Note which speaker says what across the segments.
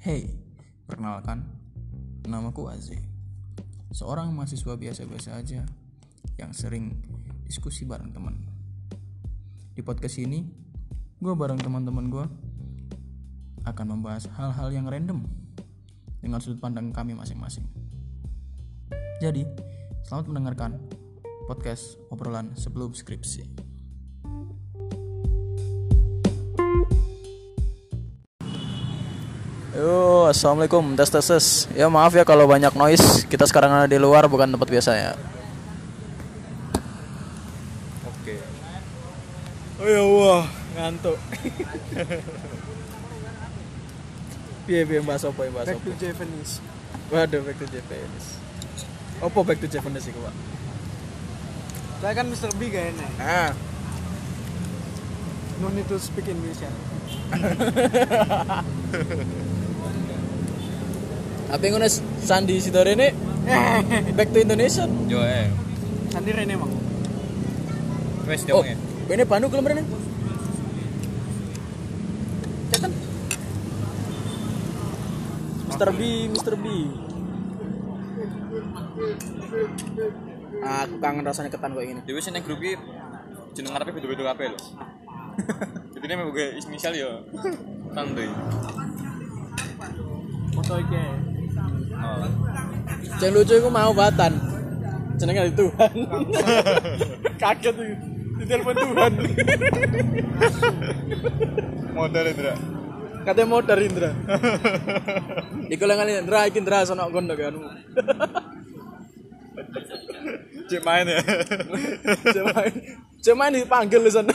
Speaker 1: Hey, perkenalkan, namaku Aze. Seorang mahasiswa biasa-biasa aja yang sering diskusi bareng teman. Di podcast ini, gue bareng teman-teman gue akan membahas hal-hal yang random dengan sudut pandang kami masing-masing. Jadi, selamat mendengarkan podcast obrolan sebelum skripsi.
Speaker 2: Yo, assalamualaikum, tes tes tes. Ya maaf ya kalau banyak noise. Kita sekarang ada di luar, bukan tempat ya. biasanya.
Speaker 3: Oke. Oh ya wah, ngantuk. Piye piye bahas opo bahas
Speaker 4: Back
Speaker 3: opo.
Speaker 4: to Japanese.
Speaker 3: Waduh, back to Japanese. Opo back to Japanese iku, Pak?
Speaker 4: Saya kan Mr. B kayaknya.
Speaker 3: Ah,
Speaker 4: No need to speak ya. Indonesia.
Speaker 2: Tapi ngono Sandi Sidore ini back to Indonesia.
Speaker 3: yo eh.
Speaker 4: Sandi Rene emang.
Speaker 3: Wes
Speaker 2: Oh, ini Pandu kalau berenang. Cetan. Mr. B, Mr. B. Aku kangen rasanya ketan kayak gini.
Speaker 3: Dewe sing nang grup iki jeneng ngarepe beda-beda kabeh lho. Jadi ini gue inisial yo. Tandoy.
Speaker 4: Foto iki. ya.
Speaker 3: Oh.
Speaker 2: Yang lucu aku mau batan. Jenengnya dari Tuhan. Kaget tuh. Ditelepon Tuhan.
Speaker 3: Modal Indra.
Speaker 2: Katanya mau dari Indra. Di kalangan Indra, iki Indra sono gondok kan.
Speaker 3: Cek main ya.
Speaker 2: Cuman cuman dipanggil di sana.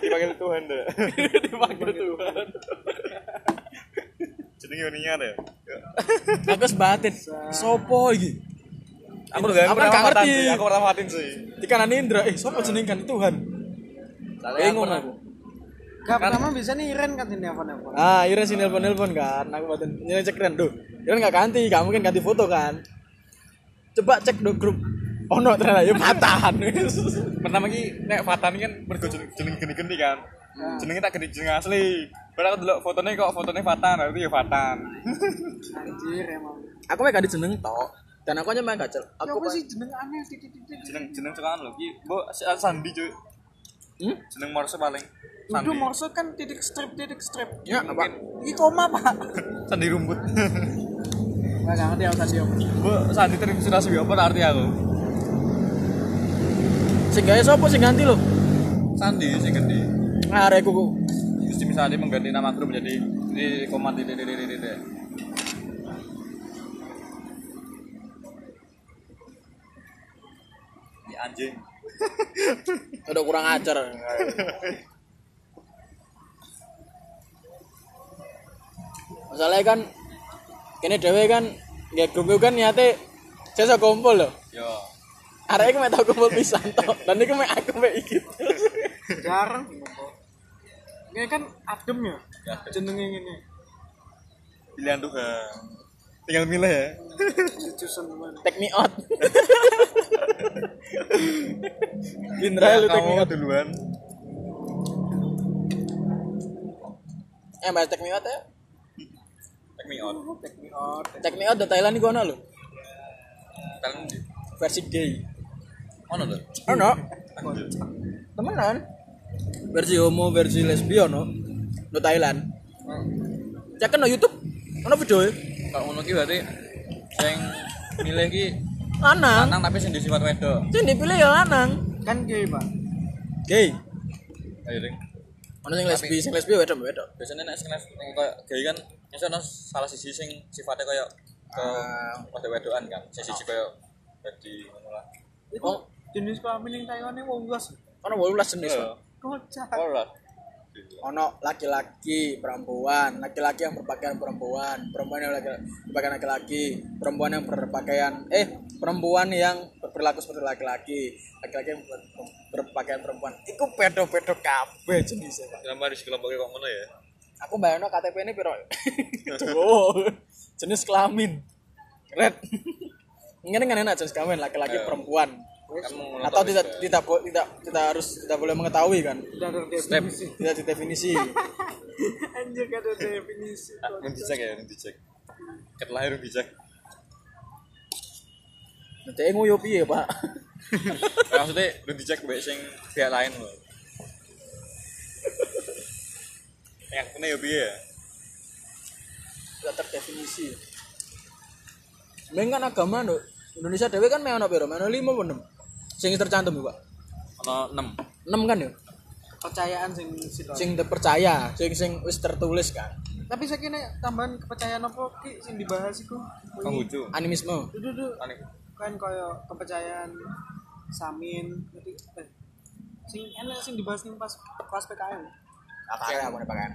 Speaker 3: Dipanggil Tuhan Indra.
Speaker 2: dipanggil Tuhan.
Speaker 3: Jenenge niat ya.
Speaker 2: Aku sebatin. Sopo iki? Aku
Speaker 3: Aku
Speaker 2: aku kan gak ngerti.
Speaker 3: Aku pernah matiin sih.
Speaker 2: Di kanan Indra, eh sopo jeneng kan Tuhan. Bingung aku.
Speaker 4: Gak pertama bisa nih Iren kan sini apa apa.
Speaker 2: Ah, Ira sih nelpon-nelpon kan. Aku batin nyeleneh cek keren Duh, Iren gak ganti, gak mungkin ganti foto kan. Coba cek do grup. Oh no, ternyata ya patahan.
Speaker 3: pertama ki nek Fatan kan mergo jeneng jeneng geni-geni kan.
Speaker 2: Nah.
Speaker 3: Jenenge tak geni jeneng asli. Padahal aku delok fotone kok fotone Fatan, berarti ya Fatan.
Speaker 4: Anjir emang.
Speaker 2: aku mah gak dijeneng tok. Dan aku hanya mah gak cel.
Speaker 4: Ya
Speaker 2: Aku
Speaker 4: apa
Speaker 2: pa-
Speaker 4: sih jeneng aneh titik titik.
Speaker 3: Jeneng jeneng cekan lho ki. Mbok si- Sandi cuy.
Speaker 2: Hmm?
Speaker 3: Jeneng Morse paling. Sandi.
Speaker 4: Udah morse kan titik strip titik strip.
Speaker 2: Ya, apa?
Speaker 4: Ini koma pak.
Speaker 3: Sandi rumput.
Speaker 4: Gak ngerti aku tadi om.
Speaker 3: Mbok Sandi terinspirasi apa tak arti aku?
Speaker 2: Sing gawe sapa sing ganti lho?
Speaker 3: Sandi sing gede.
Speaker 2: Arekku ku.
Speaker 3: Gusti misalnya mengganti nama grup menjadi di koma di di di di di. Ya anjing.
Speaker 2: Udah kurang ajar. Masalahnya kan kene dhewe kan ya grup itu kan niate sesa kumpul lho.
Speaker 3: Yo.
Speaker 2: Arek iku mek tau kumpul pisan tok. Dan iku mek aku mek iki.
Speaker 4: Jarang. Ini kan adem ya.
Speaker 3: Ya, adem.
Speaker 4: Jenengnya ini.
Speaker 3: Pilihan Tuhan. Tinggal milih ya.
Speaker 4: Jujusan teman.
Speaker 2: Take me out. Indra lu take me
Speaker 3: kamu
Speaker 2: out.
Speaker 3: duluan.
Speaker 2: Eh, mas take me out ya.
Speaker 3: Take me out.
Speaker 4: Take me out.
Speaker 2: Take me out dari Thailand iku ono lho.
Speaker 3: Kalian
Speaker 2: Versi gay.
Speaker 3: mana tuh?
Speaker 2: Ono. Temenan. Versi homo, versi lesbi ono. No Thailand. Cek no YouTube. Ono video e.
Speaker 3: Kalau Hmm. ngono ki berarti yang milih ki
Speaker 2: Lanang.
Speaker 3: lanang tapi sing duwe sifat wedok.
Speaker 2: Sing dipilih ya lanang.
Speaker 4: Kan gay pak.
Speaker 2: Gay.
Speaker 3: Ayo ding.
Speaker 2: Ono sing lesbi, sing lesbi wedok wedok.
Speaker 3: Biasanya nek sing nek koyo gay kan biasanya ono salah sisi sing sifatnya koyo ke pada wedokan kan. Sing siji koyo jadi ngono lah.
Speaker 4: Itu
Speaker 2: Oh.
Speaker 4: jenis kelamin yang Taiwannya mau belas.
Speaker 2: Ono 18 jenis.
Speaker 3: Iya.
Speaker 4: Kocak.
Speaker 3: Ora.
Speaker 2: Ono laki-laki, perempuan, laki-laki yang berpakaian perempuan, perempuan yang laki berpakaian laki-laki, perempuan yang berpakaian eh perempuan yang berperilaku seperti laki-laki, laki-laki yang ber- berpakaian perempuan. Iku pedo-pedo kabeh jenisnya, Pak.
Speaker 3: Kenapa harus kelompoknya kok ngono ya?
Speaker 2: Aku bayangno KTP ini piro. Cowok. jenis kelamin. Red. Ngene kan enak jenis kelamin laki-laki
Speaker 3: Iya.
Speaker 2: perempuan. atau tidak tidak bo- tidak tidak harus tidak boleh mengetahui kan
Speaker 4: Tidak ada definisi.
Speaker 2: tidak Nah, didefinisi
Speaker 4: Anjir gak ada definisi.
Speaker 3: Ini dicek ya, ini dicek. Ket lahir dicek.
Speaker 2: jadi nguyu piye ya, pak
Speaker 3: Nah, maksudnya lu dicek mbek sing pihak lain lho. Yang kene ya piye ya?
Speaker 2: tidak terdefinisi Mending kan agama no, Indonesia dewe kan meono piro meono lima pun enam sing tercantum ya pak
Speaker 3: Ono 6.
Speaker 2: enam kan ya
Speaker 4: Kepercayaan sing
Speaker 3: Ah.
Speaker 4: situ.
Speaker 2: sing terpercaya sing sing wis tertulis kan
Speaker 4: Tapi saya kira tambahan kepercayaan apa ki sing dibahas iku.
Speaker 3: Kanggucu.
Speaker 2: animisme
Speaker 4: Dudu dudu
Speaker 3: Ane.
Speaker 4: kan kaya kepercayaan Samin jadi eh, sing enak sing dibahas ning pas kelas PKM.
Speaker 2: apa apa pakaian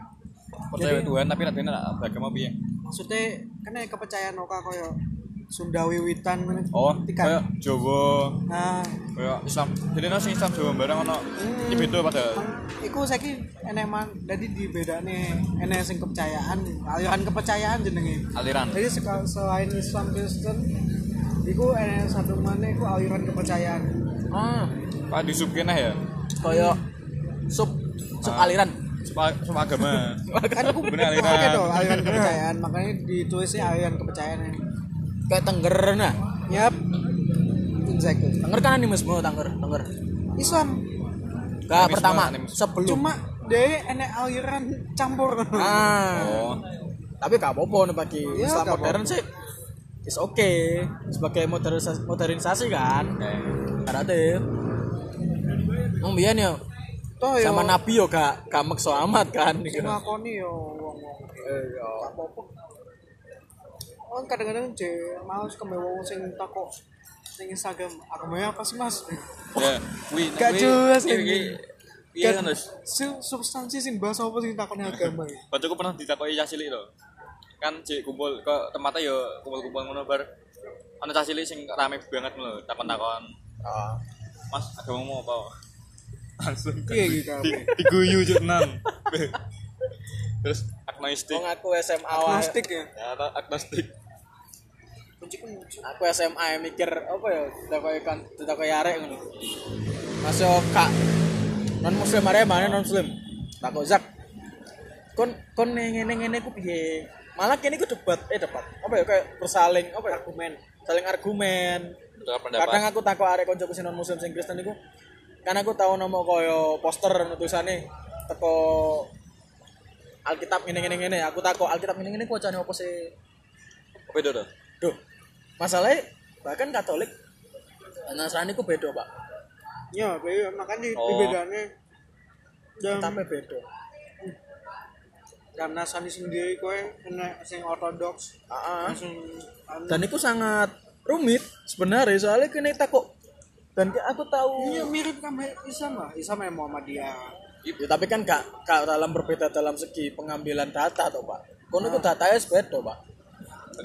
Speaker 3: Percaya Tuhan tapi nek bener agama piye?
Speaker 4: Maksudnya kan ya kepercayaan oka kaya Sunda Wiwitan ngene.
Speaker 3: Oh,
Speaker 4: Tiga.
Speaker 3: kaya Jawa,
Speaker 4: Nah,
Speaker 3: kaya Islam. Jadi ono sing Islam Jawa bareng ono iki beda pada
Speaker 4: Iku saiki enek man, jadi di bedane enek sing kepercayaan, aliran kepercayaan jenenge.
Speaker 3: aliran.
Speaker 4: Jadi seka- selain Islam Kristen, iku enek satu mana iku aliran kepercayaan.
Speaker 2: ah
Speaker 3: Pak di sub kene ya.
Speaker 2: koyo sub sub
Speaker 3: Ah.
Speaker 2: aliran
Speaker 3: Sub, sub agama.
Speaker 4: Kan aku
Speaker 3: Bener, aliran.
Speaker 4: Oke dong, aliran kepercayaan. Makanya ditulisnya aliran kepercayaan.
Speaker 2: kayak tengger nah
Speaker 4: Yap. Exactly.
Speaker 2: tengger kan animisme tengger tengger
Speaker 4: Islam
Speaker 2: gak
Speaker 3: Animisme,
Speaker 2: pertama
Speaker 3: animisme.
Speaker 2: sebelum
Speaker 4: cuma dia enek aliran campur.
Speaker 2: ah
Speaker 3: Oh,
Speaker 2: tapi gak apa-apa nih bagi
Speaker 4: Iya,
Speaker 2: Islam
Speaker 4: gak
Speaker 2: modern sih is oke sebagai modernisasi, modernisasi kan
Speaker 3: oke.
Speaker 2: karate Emang biyen ya
Speaker 4: Toh yo.
Speaker 2: sama Nabi yo gak gak meksa amat kan
Speaker 4: sing ngakoni yo wong-wong. apa-apa. Orang kadang-kadang je mau suka bawa wong sing takok sing Instagram, aku mau apa sih mas?
Speaker 3: Ya, kuwi
Speaker 4: Gak jelas ini.
Speaker 3: iki. Iya kan, Mas.
Speaker 4: Su- substansi sing bahas apa sing takoni agama ya?
Speaker 3: Waktu aku pernah ditakoki cah cilik lho. Kan cek kumpul ke tempatnya yo kumpul-kumpul ngono bar. Ono cah cilik sing rame banget lho, takon-takon. Mas, agama mau apa? Langsung
Speaker 2: Kan
Speaker 4: Iya gitu
Speaker 3: di,
Speaker 4: apa?
Speaker 3: diguyu juk tenan. Terus agnostik.
Speaker 2: Wong aku SMA wae.
Speaker 4: Plastik ya.
Speaker 3: Ternyata agnostik.
Speaker 4: Kunci kan
Speaker 2: Aku SMA ya mikir apa ya ditakoki kan ditakoki arek ngono. Masuk kak non muslim arek mana non muslim. Takok Zak. Kon kon ngene-ngene ku piye? Malah kene ku debat, eh debat. Apa ya kayak bersaling apa ya argumen, saling argumen.
Speaker 3: Betul
Speaker 2: kadang
Speaker 3: pendapat.
Speaker 2: aku takut arek koncoku sing non muslim sing Kristen iku kan aku tau nemu koyo poster ono tulisane teko Alkitab ngene ngene ngene aku takut Alkitab ngene ngene kuwacane opo sih
Speaker 3: Beda to.
Speaker 2: duh masalahnya bahkan Katolik dan Nasrani ku beda pak
Speaker 4: Ya, be- makanya di-
Speaker 3: Oh.
Speaker 4: di bedanya dalam
Speaker 2: tapi beda
Speaker 4: dalam nasani sendiri kowe enek sing ortodoks,
Speaker 2: Heeh.
Speaker 4: sing
Speaker 2: Ah,
Speaker 4: anu.
Speaker 2: dan itu sangat rumit sebenarnya soalnya kene takut dan ke- aku tahu
Speaker 4: Iya mirip sama Islam lah, Islam yang Muhammadiyah.
Speaker 2: Ya, tapi kan gak, gak dalam berbeda dalam segi pengambilan data toh pak kono ku datanya beda pak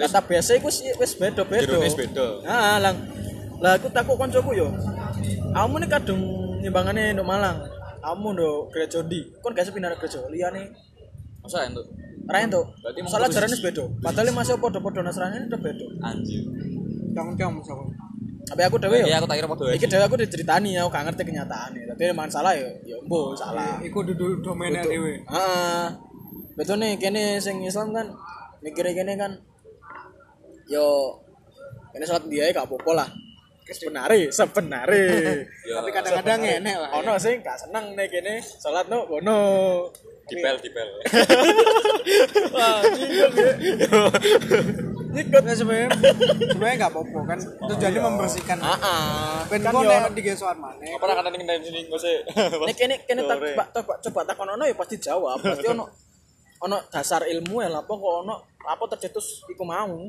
Speaker 2: data biasa iku sih wis beda-beda
Speaker 3: Jerone beda.
Speaker 2: Nah, lang. Lah aku takut koncoku yo. Kamu nih kadung nimbangane nduk Malang. Kamu nduk gereja ndi? Kon gak sepindah gereja ya, liyane.
Speaker 3: Masa entuk?
Speaker 2: Ra entuk.
Speaker 3: Berarti mau
Speaker 2: Soalnya
Speaker 3: terus-
Speaker 2: jarane beda. Padahal masih padha-padha Nasrani itu beda.
Speaker 3: Anjir.
Speaker 4: Dong-dong sama.
Speaker 2: Tapi aku dhewe yo.
Speaker 3: Iya aku tak kira padha.
Speaker 2: Iki dhewe aku diceritani aku gak ngerti kenyataane. Dadi emang salah yo, yo mbo salah.
Speaker 4: Iku duduk domainnya dewe.
Speaker 2: Heeh. Betul nih kene sing Islam kan mikire kene kan yo kene salat dia gak apa-apa lah. Sebenarnya, sebenarnya.
Speaker 3: ya.
Speaker 4: Tapi kadang-kadang enek lah.
Speaker 2: ono sing gak seneng nek kene salat no kono
Speaker 3: dipel dipel.
Speaker 2: nyikut
Speaker 4: Nah, sebenarnya sebenarnya nggak apa-apa kan tujuannya membersihkan
Speaker 2: heeh Oh,
Speaker 4: ben
Speaker 2: iya. kan
Speaker 4: kau
Speaker 2: yo
Speaker 4: nek digesokan mana
Speaker 3: Apa kan ning ning sini kose.
Speaker 2: nek kene kene tak
Speaker 3: Sore.
Speaker 2: coba coba coba takon ono ya pasti jawab pasti ono ono dasar ilmu ya lapo kok ono apa tercetus iku mau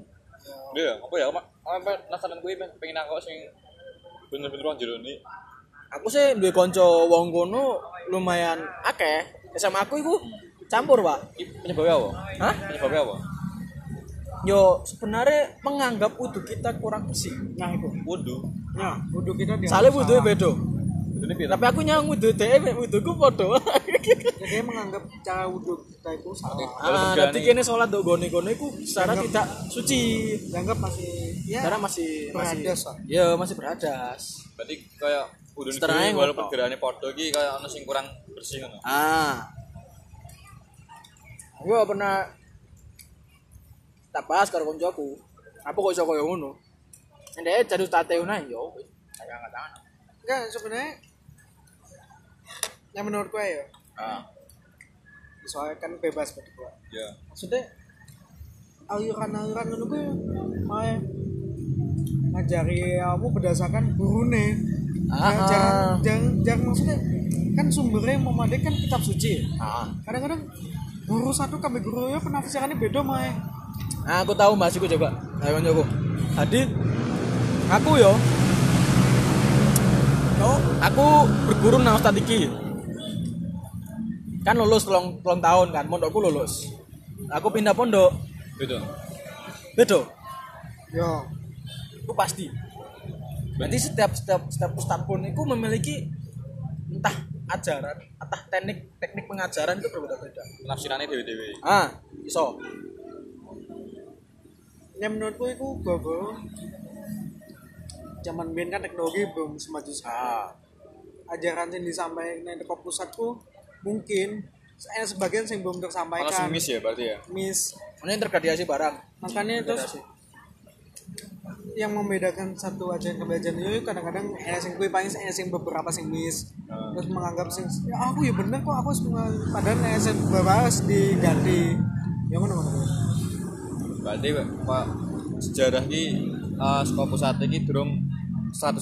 Speaker 3: Iya, apa ya? Apa apa penasaran gue Ben. pengen aku sing bener-bener wong jero ni.
Speaker 2: aku sih duwe konco wong kono lumayan akeh SMA aku iku campur pak
Speaker 3: Iki Penyebabnya apa?
Speaker 2: Hah?
Speaker 3: Penyebabnya apa?
Speaker 2: yo sebenarnya menganggap wudhu kita kurang bersih
Speaker 4: nah itu
Speaker 3: Wudu.
Speaker 4: nah wudhu kita dia
Speaker 2: soalnya wudhu beda
Speaker 3: Ini pira?
Speaker 2: tapi aku nyang wudhu dhek wudhuku padha
Speaker 4: Ya, dia menganggap cara wudhu kita itu salah
Speaker 2: Ah,
Speaker 3: Walaupun
Speaker 2: nanti
Speaker 3: berani.
Speaker 2: kene sholat dok goni goni ku secara tidak suci.
Speaker 4: dianggap masih Ya,
Speaker 2: Karena masih masih
Speaker 4: berhadas, Pak.
Speaker 2: Ya, masih berhadas.
Speaker 3: berarti kayak udun
Speaker 2: Seterangnya
Speaker 3: gue walaupun
Speaker 2: ngopo?
Speaker 3: gerakannya podo iki kayak ono sing kurang bersih ngono
Speaker 2: Ah. Aku gak pernah tak bahas karo koncoku. Apa kok iso koyo ngono? Ndek jadu tateu nang yo. Saya angkat tangan.
Speaker 4: Enggak, sebenarnya yang menurut gue ya,
Speaker 3: ah
Speaker 4: soalnya kan bebas buat gue.
Speaker 3: ya
Speaker 4: Maksudnya aliran-aliran ngono gue malah ngajari kamu berdasarkan gurune.
Speaker 2: Ah.
Speaker 4: Ya, jangan, jangan, jangan maksudnya kan sumbernya yang memadai kan kitab suci. ya.
Speaker 2: Ah.
Speaker 4: Kadang-kadang guru satu kami guru ya penafsirannya beda mah.
Speaker 2: Nah, aku tahu Mas, iku coba. Ayo koncoku. Tadi aku yo yo, aku berguru nang Ustaz iki. Kan lulus telung, telung tahun kan, pondokku lulus. Aku pindah pondok.
Speaker 3: gitu
Speaker 2: Bedo.
Speaker 4: Yo,
Speaker 2: itu pasti berarti setiap setiap setiap ustadz pun itu memiliki entah ajaran entah teknik teknik pengajaran itu berbeda-beda
Speaker 3: penafsirannya dewe-dewe
Speaker 2: ah iso
Speaker 4: yang menurut gue itu gogo. Zaman biyen kan teknologi belum semaju
Speaker 2: ah
Speaker 4: sekarang. ajaran yang disampaikan di pusatku mungkin eh, sebagian yang belum
Speaker 3: ono sing
Speaker 4: tersampaikan
Speaker 3: miss ya berarti ya
Speaker 4: miss
Speaker 2: ini intergradiasi barang
Speaker 4: makanya terus
Speaker 2: Intergradiasi.
Speaker 4: yang membedakan satu ajaran ke ajaran itu kadang-kadang enak sing kui paling enak sing beberapa sing miss terus menganggap sing ya aku ya bener kok aku semua padahal enak sing beberapa harus diganti Ya yang mana mana
Speaker 3: berarti pak sejarah ki uh, sekolah pusat iki durung 100%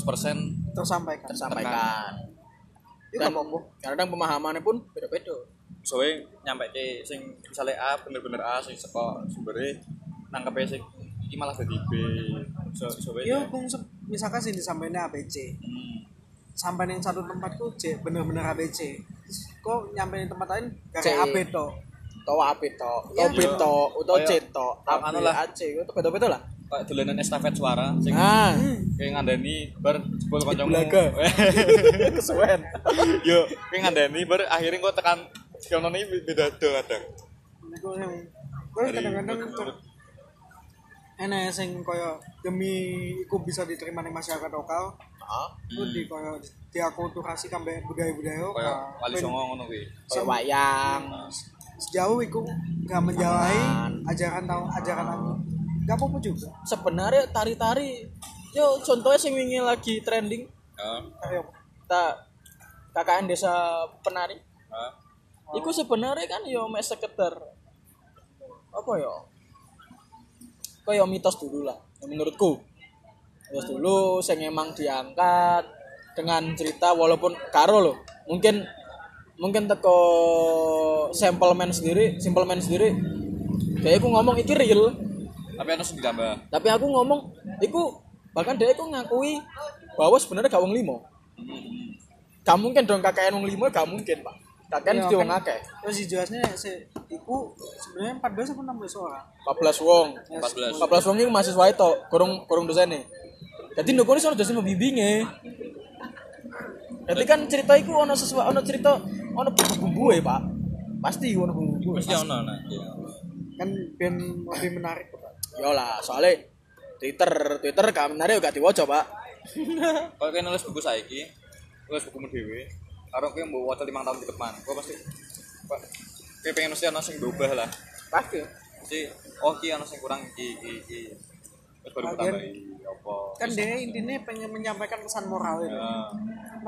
Speaker 4: tersampaikan
Speaker 2: tersampaikan
Speaker 4: itu
Speaker 3: Iya,
Speaker 2: dan
Speaker 4: apa apa
Speaker 2: kadang pemahamannya pun beda-beda
Speaker 3: soalnya nyampe ke sing misalnya A bener-bener A sing saka sumbernya nangkepe sing iki malah jadi B so
Speaker 4: yo
Speaker 3: soalnya
Speaker 4: kung se- misalkan sing disampaikan ABC
Speaker 3: Hmm,
Speaker 4: sampai yang satu tempatku C bener-bener ABC kok nyampe di tempat lain
Speaker 2: C.
Speaker 4: gak kayak AB toh
Speaker 2: atau A to atau
Speaker 4: Iya.
Speaker 2: B to atau C to
Speaker 3: Kayak-
Speaker 2: A B
Speaker 3: anu lah. Iya.
Speaker 2: A C itu beda-beda lah
Speaker 3: kayak dolanan estafet suara sing
Speaker 2: ah
Speaker 3: kayak ngandani bar jebol kancamu
Speaker 2: belaga. kesuwen
Speaker 3: yo kayak ngandani bar akhirnya kok tekan kono ini beda do kadang
Speaker 4: itu yang gue
Speaker 3: Dari-
Speaker 4: kadang-kadang ter- enak sing koyo demi iku bisa diterima di masyarakat lokal itu di koyo diakulturasi kambe budaya-budaya
Speaker 3: kayak
Speaker 4: lokal
Speaker 3: Hmm.
Speaker 2: Ah.
Speaker 3: wali
Speaker 4: Ben-
Speaker 3: songo ngono kuwi
Speaker 2: kayak wayang
Speaker 4: sejauh iku gak menjalahi ajaran tahu ajaran aku gak apa-apa juga
Speaker 2: sebenarnya tari-tari yo contohnya sing wingi lagi trending
Speaker 3: Heeh.
Speaker 4: Tapi apa?
Speaker 2: ta KKN desa penari
Speaker 3: Heeh.
Speaker 2: Iku sebenarnya kan yo mek sekedar apa yo? Kayak mitos dulu lah ya menurutku. Mitos dulu sing emang diangkat dengan cerita walaupun karo loh. Mungkin mungkin teko sampel man sendiri, simple man sendiri. Kayak aku ngomong iki real,
Speaker 3: tapi ono sing ditambah
Speaker 2: tapi aku ngomong iku bahkan dia aku ngakui bahwa sebenarnya gak wong limo. Gak mungkin dong KKN wong limo, gak mungkin, Pak. KKN
Speaker 4: Iya,
Speaker 2: mesti wong
Speaker 4: kan.
Speaker 2: akeh.
Speaker 4: terus dijelasnya se iku sebenarnya 14 atau 16 orang
Speaker 2: 14 wong. 14
Speaker 3: 14
Speaker 2: wong iki mahasiswa itu, kurung kurung dosene. Jadi ndukune sono dosen pembimbinge. Jadi kan cerita iku ono sesuai ono cerita ono bumbu-bumbu Pak. Pasti ono bumbu-bumbu.
Speaker 3: mesti ono nah iya.
Speaker 4: kan ben lebih menarik Pak.
Speaker 2: Yo lah, soalnya Twitter, Twitter gak menarik gak diwaca, Pak.
Speaker 3: kalau kau nulis buku saiki nulis bukumu dewe karo kau mau waca lima tahun di depan kau pasti kau pengen mesti ono sing berubah lah
Speaker 2: Pasti.
Speaker 3: mesti oh ki ono sing kurang iki iki iki terus baru
Speaker 4: Lagian-
Speaker 3: tambah apa
Speaker 4: kan dia intinya pengen menyampaikan pesan moral itu
Speaker 3: Heeh.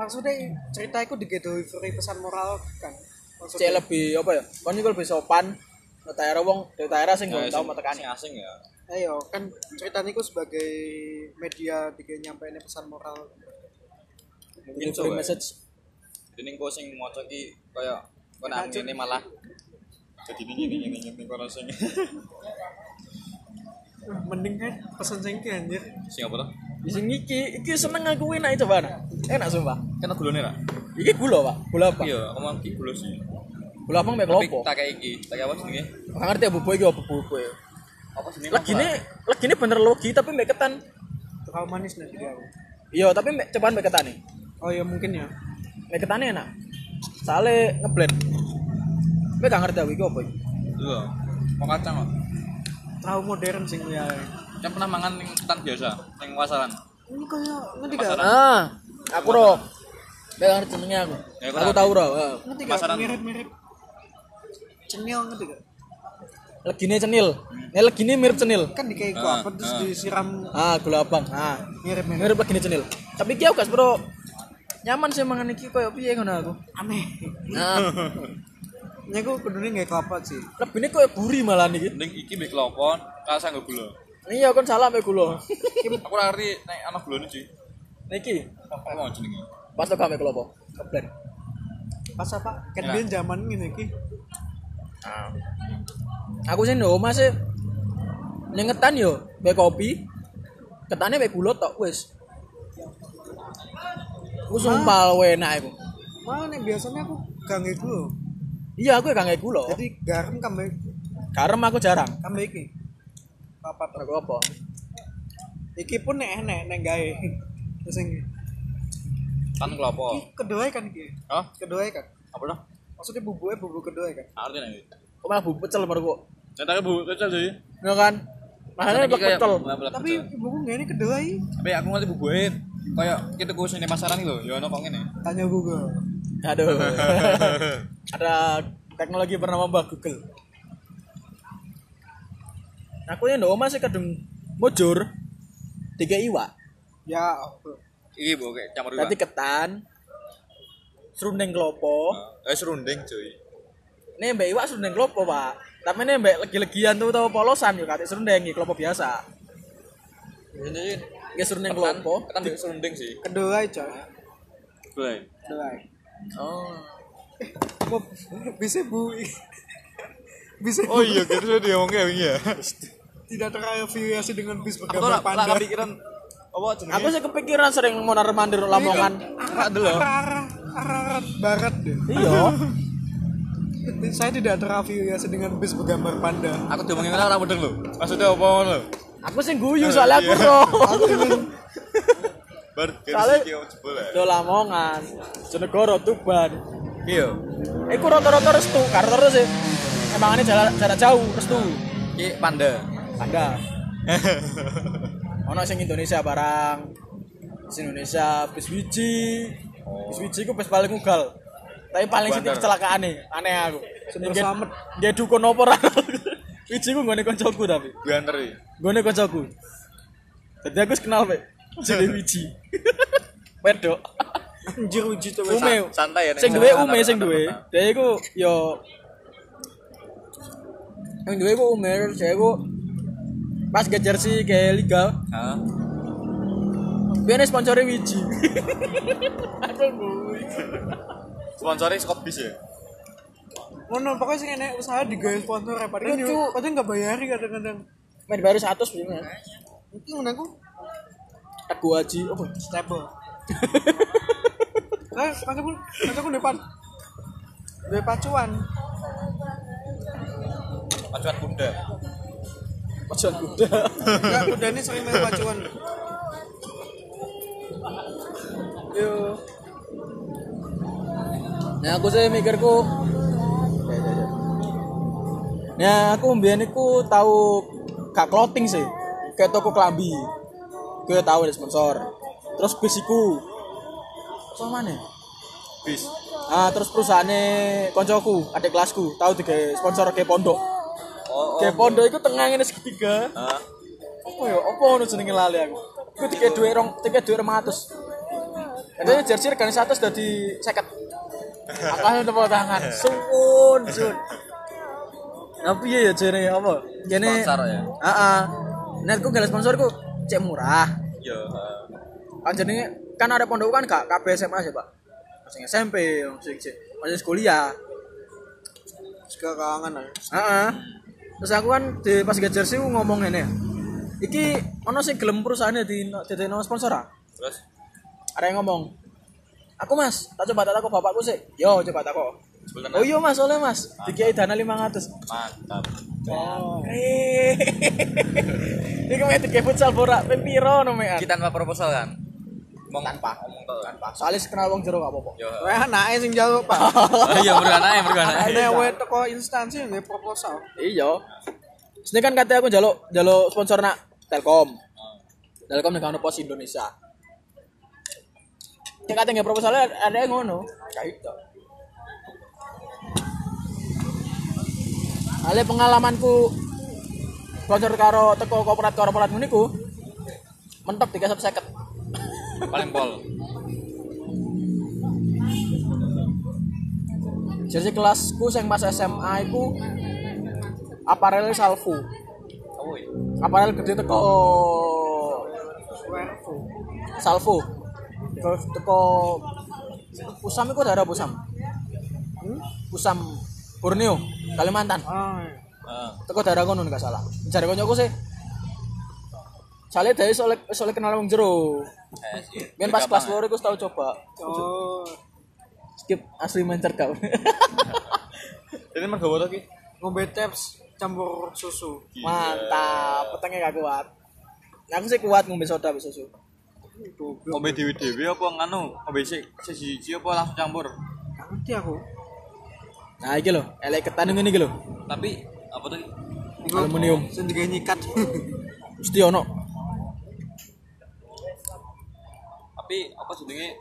Speaker 4: maksudnya cerita itu delivery pesan moral kan
Speaker 2: Cek lebih apa ya? Kon iku lebih sopan. Nek daerah wong, nek daerah sing
Speaker 3: Ya,
Speaker 2: gak tau
Speaker 3: sing-
Speaker 2: metekani.
Speaker 3: sing asing ya
Speaker 4: ayo kan ceritanya itu sebagai media bikin nyampein pesan moral
Speaker 2: Free
Speaker 3: mungkin coba
Speaker 2: message.
Speaker 3: jadi kau sing mau iki kayak kau nak ini malah jadi ini ini ini ini kau sing
Speaker 4: mending kan pesan sing ki, anjir
Speaker 3: sing apa tuh
Speaker 2: Di sini iki iki seneng aku enak coba. nah. Enak sumpah.
Speaker 3: kan gulone ra
Speaker 2: Iki gula, Pak. Gula apa?
Speaker 3: iya aku mau iki gulo sih
Speaker 2: Gula apa mek
Speaker 3: tapi
Speaker 2: lopo?
Speaker 3: tak kayak iki tak kayak apa jenenge
Speaker 2: Gak ngerti ya bubu iki apa bubu ya.
Speaker 3: apa jenenge
Speaker 2: Legine, legine bener logi tapi mek ketan.
Speaker 4: terlalu manis nanti dia aku
Speaker 2: Iya, tapi mek cobaan mek ketan nih.
Speaker 4: oh ya mungkin ya
Speaker 2: Mek ketane enak. Sale ngeblend. Mek gak ngerti aku iki apa iki.
Speaker 3: iya mau kacang kok
Speaker 4: terlalu modern sing ya
Speaker 3: Kan pernah mangan yang ketan biasa, yang wasaran.
Speaker 4: ini kayak ngerti gak
Speaker 3: Pasaran.
Speaker 2: Ah, aku roh. Gak ngerti jenengnya aku.
Speaker 3: Ya, aku
Speaker 2: aku
Speaker 3: tahu.
Speaker 2: tahu roh. eh.
Speaker 4: ngerti
Speaker 3: Pasaran.
Speaker 4: gak mirip mirip cenil ngerti gak
Speaker 2: Legine cenil. Nih legine mirip cenil.
Speaker 4: kan di kayak
Speaker 3: Ah,
Speaker 4: apa terus
Speaker 3: ah.
Speaker 4: disiram
Speaker 2: Ah, gula abang. Ah,
Speaker 4: mirip mirip
Speaker 2: mirip legine cenil. Tapi ki aku gak bro. Nyaman sih mangan iki koyo piye ngono aku.
Speaker 4: aneh
Speaker 2: Nah,
Speaker 4: ini aku kudunya gak kelapa sih
Speaker 2: lebine koyo buri malah niki.
Speaker 3: Mending iki mbek kelopon, kasa nggo gula.
Speaker 2: Iya kon salah mek gula.
Speaker 3: Aku ora ngerti nek ana gulane, Ci.
Speaker 2: Niki
Speaker 3: Apa mau jenenge?
Speaker 2: pas lo kame kelopo. Keblen.
Speaker 4: pas apa kan
Speaker 3: Ya.
Speaker 4: biyen zaman ini ki
Speaker 2: Aku sih ndek omah sih nyengetan yo, mbek kopi. Ketane mbek gula tok wis. Aku sumpah lu enak aku.
Speaker 4: malah nih biasanya aku gak ngego
Speaker 2: Iya, aku kangen gula.
Speaker 4: jadi garam kambe
Speaker 2: Garam aku jarang.
Speaker 4: kambe iki apa tuh
Speaker 2: Aku apa?
Speaker 4: iki pun nek enek nek gawe terus yang
Speaker 3: Kan kelopo.
Speaker 4: kedua kan iki
Speaker 3: Hah?
Speaker 4: kedua kan
Speaker 3: Apa dah?
Speaker 4: maksudnya bumbunya bumbu kedua kan
Speaker 3: Nggak Ngerti nek.
Speaker 2: Kok malah bubuk pecel menurutku.
Speaker 3: Cetaknya bu kecil, Ci.
Speaker 2: Ya kan? Masalahnya
Speaker 3: Iki
Speaker 2: blek
Speaker 3: kayak-
Speaker 2: pecel.
Speaker 3: Nah, blek
Speaker 4: tapi
Speaker 3: pecel.
Speaker 4: ibuku gak ini kedua i
Speaker 3: tapi aku ngerti bubuhin. Kayak kita tuku sini pasaran iki lho, ya ana kok ngene.
Speaker 4: tanya Google
Speaker 2: Aduh. Ada teknologi bernama Mbah Google. Aku yang ndok omah sih kadung mujur tiga iwak.
Speaker 4: ya aku.
Speaker 3: Iki bu kayak campur dua.
Speaker 2: Tadi ketan, serundeng kelopo.
Speaker 3: Eh serunding, cuy.
Speaker 2: Ini mbak iwak serundeng kelopo, Pak. Tapi ini mbak legi-legian tuh tau polosan yuk katik serundeng iki kelopo biasa.
Speaker 3: Ini sih
Speaker 2: Ini serundeng kelopo.
Speaker 3: Ketan mbek serunding sih.
Speaker 4: kedua i coy
Speaker 3: Gue.
Speaker 4: kedua i
Speaker 2: Oh.
Speaker 4: Wah, bisa bu bisa bu.
Speaker 3: Oh iya, kita sudah diomongnya wingi ya.
Speaker 4: tidak terafiliasi dengan bis
Speaker 3: Aku
Speaker 4: bergambar
Speaker 3: ora ora
Speaker 4: panda
Speaker 3: kepikiran apa jenenge?
Speaker 2: Aku sih kepikiran sering mondar-mandir Lamongan.
Speaker 3: Ora delok.
Speaker 4: arah arah arah barat deh
Speaker 2: Iya.
Speaker 4: saya tidak terafiliasi dengan bis bergambar panda
Speaker 3: Aku diomongin ora ora mudeng lho. Maksudnya apa ngono?
Speaker 2: Aku sing guyu soalnya aku roh.
Speaker 4: aku ingin
Speaker 3: Bar
Speaker 2: Soalnya-
Speaker 3: iki jebol ya.
Speaker 2: Lo Lamongan, Jonegoro, Tuban.
Speaker 3: Iya.
Speaker 2: Iku rata-rata restu, karo terus sih. Emang ini jarak, jarak jauh restu.
Speaker 3: Ki panda.
Speaker 2: Ada. Ono sing Indonesia barang. Sing Indonesia bis wiji. Bis wiji ku bis paling ugal. Tapi paling sithik
Speaker 3: Bandar.
Speaker 2: kecelakaan nih, aneh aku.
Speaker 4: Sumber
Speaker 2: Nggih-
Speaker 4: slamet.
Speaker 2: Nggih dukun opo ra. Wiji ku nggone koncoku tapi.
Speaker 3: Gue anter iki.
Speaker 2: Gue kancaku. Jadi aku wis kenal Pak. Jadi wiji. Wedok.
Speaker 4: anjir uji tuh
Speaker 2: Ume.
Speaker 3: santai ya, Nek.
Speaker 2: Sing duwe
Speaker 3: Santai,
Speaker 2: ume sing
Speaker 3: santai,
Speaker 2: duwe.
Speaker 3: santai.
Speaker 2: Dia iku yo Yang duwe iku ume, dia iku pas ke jersey ke liga,
Speaker 3: Hah?
Speaker 2: biar sponsornya wiji. Aku gue.
Speaker 3: Sponsornya Scott Bis ya.
Speaker 4: ngono Oh, pokoknya sih enak usaha digaya sponsor ya padahal
Speaker 2: Lucu.
Speaker 4: dia- padahal nggak bayari kadang-kadang
Speaker 2: Main baru 100 punya.
Speaker 4: itu menurut aku
Speaker 2: Teguh Haji. Oh,
Speaker 4: stable nah masa pun masa aku depan dua pacuan
Speaker 3: Pacuan bunda.
Speaker 2: pacuan kuda.
Speaker 4: nggak udah ini sering main pacuan
Speaker 2: Yo. Nah aku sih mikirku. Nah aku mbien iku tahu gak clothing sih. Kayak toko klambi. Gue tahu ada sponsor. Terus bisiku. Sama mana?
Speaker 3: Bis.
Speaker 2: Ah terus perusahaannya koncoku, adik kelasku, tahu tiga sponsor ke pondok.
Speaker 3: Oh,
Speaker 2: Ke pondok itu tengah ini segitiga.
Speaker 3: Hah?
Speaker 2: Apa ya? Apa ono jenenge lali aku? Iku tiga duit rong, tiga duit rong atus. Katanya jersey regane satu dari seket. Akalnya tepuk tangan. Sumpun, sun. Apa ya ya jene apa? Jene
Speaker 3: Sponsor ya?
Speaker 2: Heeh. Netku gak sponsorku cek murah.
Speaker 3: Iya. ha.
Speaker 2: Kan jenenge kan ada pondok kan gak kabeh SMA sih, Pak. Sing SMP, sing sing masih kuliah.
Speaker 4: juga kangen lah
Speaker 2: Heeh. Terus aku kan di pas gajar sih ngomong ngene. Iki ono sing gelem perusahaane di dadekno sponsor ah.
Speaker 3: Terus
Speaker 2: Ada yang ngomong. Aku Mas, tak coba tak takok bapakku sih. Yo, coba takok.
Speaker 3: jebol
Speaker 2: Oh
Speaker 3: tenan.
Speaker 2: iya Mas, oleh Mas. Dikiai dana 500.
Speaker 3: Mantap.
Speaker 2: Oh. Iki mek tiga futsal borak ping piro nomean.
Speaker 3: Kita tanpa proposal kan? Mong tanpa. Tanpa.
Speaker 2: Soalnya kenal wong jero gak apa-apa.
Speaker 3: Yo. ha.
Speaker 4: Wah, anaknya sing jaluk pak.
Speaker 3: Oh iya, mergana ya, mergana.
Speaker 4: Ada wae toko instansi yang proposal.
Speaker 2: Iya. Sini kan katanya aku jaluk jaluk sponsor nak Telkom. Telkom dengan Pos Indonesia. Yang katanya proposalnya ada yang ngono, kayak gitu. Ale pengalamanku bocor karo teko korporat korporat muniku mentok 350.
Speaker 3: paling pol
Speaker 2: Jersey kelasku sing pas SMA iku aparelnya salvu.
Speaker 3: oh iya
Speaker 2: Aparel gede teko salvo terus teko pusam itu daerah pusam
Speaker 4: Hmm?
Speaker 2: pusam Borneo Kalimantan
Speaker 4: Ah,
Speaker 3: Ah,
Speaker 2: teko daerah kono nggak salah cari konyoku sih Soalnya dari soalnya soalnya kenal wong jero.
Speaker 3: eh, sih.
Speaker 2: Biar pas kelas
Speaker 3: Gampang,
Speaker 2: luar aku tau coba
Speaker 4: oh,
Speaker 2: skip asli main cerkau.
Speaker 3: ya. Ini mergo woto ki.
Speaker 4: ngombe taps campur susu.
Speaker 3: Iya.
Speaker 2: Mantap, petengnya gak kuat. Nah, aku sih kuat ngombe soda habis susu.
Speaker 4: Goblok.
Speaker 3: Ngombe dewe-dewe apa nganu? Ngombe sik siji-siji apa langsung campur?
Speaker 4: Nggak Ngerti aku.
Speaker 2: Nah, iki lho, elek ketan ngene iki lho.
Speaker 3: Tapi apa tuh? Ki?
Speaker 4: Iku
Speaker 2: Aluminium.
Speaker 4: Sendiri nyikat.
Speaker 2: Mesti ono.
Speaker 3: Tapi apa jenenge?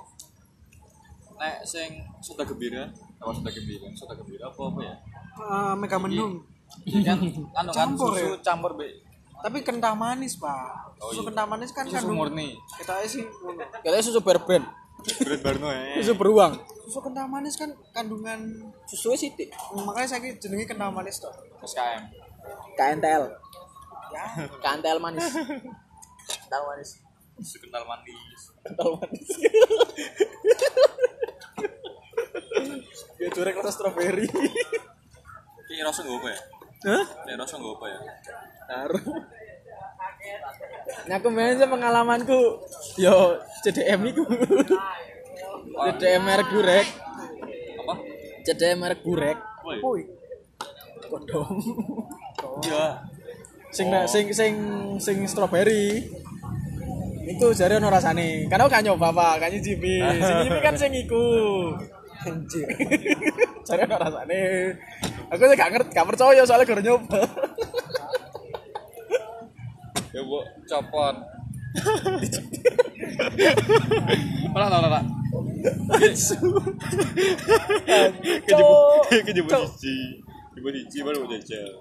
Speaker 3: Nek sing sudah gembira, apa sudah gembira, sudah gembira apa apa ya?
Speaker 4: Ah, Mega mendung.
Speaker 3: Iya kan anu kan
Speaker 4: Campur
Speaker 3: susu campur be
Speaker 4: Tapi kental manis, Pak.
Speaker 3: Oh,
Speaker 4: Susu
Speaker 3: iya.
Speaker 4: kental manis kan
Speaker 3: susu
Speaker 4: kandung.
Speaker 3: murni.
Speaker 4: Kita sih ngono.
Speaker 2: Katanya susu berben,
Speaker 3: Berat Barno ya.
Speaker 2: susu beruang.
Speaker 4: Susu kental manis kan kandungan
Speaker 2: Susunya sithik.
Speaker 4: makanya saya jenenge kental manis toh.
Speaker 3: SKM.
Speaker 2: KNTL.
Speaker 4: Ya.
Speaker 2: KNTL manis. Kental manis.
Speaker 3: Susu kental manis.
Speaker 2: Kental manis. Dia curek rasa stroberi.
Speaker 3: Ki rasa nggo apa ya?
Speaker 2: Hah?
Speaker 3: Ki rasa nggo apa ya?
Speaker 2: Taruh. Nah, kemarin sih pengalamanku yo CDM niku. CDM merek gurek,
Speaker 3: Apa?
Speaker 2: CDM merek gurek
Speaker 3: Woi.
Speaker 4: Woi.
Speaker 2: kondom.
Speaker 3: Oh, Iya.
Speaker 2: Sing sing sing sing stroberi. Itu jare ono rasane. Karena aku gak nyoba, Pak, gak nyicipi. Sing nyicipi kan sing iku.
Speaker 4: Anjir.
Speaker 2: Jare ono rasane. Aku sih gak ngerti, gak percaya soalnya gak nyoba.
Speaker 3: Ya bu, copot. Ora ora ora. Kejebur kejebur siji. Kejebur siji baru jajal.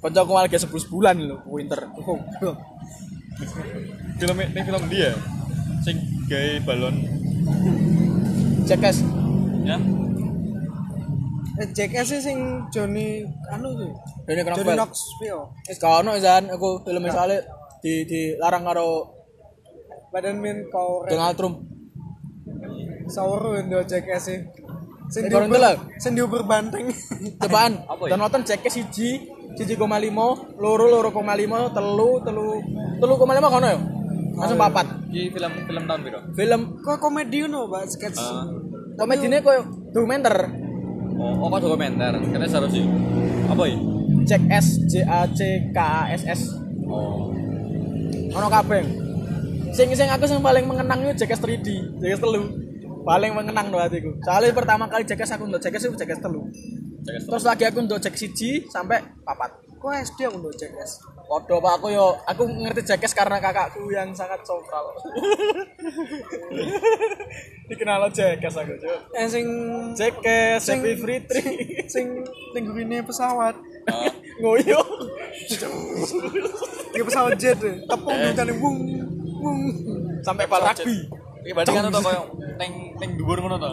Speaker 2: Kancaku malah gak sebelum sebulan lho, winter. Oh,
Speaker 4: Goblok.
Speaker 3: Film ini film dia. Sing gawe balon
Speaker 2: Cekes.
Speaker 3: ya.
Speaker 4: Eh, JKS sih sing Johnny anu tuh.
Speaker 2: Ini
Speaker 4: Johnny
Speaker 2: kenapa?
Speaker 4: Knoxville.
Speaker 2: Wis gak ono Zan, aku film soalnya di dilarang karo
Speaker 4: Badan min kau
Speaker 2: Donald Trump.
Speaker 4: sawur ndo JKS sih. Sing
Speaker 2: Eh, goreng telur.
Speaker 4: sing diuber banteng.
Speaker 2: Cobaan,
Speaker 3: Apa ya?
Speaker 2: Donald Trump ceknya siji, siji koma limo, loro loro koma limo, telu telu telu koma limo kono ya, langsung papat.
Speaker 3: Iki film film tahun piro?
Speaker 2: Film
Speaker 4: Kok komedi no, Pak, sketch.
Speaker 3: Ah.
Speaker 2: komedinya koyo dokumenter,
Speaker 3: Oh, oh kok dokumenter. Kene seru sih. Apa ya?
Speaker 2: cek S J A C K A S S,
Speaker 3: Oh.
Speaker 2: ono kabeng. Sing sing aku sing paling mengenang itu JKS 3D, JKS telu, paling mengenang no hatiku. Soalnya pertama kali JKS aku untuk JKS itu JKS telu,
Speaker 3: Cek stop.
Speaker 2: terus lagi aku untuk cek siji sampai papat.
Speaker 4: Kok SD aku ndo JKS.
Speaker 2: Waduh pak aku yo aku ngerti jakes karena kakakku yang sangat sokral. Dikenal lo jakes aku cuy.
Speaker 4: Eh sing
Speaker 2: Jakes,
Speaker 4: Sing-
Speaker 2: Happy Free Tree,
Speaker 4: sing tingguine pesawat.
Speaker 2: ngoyo.
Speaker 4: Iki pesawat jet. eh. Tepung ditane wung wung.
Speaker 2: Sampai pal rugby.
Speaker 3: Iki berarti kan to koyo ning ning dhuwur ngono to.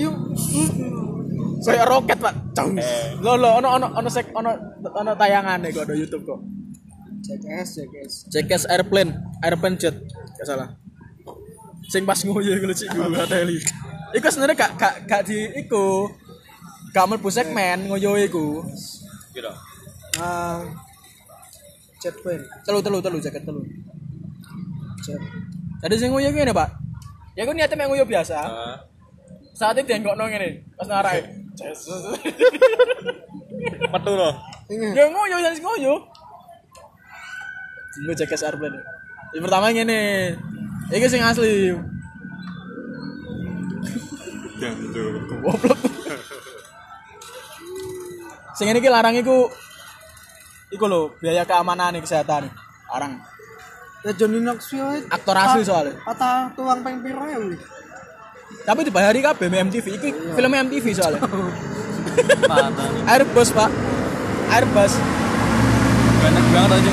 Speaker 4: Yuk.
Speaker 2: Saya roket pak. Cung.
Speaker 3: Eh.
Speaker 2: Lo lo ono ono ono sek ono ono tayangan kok di YouTube kok.
Speaker 4: JKS JKS.
Speaker 2: Jakes airplane, airplane jet. Gak salah. Sing pas ngoyo iku lho, cik guru ateli. Iku sebenarnya gak gak gak di iku. Gak mlebu segmen ngoyo iku.
Speaker 3: Piro?
Speaker 4: Ah. Jet plane.
Speaker 2: Telu telu telu jaket telu.
Speaker 4: Jet.
Speaker 2: Tadi sing nguyu ngene, Pak. Ya aku niatnya mek nguyu biasa.
Speaker 3: Heeh.
Speaker 2: Saat itu yang ngene ini, pas narai. Jesus.
Speaker 3: Metu to.
Speaker 4: Ini
Speaker 2: ya nguyu, ya sing nguyu. Gue cek SR plan. Yang pertama ngene. Iki sing asli.
Speaker 3: Jantung.
Speaker 2: Goblok. sing ini ki larang iku iku lho biaya keamanan nih kesehatan arang
Speaker 4: Ya Johnny Knoxville
Speaker 2: aktor asli soalnya
Speaker 4: patah tulang peng piro ya wih.
Speaker 2: tapi dibayari kabeh mbek MTV iki film MTV soalnya
Speaker 3: Mana?
Speaker 2: Airbus pak Airbus
Speaker 3: Banyak banget aja.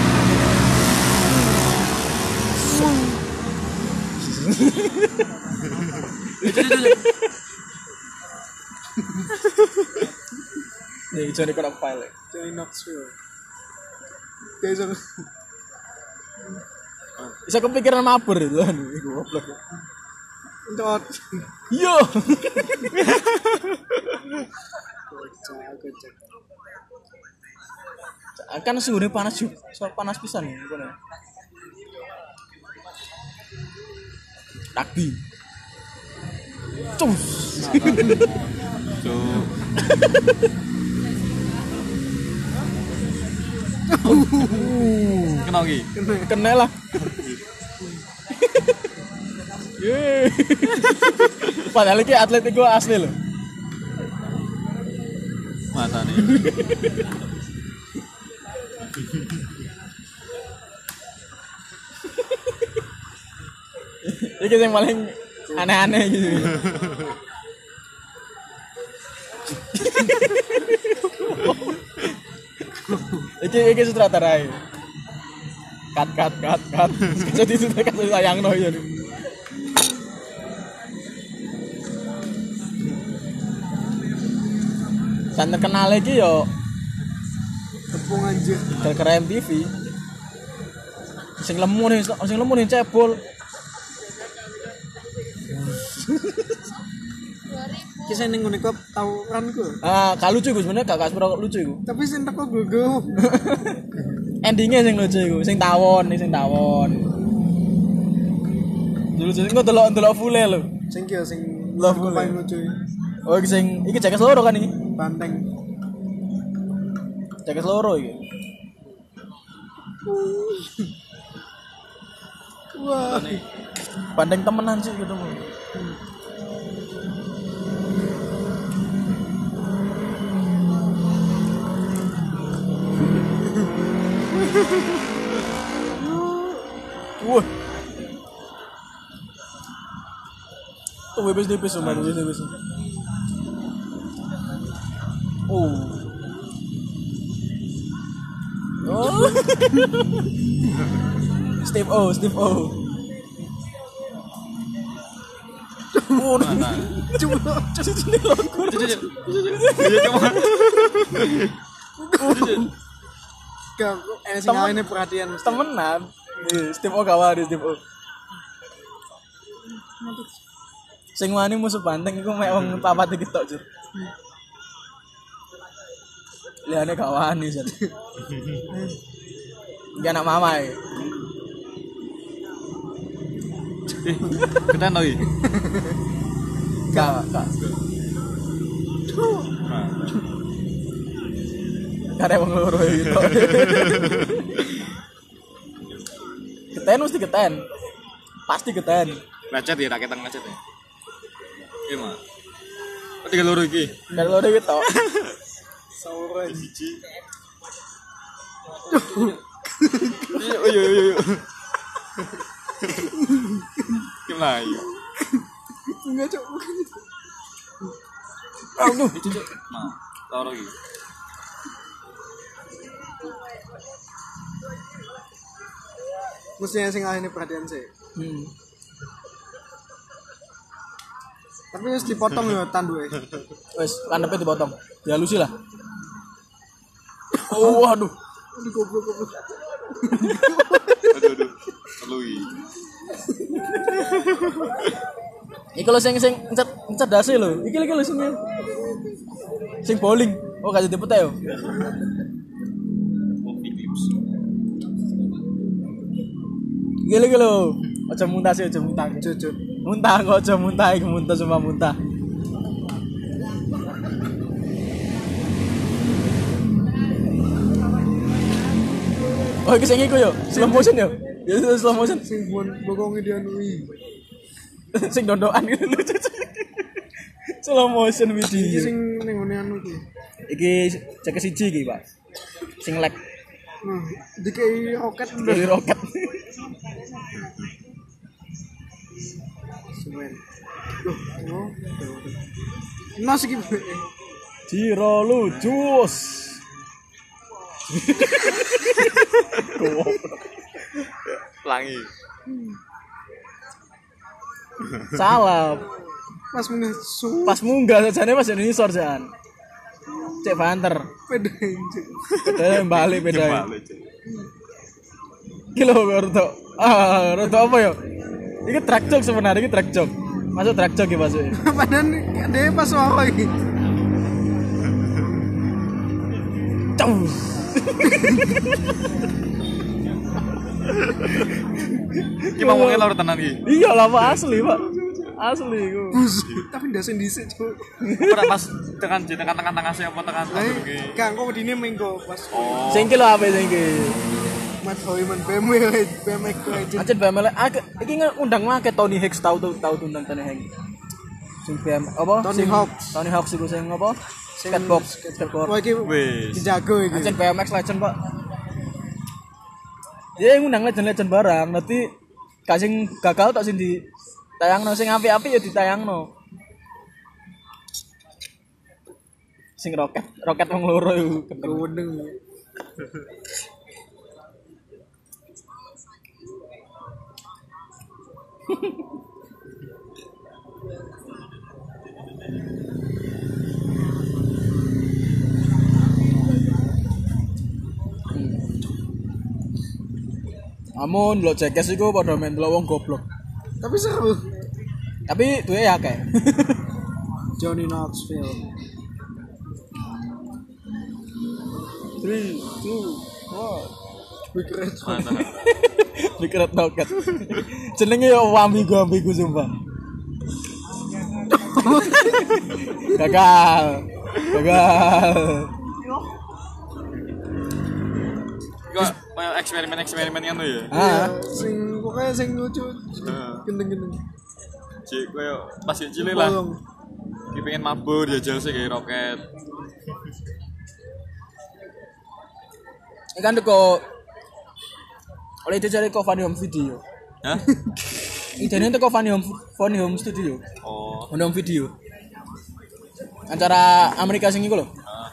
Speaker 2: nih Johnny Knoxville
Speaker 4: Johnny Knoxville. Guys, aku-
Speaker 2: bisa kepikiran mabur itu kan iku goblok
Speaker 4: entot.
Speaker 2: yo
Speaker 4: Ya,
Speaker 2: kan suhunya panas juga soal panas pisan ya iku, nih. rugby cus
Speaker 3: Cuk. Kenal lagi.
Speaker 2: kena lah Yeay. padahal ini atlet iku asli loh
Speaker 3: Mata nih.
Speaker 2: Iki yang paling aneh-aneh gitu. iki iki sutradara iki. Cut cut cut cut. Jadi sutradara kasih sayang no ya. Dan terkenal iki yo
Speaker 4: Tepung anjir.
Speaker 2: gara-gara MTV. Sing lemu nih, sing lemu nih cebol.
Speaker 4: Kisah ning ngene kok tawuran ku.
Speaker 2: Ah, gak lucu iku sebenarnya gak kasbro lucu iku.
Speaker 4: Tapi sing teko gugu.
Speaker 2: endingnya sing lucu iku sing tawon sing tawon dulu jadi gue delok delok full e lho
Speaker 4: Sing ki ya, sing
Speaker 2: Lah,
Speaker 4: iku
Speaker 2: boleh.
Speaker 4: paling lucu. ya.
Speaker 2: oh iki sing iki jaket loro kan iki
Speaker 4: Banteng.
Speaker 2: jaket loro iki
Speaker 4: Wah.
Speaker 2: bandeng temenan sih gitu Bu. Wah. Tuh bebas tipis tuh, bebas tipis. Oh. Oh. Steve O, Steve O.
Speaker 3: Mata.
Speaker 2: Cuma cuci logo.
Speaker 3: Cucu, cucu, cucu. Cuma
Speaker 4: Gak, enak sing
Speaker 2: Temen-
Speaker 4: ini perhatian mesti.
Speaker 2: temenan Iya, Steve O kawal di Steve O sing wani musuh banteng iku mek wong papat iki tok jur liyane gak wani jan iki anak mama e. iki
Speaker 3: kenal lagi.
Speaker 2: gak gak
Speaker 3: Mata.
Speaker 2: gak ada wong loro e, gitu. iki tok geten mesti geten pasti geten
Speaker 3: Lecet ya, rakitan lecet ya. Iya mah. Oh, tiga loro iki.
Speaker 2: gak ada loro iki tok
Speaker 4: Sauron.
Speaker 3: Iya, iya, iya. Gimana ya?
Speaker 4: Enggak, Cuk. bukan itu.
Speaker 2: aduh
Speaker 3: Itu cuk. Nah, loro iki.
Speaker 4: Mesti enak sing ini perhatian sih.
Speaker 2: hmm.
Speaker 4: Tapi harus dipotong ya tanduke.
Speaker 2: wes kandepnya dipotong dihalusi lah oh waduh
Speaker 4: Aduh, goblok-goblok.
Speaker 3: Aduh, aduh. Telu iki.
Speaker 2: Iki lho sing sing encet encerdase lho. Iki lho, iki lho sing sing bowling. Oh gak jadi putih yo.
Speaker 3: Kopi tips.
Speaker 2: Iki lho, iki lho. Aja muntah sih, aja muntah.
Speaker 4: Jujur.
Speaker 2: Muntah kok aja muntah iki muntah cuma muntah. Oh iki sing iku yo, slow motion yo. Ya slow motion
Speaker 4: Sing buan bokongi dianui.
Speaker 2: sing dondokan gitu lucu. Slow motion
Speaker 4: Iki
Speaker 2: video.
Speaker 4: sing ning ngene anu iki.
Speaker 2: Iki cek siji iki, Pak. Sing lag.
Speaker 4: Nah, dikai roket
Speaker 2: Dari
Speaker 4: bener.
Speaker 2: roket.
Speaker 4: Semen. Duh, oh, tuh, tuh. Nah, segi
Speaker 2: Ciro lucus.
Speaker 3: pelangi
Speaker 2: Salah.
Speaker 4: Mas meneh su
Speaker 2: Pas munggah sajane Mas ini sor jan. Cek banter.
Speaker 4: pede anjing.
Speaker 2: Pedanya balik pedanya.
Speaker 3: Balik, Cik.
Speaker 2: Iki lho Ruto. Ah, Ruto apa ya? Iki track jog sebenarnya, iki track jog. Masuk track jog iki masuk.
Speaker 4: Padahal dia pas wawa iki.
Speaker 2: Cus.
Speaker 3: Iki mau ngomongin lor tenan iki.
Speaker 2: Iya lah Pak, asli Pak. Asli iku.
Speaker 4: Bus, tapi ndak sing dhisik, Cuk.
Speaker 3: Ora pas tekan di tekan-tekan tangan saya apa tekan
Speaker 4: Lah,
Speaker 3: tangan iki.
Speaker 4: Kang kok dine minggu pas
Speaker 2: Sing iki lho apa sing iki?
Speaker 4: Mat Hoy men BMW BMW ku aja.
Speaker 2: Acet BML aku iki ngundang wae Tony Hicks tau tau tau undang Tony Hicks. Sing BM apa?
Speaker 4: Tony
Speaker 2: Sing-
Speaker 4: Hawk.
Speaker 2: Tony Hawk sing sing apa?
Speaker 4: Sing-
Speaker 2: Skatebox, skateboard.
Speaker 4: Wah iki
Speaker 3: Wis.
Speaker 4: dijago iki.
Speaker 2: Legend BMX Legend pak Dia yang ngundang Legend Legend barang Berarti gak sing gagal tak sing di Tayang sing api-api ya ditayang Sing roket Roket wong loro iku.
Speaker 4: Gawendeng.
Speaker 2: Amun lo jekes iku padha main delok wong goblok
Speaker 4: Tapi seru.
Speaker 2: Tapi duwe ya kayak
Speaker 4: Johnny
Speaker 2: 3,
Speaker 4: Knoxville.
Speaker 2: 2, 1
Speaker 4: Big Red. Hot.
Speaker 3: Mana?
Speaker 2: Dikeret roket Jenenge ya wambigo-ambigo sumpah Gagal Gagal
Speaker 3: Kok kayak eksperimen-eksperimen kan tuh ya.
Speaker 2: Ah,
Speaker 4: Sing pokoknya sing lucu.
Speaker 3: Heeh.
Speaker 4: Gendeng-gendeng.
Speaker 3: Cik koyo pas yang cilik lah.
Speaker 4: Bolong.
Speaker 3: Ki pengen mabur ya jel sih kayak roket.
Speaker 2: ini kan teko oleh itu cari Fanny Home Video.
Speaker 3: Hah?
Speaker 2: Idenya teko Fanny Home Fanny Home Studio,
Speaker 3: Oh.
Speaker 2: Fanny Home Video. Acara Amerika sing iku lho.
Speaker 3: ah,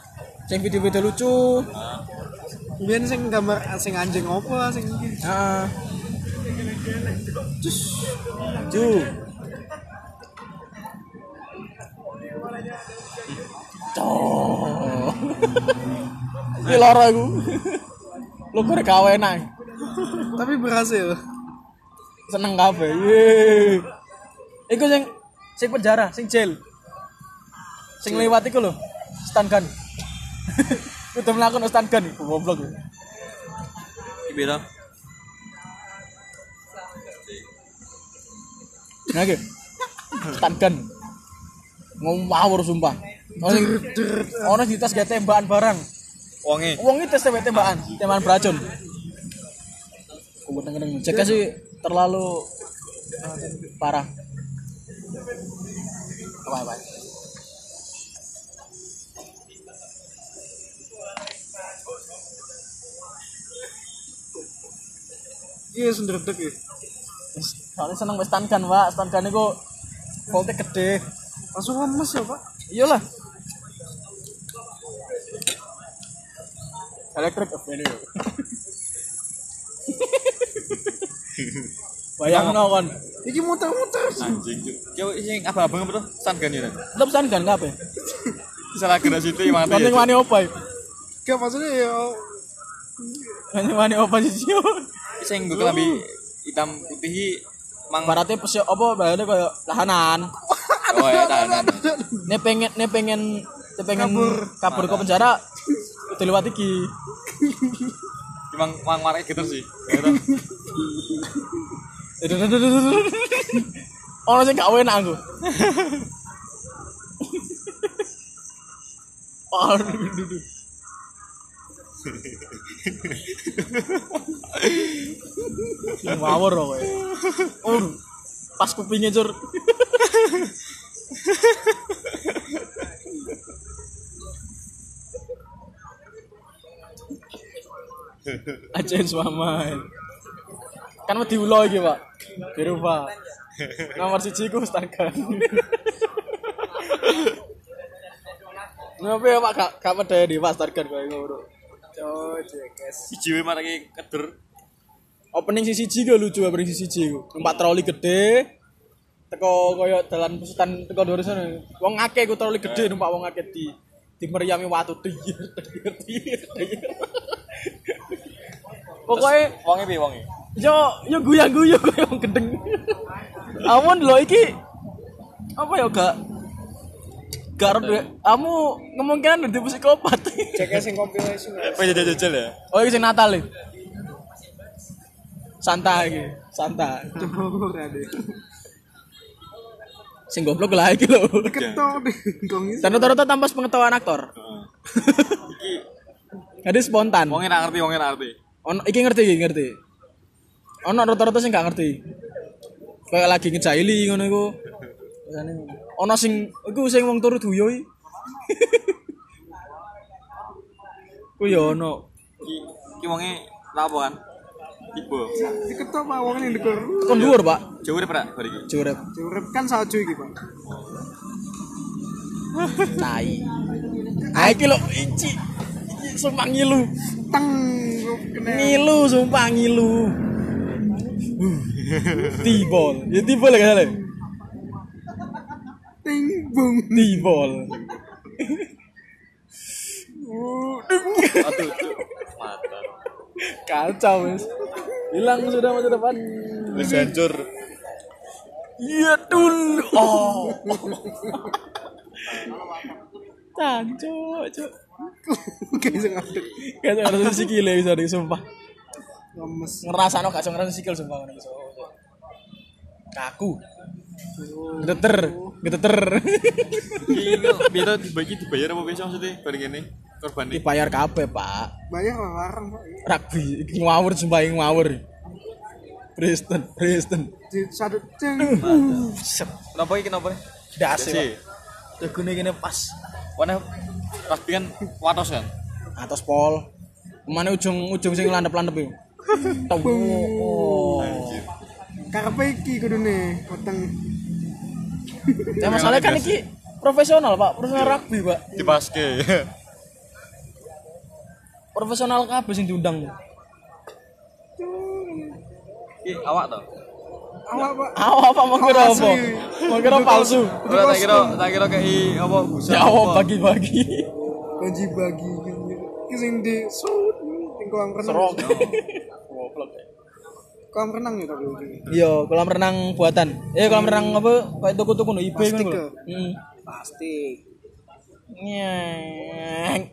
Speaker 2: Sing video-video lucu.
Speaker 3: ah.
Speaker 4: Biyen sing gambar sing anjing opo sing iki.
Speaker 2: Heeh. Cus. Cu. Cok. Ini loro iku. Lu kure kawenan.
Speaker 4: Tapi berhasil.
Speaker 2: seneng kabeh. Yeay. Iku sing sing penjara, sing jail. Sing lewat iku lho, stun gun. Udah melakukan stun gun, goblok.
Speaker 3: Ki beda.
Speaker 2: Nah, iki. Stun gun. Ngawur sumpah. Ono sing ono di tas gak tembakan barang.
Speaker 3: Wonge.
Speaker 2: Wong itu tes tembak tembakan, tembakan beracun. Kuwat ngereng. Ceknya sih terlalu eh, parah. Apa apa?
Speaker 4: Iya sendredeg ya.
Speaker 2: Soalnya seneng wes stun gun, Pak. Stun gun iku voltnya gede.
Speaker 4: Langsung lemes ya, Pak.
Speaker 2: Iyalah. Elektrik ini. Bayang no kon.
Speaker 4: Iki muter-muter.
Speaker 3: Anjing. Cik. Ki sing abang-abang apa tuh? San kan ya.
Speaker 2: Tetep stun gun kabeh.
Speaker 3: Salah gerak situ yang mati. ya,
Speaker 2: Penting
Speaker 3: Cik.
Speaker 2: wani opo? ya?
Speaker 4: Gak maksudnya ya
Speaker 2: Penting wani opo sih?
Speaker 3: Sing gue kelambi hitam putih ki, mang
Speaker 2: Baratnya pesi apa bayarnya kayak tahanan.
Speaker 3: Oh ya tahanan.
Speaker 2: Nih pengen nih pengen nih pengen kabur, ke penjara. Udah lewat iki.
Speaker 3: Ki mang mang warai geter sih. Geter.
Speaker 2: Ono sing gak enak aku. Aduh, duh, duh. Sing Ngawur kok. kowe. Oh, pas kupingnya cur. Ajen Swaman. Kan wedi ulo iki, Pak. Dirubah. Nomor siji ku Mustakan. Ngapa ya Pak gak gak medhe di Mustakan koyo ngono.
Speaker 4: Oh, jekes.
Speaker 3: Si jiwe marake keder.
Speaker 2: Opening sisi siji ku lucu opening sisi siji ku. Numpak troli gede. Teko koyo dalan pesutan teko dhuwur sana. Wong akeh ku troli gede numpak wong akeh di dimeriami watu tir tir tir. tir. Pokoknya
Speaker 3: Wonge piye wonge?
Speaker 2: yo yo guyang guyu koyo wong gendeng. Amun lho iki apa ya gak gak arep duwe- kamu kemungkinan dadi psikopat.
Speaker 4: Jekes sing kompilasi. Mas.
Speaker 3: Pengen jajal ya.
Speaker 2: oh iki sing Natal iki. Santa iki, Santa.
Speaker 4: Cemburu ada.
Speaker 2: Sing goblok lah iki lho.
Speaker 4: Ketok dengkongi.
Speaker 2: Dan rata-rata tanpa pengetahuan aktor. Jadi spontan.
Speaker 3: Wonge ra ngerti, wonge ra ngerti.
Speaker 2: Ono iki ngerti iki ngerti. Ono rata-rata sing gak ngerti. Kayak lagi ngejaili ngono iku. Rasane ngono. Ono sing iku sing wong turu duyo iki. Ku yo ono.
Speaker 3: Ki ki wonge ra apa kan? Tiba.
Speaker 4: Ketok Pak wong ning ndekur.
Speaker 2: Kon dhuwur, Pak.
Speaker 3: Jauh deh pernah hari ini.
Speaker 2: Jurep.
Speaker 4: Jurep kan salju iki, Pak.
Speaker 2: Tai. Ah iki lho inci. Iki Sumpah ngilu.
Speaker 4: Teng kena.
Speaker 2: Ngilu sumpah ngilu. Tibol. Ya tibol gak salah.
Speaker 4: Ting bung.
Speaker 2: Tibol.
Speaker 3: Aduh, cuk. mata.
Speaker 2: Kacau, Mas. Hilang sudah masa depan.
Speaker 3: Wis hancur.
Speaker 2: Iya dun. Oh. Cancu, cuk.
Speaker 4: Guys ngadeg.
Speaker 2: Gak usah ngerasa sikil ya, sorry, sumpah.
Speaker 4: Lemes.
Speaker 2: Ngerasa no, gak usah ngerasa sikil, sumpah. ngono, iso. Kaku. Geter, geter.
Speaker 3: Iki kok piye to dibagi dibayar apa wis maksudnya bar ngene korban iki.
Speaker 2: Dibayar kabeh, Pak.
Speaker 4: Bayar lah larang, Pak.
Speaker 2: Rugby iki ngawur sumpah iki ngawur. Preston, Preston.
Speaker 4: Di sadut ceng.
Speaker 2: Sep.
Speaker 3: Kenapa iki kenapa?
Speaker 2: Das
Speaker 3: Sih.
Speaker 2: ya. Tegune kene pas.
Speaker 3: Warna rasbi kan watos kan.
Speaker 2: atas pol kemana ujung ujung sing landep landep itu tahu oh.
Speaker 4: Karepe iki kudune weteng.
Speaker 2: ya masalahnya kan ini profesional pak profesional rugby pak
Speaker 3: Dipaske.
Speaker 2: profesional kabeh sing diundang
Speaker 3: Ki awak to.
Speaker 4: Awak, Pak.
Speaker 2: awak apa mau kira apa
Speaker 4: Asli.
Speaker 2: mau kira Oh, palsu
Speaker 3: Ora tak kira tak kira kei apa busa.
Speaker 2: ya awak bagi bagi
Speaker 4: Bagi bagi gini. Iki sing di sud ning kolam renang.
Speaker 2: serok
Speaker 4: Kolam renang ya tapi iki.
Speaker 2: iya kolam renang buatan eh kolam renang apa kayak toko toko no ib kan
Speaker 4: Plastik, ya?
Speaker 2: hmm.
Speaker 4: Plastik.
Speaker 2: Nyeng.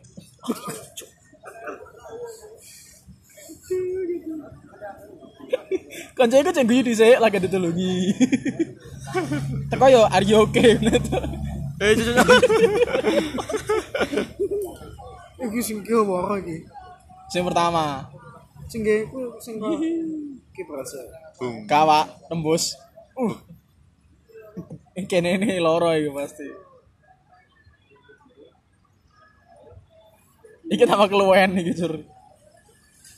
Speaker 2: Kanca iku cenggu dhisik lagi ditulungi. Teko yo are you okay?
Speaker 3: Eh, cuk, cuk, cuk.
Speaker 4: Iki sing ki woro iki.
Speaker 2: Sing pertama,
Speaker 4: Sing ge ku sing kok. Iki berasa.
Speaker 3: Bung.
Speaker 2: kawak tembus. Uh. Kene ini loro iku pasti. Iki tambah keluwen iki jur.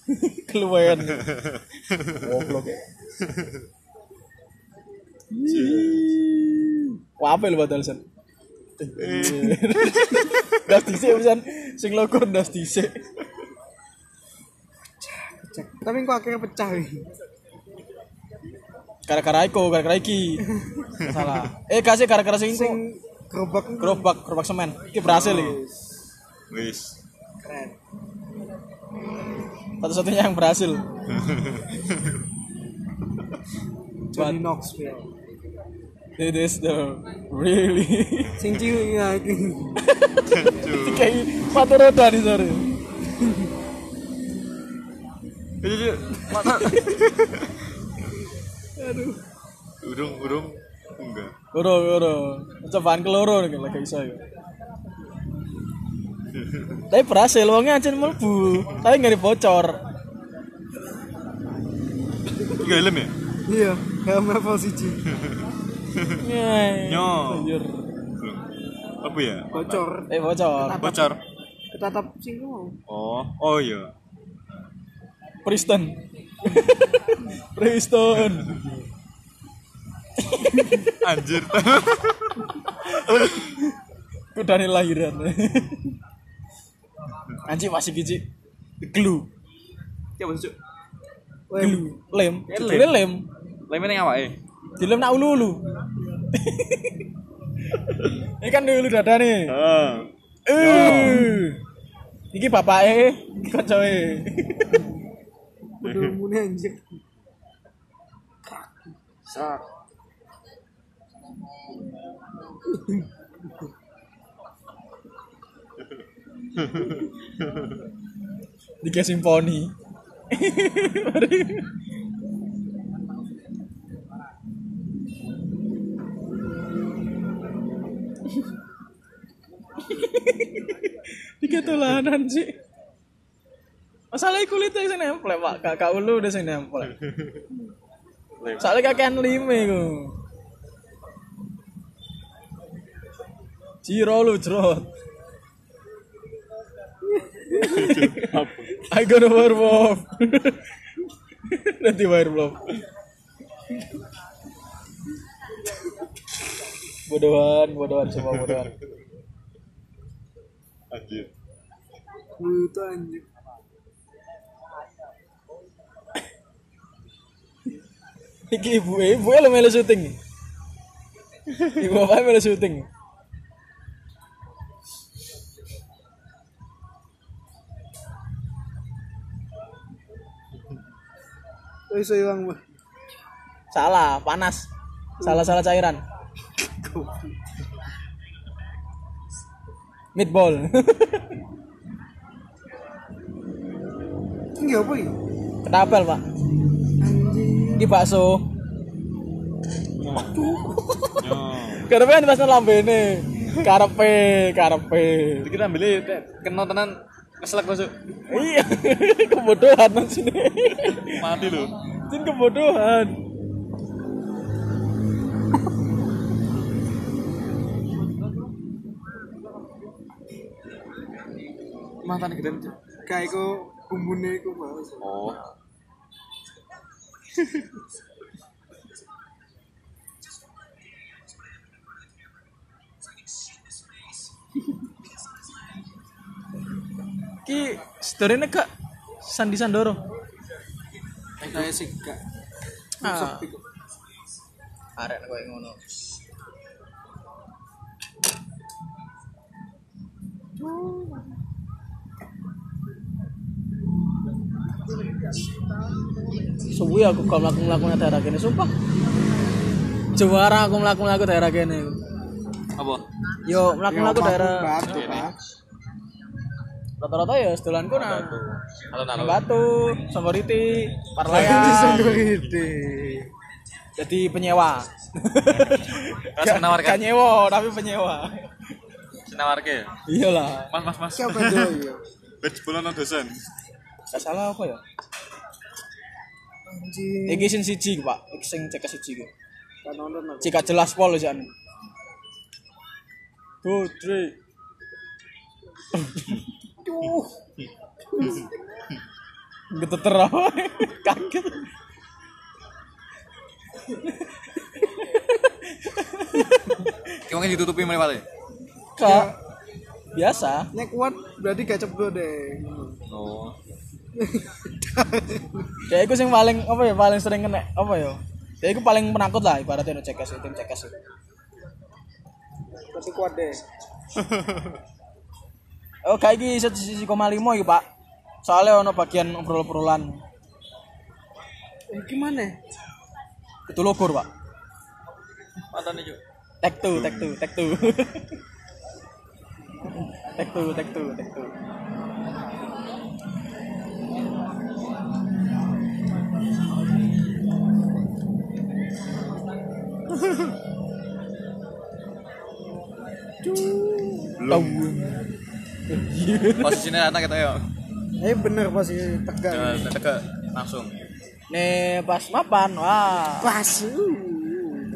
Speaker 2: keluwen. Goblok. ya. Wah, apa lu batal sen? Das dhisik pisan sing logo das dhisik.
Speaker 4: Cek. Tapi kok akhirnya pecah iki.
Speaker 2: Gara-gara iku, gara-gara iki. Salah. Eh, kasih gara-gara sing iku.
Speaker 4: Sing gerobak ku
Speaker 2: gerobak gerobak semen iki berhasil iki
Speaker 3: Wis.
Speaker 4: keren.
Speaker 2: satu-satunya yang berhasil
Speaker 4: Johnny Knoxville.
Speaker 2: it is the really
Speaker 4: Sing cilik ya iki.
Speaker 2: tiga patur roda nih sorry
Speaker 3: Eh, cuk, cuk. Mata. Aduh. Urung, urung. Enggak.
Speaker 2: loro loro cobaan keloro nih lagi iso ya tapi berhasil wongnya ancin melbu tapi nggak dibocor
Speaker 3: Iki helm ya?
Speaker 4: Iya, helm level siji.
Speaker 2: Nyai.
Speaker 3: Nyo.
Speaker 2: Anjir.
Speaker 3: Belum. Apa ya?
Speaker 4: Bocor.
Speaker 2: eh bocor
Speaker 3: Bocor.
Speaker 4: Ketatap sing ku mau.
Speaker 3: Oh, oh iya.
Speaker 2: Kristen. Kristen.
Speaker 3: Anjir.
Speaker 2: Kudane lahiran. Anjir masih gizi. Glue.
Speaker 3: Ya masuk.
Speaker 2: Glue. Lem.
Speaker 3: Lem.
Speaker 2: Judulnya lem.
Speaker 3: Lemene ning awake.
Speaker 2: Dilem nak ulu-ulu. Ini kan dulu dada nih.
Speaker 3: Heeh.
Speaker 2: Eh. Iki bapake, iki kancoe.
Speaker 4: Udah muni anjir.
Speaker 3: Sak.
Speaker 2: Tiga simfoni. Tiga tulanan sih. Masalahnya kulitnya sing nempel, Pak. Kakak ulu udah sing nempel.
Speaker 3: Lem.
Speaker 2: Soalnya kakean lime ku. Ciro lu jerot. I gonna werewolf. Nanti werewolf. bodohan, bodohan semua bodohan.
Speaker 3: Anjir.
Speaker 4: Buta anjir.
Speaker 2: Iki ibu, ibu lo melu syuting. Ibu apa melu syuting?
Speaker 4: Oh iso ilang mah.
Speaker 2: Salah, panas. Salah salah cairan. Meatball.
Speaker 4: Ini apa ya?
Speaker 2: Ketapel pak.
Speaker 4: Anjir.
Speaker 2: Iki bakso.
Speaker 3: Yo.
Speaker 2: Karepe kan bakso lambene. Karepe, karepe.
Speaker 3: Iki ambile kena tenan keselak masuk.
Speaker 2: Iya, kebodohan nang sini.
Speaker 3: Mati lho.
Speaker 2: Sin kebodohan.
Speaker 4: Mantan gede itu. Kayak iku bumbune iku mau.
Speaker 3: Oh.
Speaker 2: Ki sedherene gak Sandi Sandoro.
Speaker 4: Kayak sih gak.
Speaker 2: Ah.
Speaker 4: Iku.
Speaker 5: arek nek koyo ngono
Speaker 2: Suwi aku kalau mlaku-mlaku nang daerah kene, sumpah. Juara aku mlaku-mlaku daerah kene.
Speaker 3: Apa?
Speaker 2: Yo mlaku-mlaku
Speaker 4: Ya,
Speaker 2: daerah
Speaker 4: Batu, Pak.
Speaker 2: rata-rata ya sedolanku nang
Speaker 3: Atau
Speaker 2: nang
Speaker 3: nalo.
Speaker 2: Batu, Songgoriti,
Speaker 4: Bisa
Speaker 2: Parlayan.
Speaker 4: gede.
Speaker 2: Jadi penyewa.
Speaker 3: Mas
Speaker 2: Gak
Speaker 3: menawarkan.
Speaker 2: nyewa, tapi penyewa.
Speaker 3: Menawarke.
Speaker 2: Iyalah.
Speaker 3: Mas mas mas.
Speaker 4: Siapa itu ya?
Speaker 3: Bet bulan dosen.
Speaker 2: Gak salah apa ya?
Speaker 4: Anjir.
Speaker 2: Iki sing siji, Pak. Iki sing cek siji iki.
Speaker 4: Kan nonton aku.
Speaker 2: Jika jelas pol sih anu. Two, three.
Speaker 4: Duh.
Speaker 2: Geteter apa? Kaget.
Speaker 3: Ki mungkin ditutupi melewati.
Speaker 2: Kak. Biasa.
Speaker 4: Nek kuat berarti gak ceblok deh.
Speaker 3: Oh.
Speaker 2: Dia itu yang paling apa ya paling sering kena apa ya? Dia itu paling penakut lah ibaratnya no cekas tim cekas.
Speaker 4: Tapi kuat deh.
Speaker 2: Oh kayak gini sisi koma limo ya pak. Soalnya ono bagian obrol-obrolan
Speaker 4: Eh, gimana?
Speaker 2: itu logur pak.
Speaker 3: Mantan iki.
Speaker 2: Tek tu, tek tu, tek tu. Tek tu, tek tu, tek tu.
Speaker 3: Belum. Posisinya anak kita yuk.
Speaker 4: Eh bener pasti tegang.
Speaker 3: Jangan tegak langsung.
Speaker 2: Nih pas mapan, wah.
Speaker 4: Pas. uh.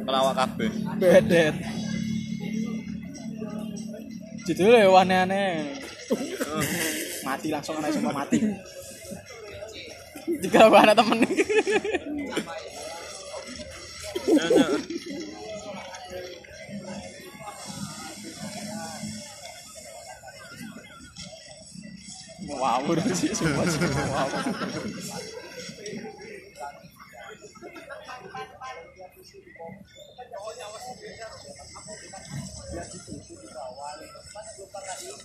Speaker 3: Pelawak kabeh.
Speaker 2: Bedet. Judulnya ya aneh-aneh. mati langsung anak semua mati. Jika aku anak temen. Ngawur sih, sumpah sih. Ngawur.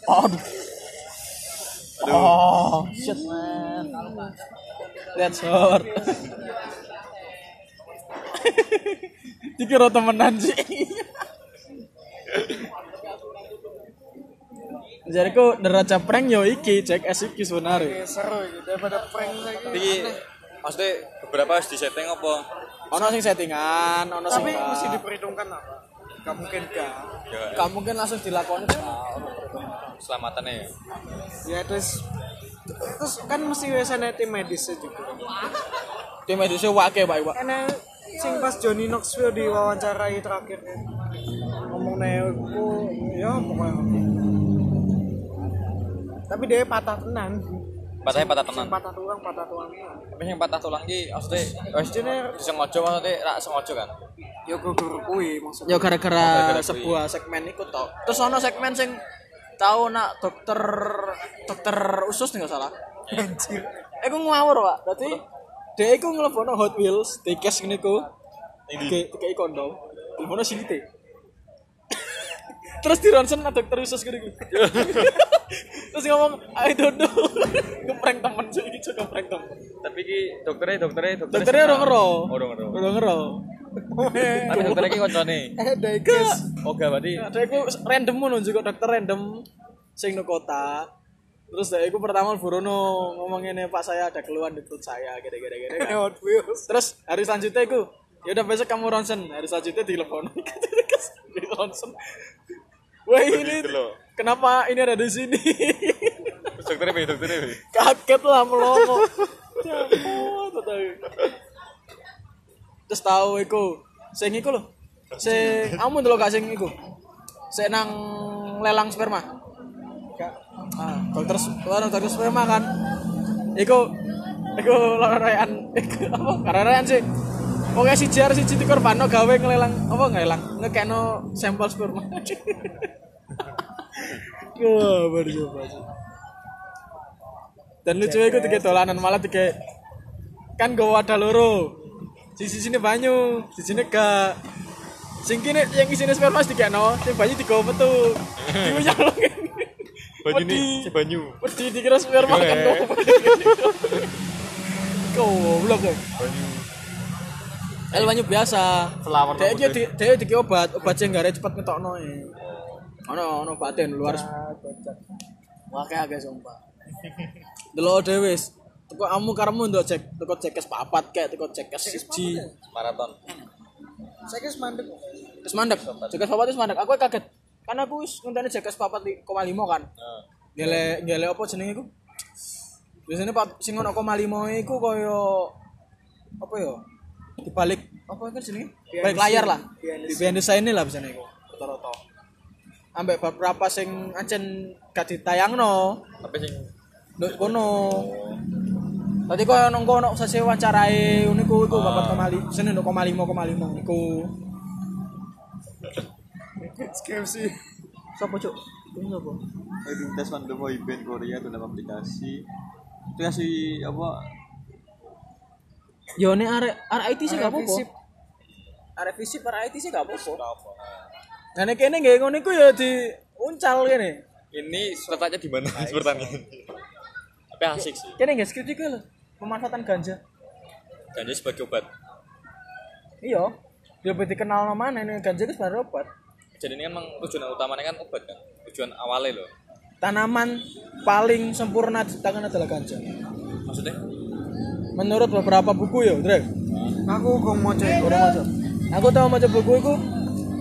Speaker 2: Aduh. Oh, shit man. That's hard. Dikira temenan sih. Jariku neraca prank yo iki cek es iki sebenarnya.
Speaker 4: Kayak seru gitu daripada prank gitu. lagi
Speaker 3: Tapi maksudnya beberapa harus disetting apa?
Speaker 2: Ono sing settingan, ono sing
Speaker 4: tapi
Speaker 2: gak.
Speaker 4: mesti diperhitungkan apa gak mungkin gak
Speaker 3: Ya,
Speaker 2: Gak mungkin langsung dilakoni.
Speaker 3: selamatannya ya.
Speaker 4: ya terus terus kan mesti biasanya tim medisnya juga
Speaker 2: Tim medisnya wake Pak Iwak.
Speaker 4: karena sing pas Johnny Knoxville diwawancarai terakhir ya. ngomong aku ya pokoknya tapi dia patah tenan
Speaker 3: Patahnya patah tenan.
Speaker 4: patah tulang patah tulang tenan.
Speaker 3: Tapi yang patah tulang ki maksudnya wis
Speaker 4: Jenenge-
Speaker 3: disengaja maksudnya rak sengaja kan.
Speaker 4: ya gue kui
Speaker 2: Ya
Speaker 4: maksudnya
Speaker 2: gara-gara
Speaker 3: Iya. Oh, Gara-gara kui.
Speaker 2: sebuah segmen ikut tau. Terus ono segmen sing tahu nak dokter dokter usus nih nggak salah.
Speaker 4: anjir
Speaker 2: Eh aku ngawur pak. Berarti dia aku ngelebono Hot Wheels, tikes gini ku,
Speaker 3: Ini
Speaker 2: kayak kayak kondom. Teleponnya sini teh. Terus di ronsen nah, dokter usus gini gini. Terus ngomong, I don't know. Kepreng temen cuy, ini cuy kepreng temen.
Speaker 3: tapi ki dokternya dokternya dokternya
Speaker 2: Dokternya
Speaker 3: senang.
Speaker 2: orang ngero,
Speaker 3: Oh, orang ngero.
Speaker 2: orang ngero.
Speaker 3: Tapi dokternya ki koncone.
Speaker 4: eh deh
Speaker 2: Gak.
Speaker 3: Oke berarti
Speaker 2: Nah, dia aku random ngono juga dokter random sing no kota. Terus dia aku pertama Burono ngomong ini Pak saya ada keluhan di perut saya gede gede gede. kan.
Speaker 4: Hot Wheels
Speaker 2: Terus hari selanjutnya aku ya udah besok kamu ronsen. Hari selanjutnya telepon. di ronsen. Wah ini gitu
Speaker 3: Delok.
Speaker 2: kenapa ini ada di sini?
Speaker 3: Terus dokternya be dokternya be.
Speaker 2: Kaget lah melongo. Ya ampun, kata aku. Terus tahu aku sing iku lho. Sing kamu ndelok gak sing iku. Sing nang lelang sperma.
Speaker 4: Gak.
Speaker 2: Ah, dokter s- orang dokter sperma kan. Iku iku lororean iku apa lororean sih. Pokoknya si jar si Citi Korbano gawe ngelelang apa ngelelang ngekeno sampel sperma. Wah, baru coba. Dan lucu iku tiga dolanan malah tiga kan gue wadah loro. Di sini banyu, di sini gak. Sing kene yang isine sperma tiga no, sing banyu tiga metu. Diunyang lho kene.
Speaker 3: Banyune
Speaker 2: Wedi.
Speaker 3: si banyu.
Speaker 2: Wedi dikira sperma kan
Speaker 3: Iya,
Speaker 2: goblok. Goblok ya.
Speaker 3: Banyu.
Speaker 2: El banyu biasa.
Speaker 3: Selawar
Speaker 2: Dek iki di-
Speaker 3: rambutnya.
Speaker 2: dek iki obat, obat sing gare cepet ngetokno e. Ono ono batin luar. Wah kayak agak sumpah. Delok dhewe wis. Teko amu karemu ndok cek, teko cekes papat kayak teko cekes siji.
Speaker 3: Maraton.
Speaker 4: saya kira mandek
Speaker 2: Terus mandek. Cekes papat terus mandek. Aku kaget. Karena aku wis ngenteni cekes papat 0,5 kan.
Speaker 3: Nah,
Speaker 2: Gele gele apa jenenge iku? Biasanya pak sing ono koma limo iku kaya apa ya? Dibalik apa kan jenenge? Balik layar lah. Di behind the scene lah biasanya iku. Rata-rata. Ambek beberapa sing ancen gak ditayangno.
Speaker 3: tapi sing
Speaker 2: Nduk kono. Tadi kok ono kono sesi wawancarai ngono iku iku babat koma limo, sene nduk koma limo koma limo iku.
Speaker 4: skripsi
Speaker 2: Sopo cuk? Iku Sopo?
Speaker 6: tes pandem mau event Korea dalam aplikasi itu kasih apa
Speaker 2: Yo ne arek arek IT sih gak apa-apa.
Speaker 4: Fisip.
Speaker 2: Arek fisip arek IT sih gak apa-apa. Nah nek kene nggih ngono iku ya diuncal kene.
Speaker 3: ini letaknya di mana sepertanya. Tapi asik sih.
Speaker 2: Kene nggih skrip iku ya lho, pemanfaatan ganja.
Speaker 3: Ganja sebagai obat.
Speaker 2: Iya. Ya ben dikenal nama mana ini ganja itu sebenarnya obat.
Speaker 3: Jadi ini kan memang tujuan utamanya kan obat kan. Tujuan awalnya loh.
Speaker 2: Tanaman paling sempurna diciptakan adalah ganja.
Speaker 3: Maksudnya
Speaker 2: Menurut beberapa buku ya, Dre.
Speaker 4: aku gong mau cek
Speaker 2: Orang maca. Aku tahu maca buku itu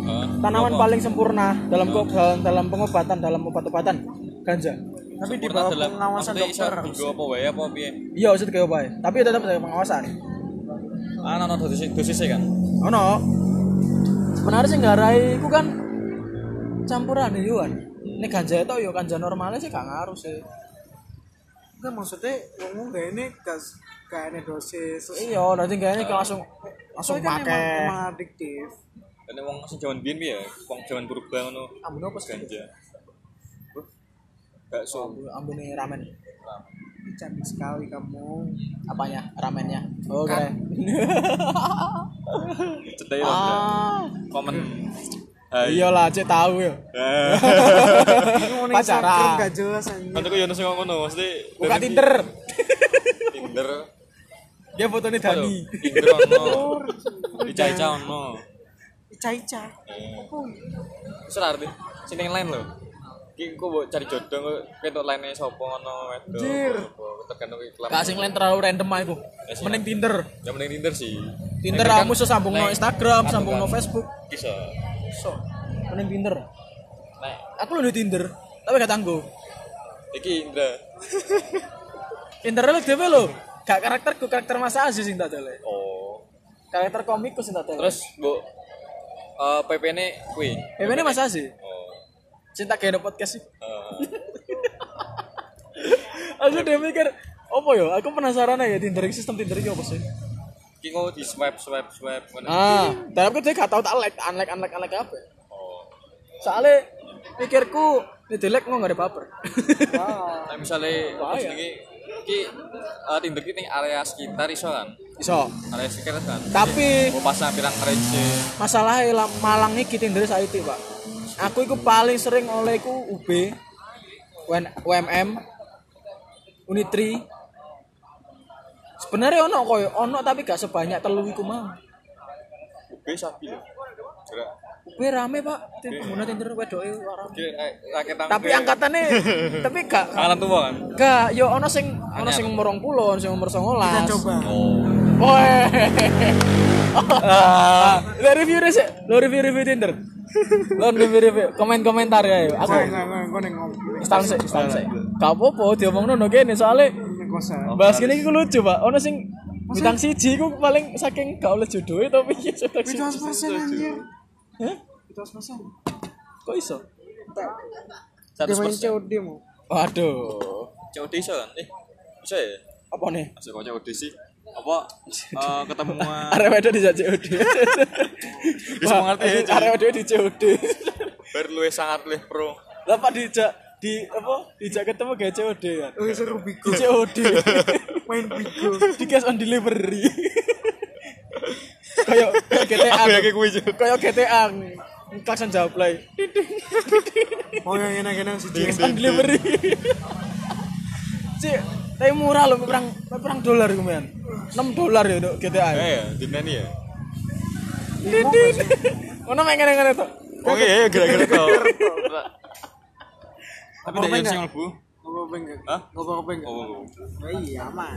Speaker 3: eh,
Speaker 2: tanaman paling sempurna dalam ko- dalam, dalam pengobatan dalam obat-obatan ganja.
Speaker 4: tapi di
Speaker 3: sempurna
Speaker 4: bawah
Speaker 3: dalam-
Speaker 4: pengawasan
Speaker 3: maksudnya iso
Speaker 4: dokter
Speaker 3: dinggo apa wae apa piye?
Speaker 2: Iya, usut kayak apa? Tapi tetap ada pengawasan.
Speaker 3: Ah, ana dosis dosisnya kan.
Speaker 2: Oh no. Sebenarnya sing garai iku kan ya, campuran yuan. Ini ganja itu yo ganja normalnya sih gak ngaruh sih.
Speaker 4: Enggak maksudnya ngomong gak ini gas gak enak dosis. Terus
Speaker 2: iya nanti kayaknya kayak langsung langsung
Speaker 4: soalnya kan emang,
Speaker 2: pakai
Speaker 4: emang adiktif.
Speaker 3: Ini wong sing jaman biyen piye ya? Wong jaman purba ngono.
Speaker 2: ambune apa sih
Speaker 3: Ganja.
Speaker 2: Oh.
Speaker 3: Bakso.
Speaker 2: ambune ramen
Speaker 4: Ih, Cantik sekali kamu.
Speaker 2: apanya ramennya Oh, oke
Speaker 3: Cetai lho.
Speaker 2: Ah.
Speaker 3: Komen. Eh, Hai.
Speaker 2: iyalah cek tahu ya
Speaker 4: Instagram
Speaker 2: pacaran
Speaker 4: gak jelas anjing.
Speaker 3: Kan aku yo nang ngono mesti
Speaker 2: buka Oh, tinder
Speaker 3: Tinder.
Speaker 2: dia fotonya
Speaker 3: Ayo,
Speaker 2: Dani
Speaker 3: Tinder ono. Dicai-cai ono.
Speaker 4: Ica-ica.
Speaker 3: Wis ora arti. Sini lain lho. Ki engko mbok cari jodoh engko ketok lainnya sapa ngono wedok.
Speaker 4: Anjir.
Speaker 3: apa, Tergantung iklan.
Speaker 2: gak sing lain terlalu random aku
Speaker 3: Ya, sih.
Speaker 2: mending Tinder
Speaker 3: Yang penting Tinder sih.
Speaker 2: Tinder
Speaker 3: Nah, kan-
Speaker 2: kamu sesambung no
Speaker 3: Nah,
Speaker 2: Instagram
Speaker 3: kan
Speaker 2: sambung no
Speaker 3: bukan.
Speaker 2: Facebook
Speaker 3: Bisa.
Speaker 2: so mending Tinder
Speaker 3: Nek
Speaker 2: aku lu di Tinder tapi gak tangguh
Speaker 3: iki Indra.
Speaker 2: Tinder lu dhewe lo gak karakterku karakter Mas Aziz sing tak dale
Speaker 3: Oh.
Speaker 2: karakter komikku sing tak dale
Speaker 3: Terus Bu eh PP ne kuwi.
Speaker 2: ya ini Mas Aziz
Speaker 3: Oh.
Speaker 2: cinta kayak podcast sih
Speaker 3: eh,
Speaker 2: aku udah mikir apa ya aku penasaran ya Tinder sistem Tinder ini apa sih
Speaker 3: Ki engko di swipe swipe swipe ngono.
Speaker 2: ah tapi aku dia gak tau tak like unlike unlike unlike apa
Speaker 3: Oh.
Speaker 2: soalnya pikirku ini di like nggak ada baper
Speaker 3: Nah, misalnya
Speaker 2: Bahaya.
Speaker 3: jenenge ki eh, Tinder ki ning area sekitar iso kan.
Speaker 2: iso
Speaker 3: Area sekitar kan.
Speaker 2: tapi
Speaker 3: Mau pasang pirang rece.
Speaker 2: masalahnya lah, malang iki Tinder saya pak aku itu paling sering oleh ku UB UN UMM Unitri sebenarnya ono koyo ono tapi gak sebanyak telu iku mau
Speaker 3: UB sapi lho. Gerak.
Speaker 2: UB rame pak Tin- pengguna Tinder wedoke rame
Speaker 3: Ki eh, rakyat tangke.
Speaker 2: tapi angkatannya tapi gak
Speaker 3: Angkatan tua kan.
Speaker 2: gak yo ono sing ono sing umur 20 ono sing umur 19
Speaker 4: Kita coba.
Speaker 2: Woi. Lo review deh sih. Lo review review Tinder. Lo review review. Komen komentar ya. yuk. Aku
Speaker 4: Enggak, enggak, enggak, gue neng ngopi.
Speaker 2: setahun sih, setahun sih. Gak apa-apa, diomongno no gini soalnya
Speaker 4: Neng kosan.
Speaker 2: bahas gini gue lucu pak. Ono sing bintang siji gue paling saking gak oleh jodohnya tapi ya bintang
Speaker 4: Itu
Speaker 2: siji.
Speaker 4: harus persen anjir.
Speaker 2: Hah?
Speaker 4: Itu harus persen.
Speaker 2: Kok iso?
Speaker 4: Dia main COD mau.
Speaker 2: Waduh.
Speaker 3: COD iso kan? Eh, iso ya?
Speaker 2: Apa nih?
Speaker 3: Masih kok COD sih? Apa eh, ketemuan
Speaker 2: Arek wedok dijak COD.
Speaker 3: Wis mengerti ya, Cuk.
Speaker 2: Arek wedok di COD.
Speaker 3: bar luwe sangat luwe pro.
Speaker 2: Lah pak dijak di apa? Dijak ketemu gak COD ya?
Speaker 4: Oh, seru
Speaker 2: Di
Speaker 4: bigo.
Speaker 2: COD.
Speaker 4: Main bigo.
Speaker 2: di cash on delivery kayak kayak
Speaker 3: Eh,
Speaker 2: GTA kayak
Speaker 3: kuwi juga.
Speaker 2: kayak GTA klakson jawab lah
Speaker 4: Oh, yang enak-enak sih.
Speaker 2: cash on delivery cik tapi murah loh perang perang dolar kemarin 6 dolar ya untuk GTA
Speaker 3: Eh, ya, dinani ya.
Speaker 2: dinding mana main ngene ngene tuh
Speaker 3: Oke, ya gara-gara tau. Tapi
Speaker 4: Apa
Speaker 3: tidak yang
Speaker 4: enggak?
Speaker 3: sing mlebu.
Speaker 4: Ngobrol enggak?
Speaker 3: Hah?
Speaker 4: Ngobrol enggak?
Speaker 3: Oh,
Speaker 4: Oh, iya, aman.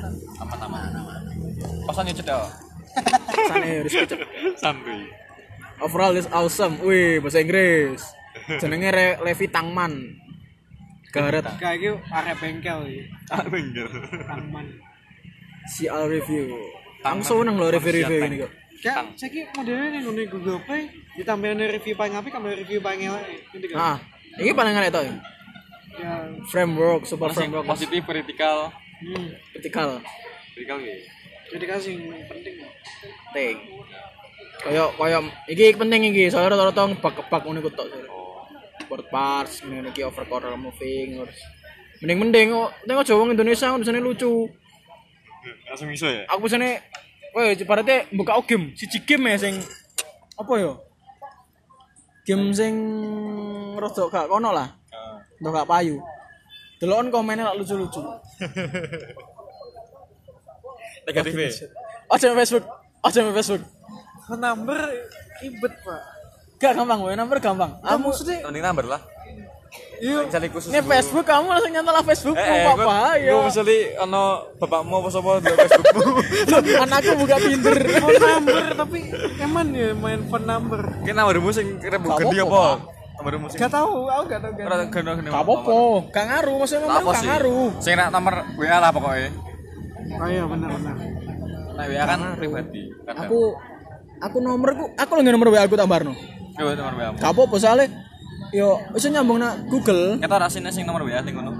Speaker 3: pasan yo cedal.
Speaker 2: sana ya harus kecil
Speaker 3: Santuy.
Speaker 2: overall is awesome wih bahasa Inggris jenenge Re- Levi Tangman Gareth
Speaker 4: Kayak gitu, arek bengkel ya.
Speaker 3: Ah, pinggir.
Speaker 4: Aman.
Speaker 2: CR review langsung nang lo review review ini kok
Speaker 4: Kayak, saya kira modelnya yang ngomongin Google Play, ditambahin review paling apik, tambah review paling elek. Gitu
Speaker 2: Ah,
Speaker 4: kan?
Speaker 2: ini paling enak tau ya.
Speaker 4: Ya,
Speaker 2: Framework, super framework,
Speaker 3: Positif vertikal.
Speaker 4: hmm.
Speaker 2: vertikal,
Speaker 3: Vertikal ya.
Speaker 4: Jadi kasih yang penting.
Speaker 2: penting. Kayak kayak iki penting iki, soalnya rata-rata ngebak-ngebak ngono iku tok. Word parts, ngene iki overcore moving terus. Mending-mending kok tengok Jawa wong Indonesia tulisannya lucu.
Speaker 3: Langsung iso ya.
Speaker 2: Aku tulisannya weh berarti buka oh, game, siji game ya sing apa ya? Game sing rodok gak kono lah.
Speaker 3: Ah.
Speaker 2: Ndak gak payu. Delokon komennya lak lucu-lucu.
Speaker 3: Negatif ya.
Speaker 2: Aja main Facebook, aja main Facebook.
Speaker 4: Number ribet, Pak.
Speaker 2: Gak gampang, gue nomor gampang. Kamu
Speaker 4: maksudnya
Speaker 3: Mending number lah.
Speaker 4: Iya.
Speaker 3: Misalnya khusus.
Speaker 2: ini Facebook kamu langsung nyantol lah Facebook
Speaker 3: Eh, eh,
Speaker 2: mau apa
Speaker 3: gua-
Speaker 2: ya?
Speaker 3: gua misalnya ono bapakmu apa sapa di Facebookmu.
Speaker 2: Loh, anakku buka Tinder.
Speaker 4: Phone number tapi eman ya main phone number.
Speaker 3: Ki nomormu sing rembug
Speaker 2: Gak
Speaker 3: gede
Speaker 2: apa-apa,
Speaker 3: apa? Nomormu sing
Speaker 4: Gak tahu, aku gak tahu gak.
Speaker 3: ora gede gede.
Speaker 2: Gak apa-apa, gak ngaruh maksudnya
Speaker 3: Tak
Speaker 2: nomor
Speaker 3: apa
Speaker 2: gak
Speaker 3: sih?
Speaker 2: ngaruh.
Speaker 3: Sing nak nomor WA lah pokoknya.
Speaker 4: Oh iya benar benar.
Speaker 3: Nek WA kan pribadi. kadang.
Speaker 2: Aku aku nomorku, aku lagi nomor WA aku tambarno.
Speaker 3: Yo nomor WA.
Speaker 2: Gak apa-apa soalnya yo bisa nyambung na Google.
Speaker 3: Kita ora sine sing nomor WA ning ngono.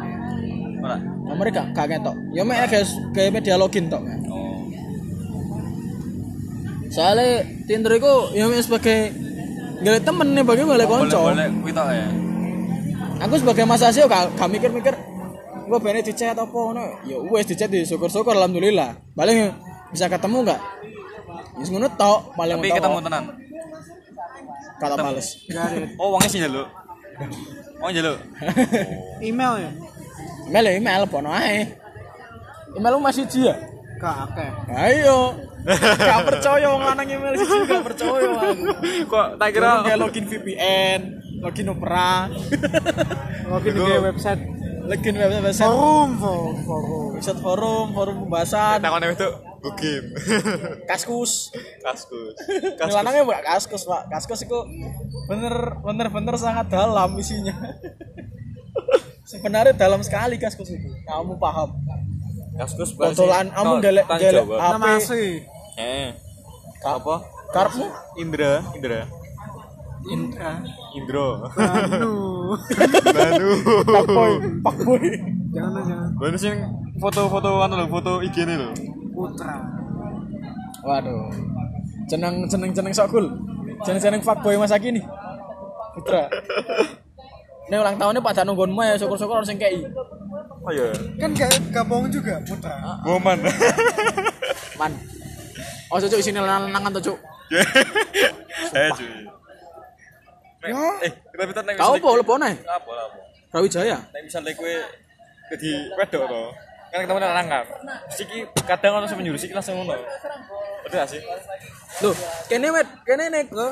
Speaker 3: Ora.
Speaker 2: nomornya gak gak ketok ya mek guys kayak media login tok mek.
Speaker 3: Oh.
Speaker 2: soalnya Tinder itu ya mek sebagai gak temen nih bagi
Speaker 3: Oh,
Speaker 2: boleh konco
Speaker 3: Boleh-boleh kuwi tok ya.
Speaker 2: aku sebagai mas asio gak, gak mikir-mikir gue pengen di chat apa no. ya wes di chat ya syukur-syukur alhamdulillah paling bisa ketemu gak ya semuanya tau paling
Speaker 3: Tapi
Speaker 2: tau,
Speaker 3: ketemu tenan.
Speaker 2: kata males
Speaker 3: Oh, wonge sih njaluk. Oh, njaluk.
Speaker 4: email ya
Speaker 2: email ya email pono ae email lu masih ji ya
Speaker 4: gak akeh
Speaker 2: ayo gak percaya wong lanang email siji gak percaya aku
Speaker 3: Kok tak kira
Speaker 2: Turun kayak login VPN login Opera
Speaker 4: login di Oh, gitu, website
Speaker 2: login web- website
Speaker 4: forum forum forum
Speaker 2: website forum forum pembahasan
Speaker 3: takone itu go game.
Speaker 2: kaskus
Speaker 3: Kaskus.
Speaker 2: Ini lanangnya bukan kaskus pak kaskus itu bener bener bener sangat dalam isinya sebenarnya dalam sekali kaskus itu kamu paham
Speaker 3: Kaskus
Speaker 2: Kebetulan kamu delek delek HP
Speaker 4: nah masih
Speaker 3: Eh,
Speaker 2: apa karpmu
Speaker 3: Indra, Indra.
Speaker 4: Indra
Speaker 3: Indro.
Speaker 4: Banu
Speaker 3: Banu.
Speaker 2: pakboy pakboy
Speaker 4: jangan jangan
Speaker 3: Banu sing foto-foto anu lho, foto IG-ne lho.
Speaker 4: putra
Speaker 2: waduh jeneng jeneng jeneng sokul jeneng jeneng fuckboy masa kini putra ini ulang tahunnya pada nungguanmu ya syukur syukur harus yang kei
Speaker 3: Oh iya.
Speaker 4: kan gak gak bohong juga putra
Speaker 3: Woman. Eh,
Speaker 2: man oh cocok sini lanangan tuh cuk
Speaker 3: Eh, cuy. Eh, kita kita nek
Speaker 2: kau apa lebih nih
Speaker 3: Apa lah, apa?
Speaker 2: Brawijaya
Speaker 3: Nek misalnya kowe jadi wedok to. Kan ketemu lanang kan. Siki kadang ono sing menyuruh siki langsung ngono. Betul gak sih?
Speaker 2: Loh, kene wet, kene nek lho.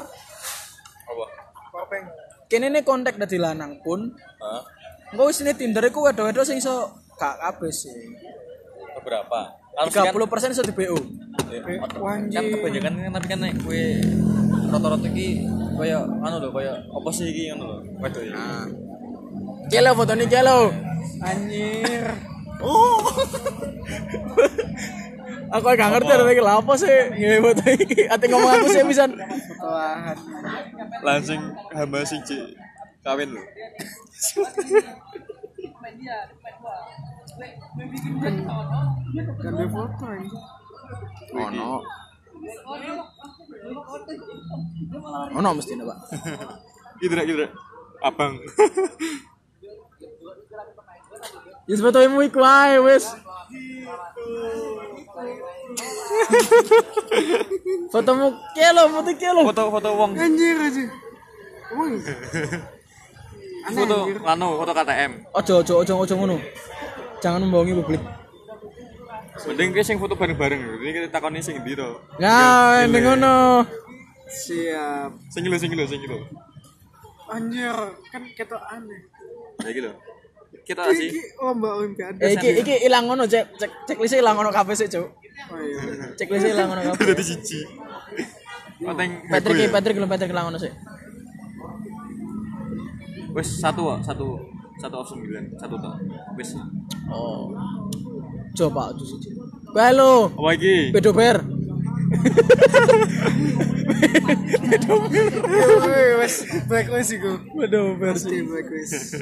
Speaker 3: Apa?
Speaker 2: Kene nek kontak dadi lanang pun,
Speaker 3: Hah?
Speaker 2: engko wis ini Tinder iku wedok-wedok sing iso gak kabeh sih.
Speaker 3: Berapa?
Speaker 2: 30% iso di BO.
Speaker 3: kan kebanyakan kan tapi kan naik kue rata-rata ki kaya anu lho kaya apa sih iki ngono lho ya. waduh iki
Speaker 2: Kelo fotone kelo.
Speaker 4: anjir
Speaker 2: Oh. Aku gak ngerti ada iki lha apa sih nggawe foto iki. Ate ngomong aku sih pisan.
Speaker 4: kelahan
Speaker 3: langsung hamba sing cik kawin lho
Speaker 4: gak ada foto anjir
Speaker 2: Ono. Ono mesti Pak.
Speaker 3: gitu rek gitu rek abang
Speaker 2: Ya sebetulnya iku ae wis. Fotomu kelo, foto kelo.
Speaker 3: foto-foto wong
Speaker 4: anjir anjir emang
Speaker 3: foto anu foto KTM
Speaker 2: Ojo ojo ojo ojo ngono. Jangan membohongi publik.
Speaker 3: mending ki sing foto bareng-bareng lho ini kita takoni sing ndi to
Speaker 2: Nah, ini ngono.
Speaker 4: siap
Speaker 3: sing lho sing lho sing lho
Speaker 4: anjir kan ketok aneh
Speaker 3: ya iki lho kita gak sih
Speaker 4: Iki lomba olimpiade
Speaker 2: Eh, iki iki ilang ngono cek cek checklist ilang ngono kabeh sik, Cuk.
Speaker 4: oh iya bener.
Speaker 2: Checklist ilang ngono kabeh.
Speaker 3: dadi siji Penting
Speaker 2: Patrick iki, Patrick lho Patrick ilang ngono sik.
Speaker 3: wis satu kok, satu satu of sembilan satu tok wis
Speaker 2: Oh. Coba ojo siji. Bae lo,
Speaker 3: apa iki
Speaker 2: pedoper.
Speaker 4: Woi, wes blacklist iku
Speaker 2: Pedoper.
Speaker 4: pasti blacklist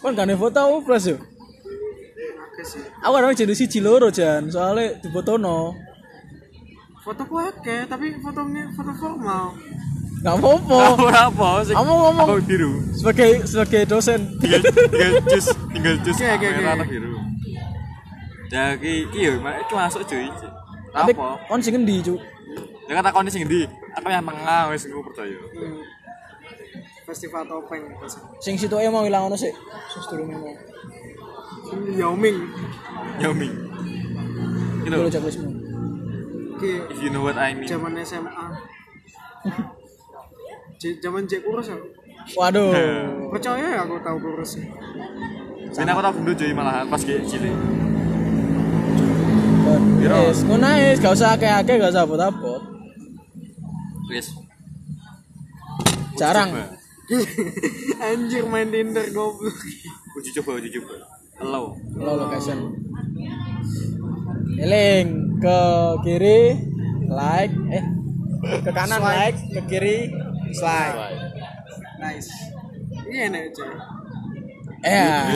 Speaker 2: Kon gane foto upload, Cuk.
Speaker 4: oke sih
Speaker 2: Aku kadang jadi siji loro jan, soalnya dibotono.
Speaker 4: foto ku akeh tapi fotonya foto formal
Speaker 2: Gak apa-apa.
Speaker 3: Ora apa sing
Speaker 2: Kamu ngomong
Speaker 3: apa biru.
Speaker 2: sebagai sebagai dosen.
Speaker 3: Tinggal tinggal jus, tinggal jus
Speaker 4: Oke, oke,
Speaker 3: merah
Speaker 4: oke.
Speaker 3: atau biru. Ya iki iki yo mak iki masuk cuy.
Speaker 2: Tapi
Speaker 3: Apa?
Speaker 2: kon sing endi, Cuk?
Speaker 3: Ya kan takoni sing ndi? Aku yang tengah wis aku percaya.
Speaker 4: Hmm. festival topeng pasti.
Speaker 2: Sing situke mau ilang ngono sik. Sus durung ngono.
Speaker 4: Ini Yao Ming
Speaker 3: Yomi. You know,
Speaker 2: Dulu checklistmu.
Speaker 4: ki
Speaker 3: Gitu. if you know what I mean.
Speaker 4: zaman SMA J- zaman J kurus ya
Speaker 2: Waduh.
Speaker 4: percaya ya aku tahu kurus ya.
Speaker 3: Ben aku tak gendut cuy malahan pas ki cilik. Piro?
Speaker 2: Yes, ngono ae, gak usah akeh-akeh, gak usah abot-abot.
Speaker 3: Wis.
Speaker 2: Jarang.
Speaker 3: Coba.
Speaker 4: anjir main Tinder goblok
Speaker 3: Uji coba, uji coba. Hello.
Speaker 2: Low location. Eling ke kiri, like, eh ke kanan like, ke kiri, slide.
Speaker 4: nice Iya enak aja.
Speaker 2: Eh.
Speaker 4: Iya,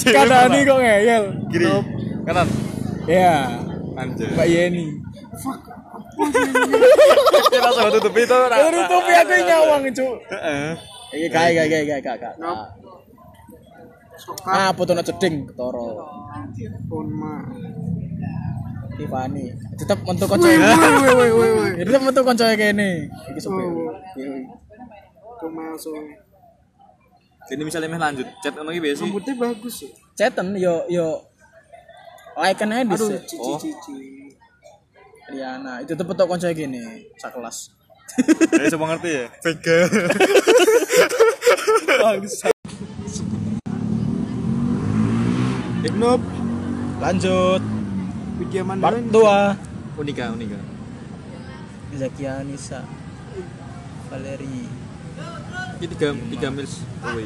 Speaker 2: Kadani kok ngeyel.
Speaker 7: Kiri. Kanan.
Speaker 2: Ya,
Speaker 7: Anjir.
Speaker 2: Mbak Yeni.
Speaker 7: Kita langsung ya. tutupi itu. Ra.
Speaker 2: Terus tuh Eh, aku nyawang, Cuk.
Speaker 7: Heeh.
Speaker 2: Iki kae kae kae kae kae.
Speaker 4: Suka
Speaker 2: Ah, putono ceding ketoro.
Speaker 4: pun mah.
Speaker 2: Tiffany. Tetep mentu
Speaker 4: Woi
Speaker 2: kanca.
Speaker 4: woi woi woi woi, woi.
Speaker 2: Tetep mentu kanca kene. Iki sopir.
Speaker 4: Oh. Cuma so
Speaker 7: Jadi misalnya meh lanjut, chat ngono iki biasa.
Speaker 4: rambutnya bagus ya.
Speaker 2: Ceten yo yo Laikan aja
Speaker 4: Aduh
Speaker 2: dhisik.
Speaker 4: cici cici.
Speaker 1: Iya, nah,
Speaker 2: Riana, itu tuh petok konco gini, sakelas.
Speaker 7: Ya coba ngerti ya. Vega.
Speaker 4: Nope.
Speaker 2: Lanjut,
Speaker 4: Widya
Speaker 1: Part
Speaker 4: Mandarin.
Speaker 1: 2
Speaker 7: Unika, unika.
Speaker 1: Zakia Nisa Valeri
Speaker 7: Ini tiga tiga mils away.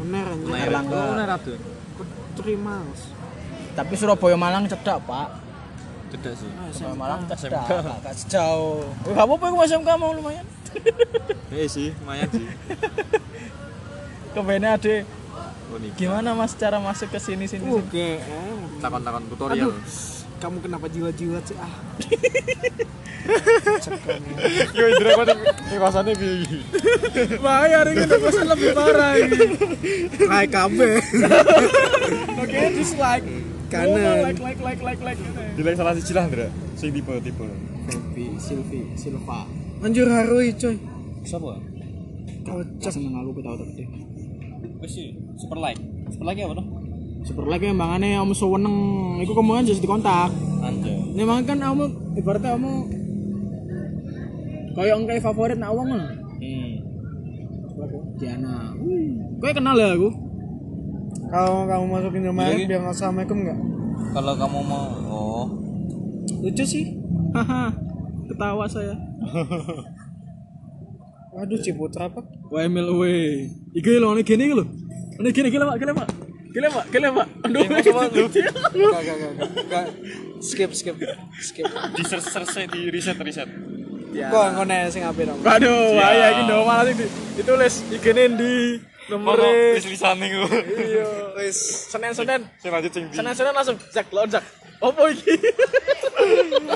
Speaker 4: Bener anjir.
Speaker 7: Naik
Speaker 1: Erlangga.
Speaker 7: Oh, naik ratu.
Speaker 4: Aku Terima. Mas.
Speaker 1: Tapi Surabaya Malang cedak pak
Speaker 7: Tidak sih.
Speaker 4: Ah,
Speaker 1: Surabaya Malang cedak Gak sejauh Eh, Gak apa-apa aku SMK mau lumayan
Speaker 7: Eh sih, lumayan sih.
Speaker 1: Kebenernya ade
Speaker 7: Unika.
Speaker 1: Gimana mas cara masuk ke sini sini? sini?
Speaker 2: Uh,
Speaker 4: Oke. eh.
Speaker 7: Takon-takon tutorial.
Speaker 4: Aduh. Kamu kenapa jiwa-jiwa sih? Ah.
Speaker 7: Yo Indra kok nih rasanya bi.
Speaker 2: Bayar ini tugasnya lebih parah ini.
Speaker 4: Like kabeh.
Speaker 2: Oke, dislike. Oh,
Speaker 4: Kanan.
Speaker 2: Like, like, like, like, like.
Speaker 7: Dilek salah siji lah, Indra. Sing tipe-tipe.
Speaker 2: Febi, Silvi, Silva.
Speaker 4: Anjir harui coy.
Speaker 7: Siapa?
Speaker 4: Kocak.
Speaker 2: Seneng aku ketawa tadi.
Speaker 3: Wis sih, super like. Super like ya, apa tuh?
Speaker 2: Super like yang bangane om suweneng, iku kemungkinan jadi kontak.
Speaker 3: Anjir.
Speaker 2: Nih mangan kan kamu ibaratnya kamu kayak orang kayak favorit nak wong lah.
Speaker 3: Hmm.
Speaker 2: Diana. Kowe kenal ya aku?
Speaker 4: Kalau kamu masukin Indomaret biar nggak assalamualaikum nggak?
Speaker 3: Kalau kamu mau oh,
Speaker 2: Lucu sih. Haha. Ketawa saya.
Speaker 4: Waduh Ciputra apa?
Speaker 2: Wah Emil we. Iki lho ini gini iki lho. Ini gini gila Pak, gila Pak. Gila Pak, gila Pak. Aduh.
Speaker 4: Gak gak gak gak. gak. Skip skip skip.
Speaker 3: di search search di riset riset.
Speaker 4: Kok nggak nanya sing apa dong?
Speaker 2: Ya. Waduh, iya, bahaya iki ndo malah sing di- ditulis iki ini di nomor
Speaker 3: Wis lisane ku.
Speaker 2: iya wis senen-senen.
Speaker 3: Sing lanjut sing di.
Speaker 2: Senen-senen langsung jak lonjak. Opo iki?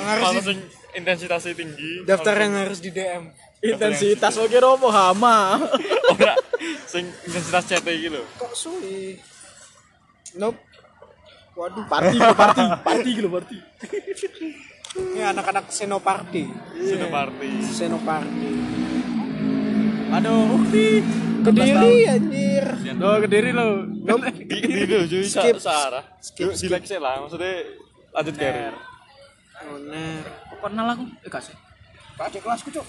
Speaker 3: Kalau sing intensitasnya tinggi.
Speaker 4: Daftar yang harus di DM.
Speaker 2: Intensitas oke romo hama.
Speaker 3: Ora sing intensitas chat iki lho.
Speaker 4: Kok suwi? Nope. Waduh.
Speaker 2: Party, party, party gitu party.
Speaker 4: Ini anak-anak senoparty.
Speaker 3: Sudah party.
Speaker 4: Senoparty.
Speaker 2: Aduh,
Speaker 4: Kediri anjir.
Speaker 2: lo kediri lo.
Speaker 3: Di di lho cuy sa-
Speaker 4: Skip.
Speaker 3: searah.
Speaker 4: Skip, Nah,
Speaker 3: Yuk, Dilek sik lah maksudnya lanjut karir.
Speaker 4: Bener.
Speaker 2: Kenal aku? Eh, kasih.
Speaker 4: Adik kelasku cok.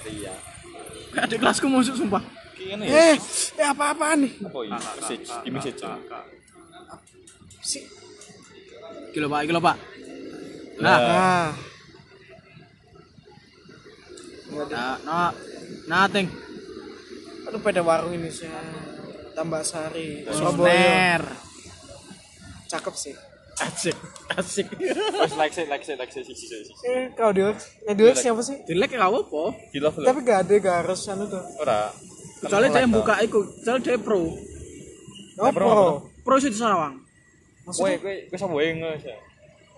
Speaker 2: Ada kelasku masuk sumpah.
Speaker 3: Ki ngene ya.
Speaker 4: Eh, eh apa-apaan nih?
Speaker 3: Apa iki? Oh, iya, Message,
Speaker 4: nah,
Speaker 3: di message.
Speaker 4: Si.
Speaker 2: Gila pak, gila pak. Eh.
Speaker 4: Ah.
Speaker 2: Nah, nah, nothing.
Speaker 4: Aduh pada warung ini sih. Tambah sari. Surabaya.
Speaker 2: Sober.
Speaker 4: Cakep sih.
Speaker 2: Asik, asik.
Speaker 3: Wis like sik like sik like sik sik sik. sik.
Speaker 4: Eh, kalau dia, yang dia siapa sih?
Speaker 2: Dilek gak apa-apa.
Speaker 3: Di love lho.
Speaker 4: Tapi gak ada, gak harus anu tuh.
Speaker 3: Ora.
Speaker 2: Kecuali dia yang buka iku, kecuali dia pro.
Speaker 4: Opo.
Speaker 2: Pro sih di Sarawang.
Speaker 3: Kowe kowe kowe sapa wae ngono.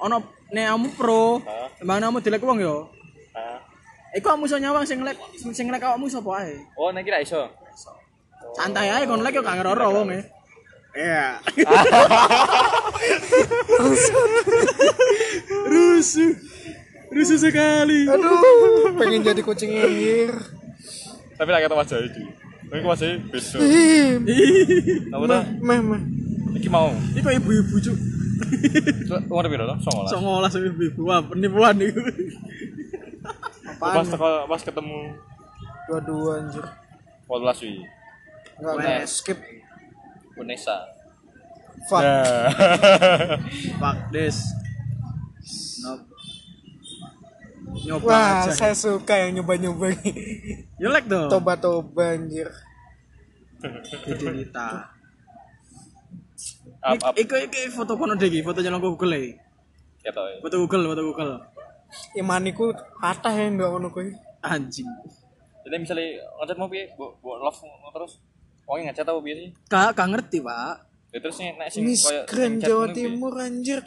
Speaker 2: Ono nek kamu pro,
Speaker 3: Hah?
Speaker 2: emang kamu dilek wong yo.
Speaker 4: Nah.
Speaker 3: Ah.
Speaker 2: Iku kamu iso nyawang sing lek sing lek awakmu sapa ae.
Speaker 3: Oh, nek kira iso.
Speaker 2: Santai ae kon lek yo gak ngeroro wong e.
Speaker 4: Iya.
Speaker 2: Rusuh. Rusuh sekali.
Speaker 4: Aduh, pengen jadi kucing ngir.
Speaker 3: Tapi lek kata wajah iki. Kowe wajah beda.
Speaker 4: Ih, nah.
Speaker 3: Apa ta?
Speaker 4: meh meh.
Speaker 3: Iki mau.
Speaker 2: Iku ibu-ibu cuk.
Speaker 3: Umur piro to? 19.
Speaker 2: Songolah sing ibu-ibu. Wah, penipuan iku.
Speaker 3: Pas
Speaker 4: Apaan?
Speaker 3: teko pas ketemu
Speaker 4: Dua-dua anjir.
Speaker 3: 14 wi.
Speaker 4: Enggak,
Speaker 3: Wes.
Speaker 4: enggak, skip.
Speaker 3: Unesa.
Speaker 4: Fuck.
Speaker 3: Nah.
Speaker 2: Fuck this. Nope. Nyoba
Speaker 4: Wah,
Speaker 2: aja.
Speaker 4: saya suka yang nyoba-nyoba ini.
Speaker 2: You like dong.
Speaker 4: Oh. Toba-toba anjir.
Speaker 2: Jadi kita.
Speaker 3: Up up
Speaker 2: Iku iku foto kono deh, iki, foto nyolong ke Google ya.
Speaker 3: ketok. ya.
Speaker 2: Foto Google, foto Google.
Speaker 4: Imaniku patah ya ndak ngono kuwi.
Speaker 2: Anjing.
Speaker 3: jadi misalnya ngechat mau piye bu bu love mau terus Wong ngechat apa piye sih
Speaker 2: Kak, kak ngerti pak.
Speaker 3: ya terus nih nek sing
Speaker 4: Miss
Speaker 3: koyo
Speaker 4: Grand
Speaker 3: sing chat
Speaker 4: Jawa
Speaker 3: ngono piye?
Speaker 4: Timur anjir.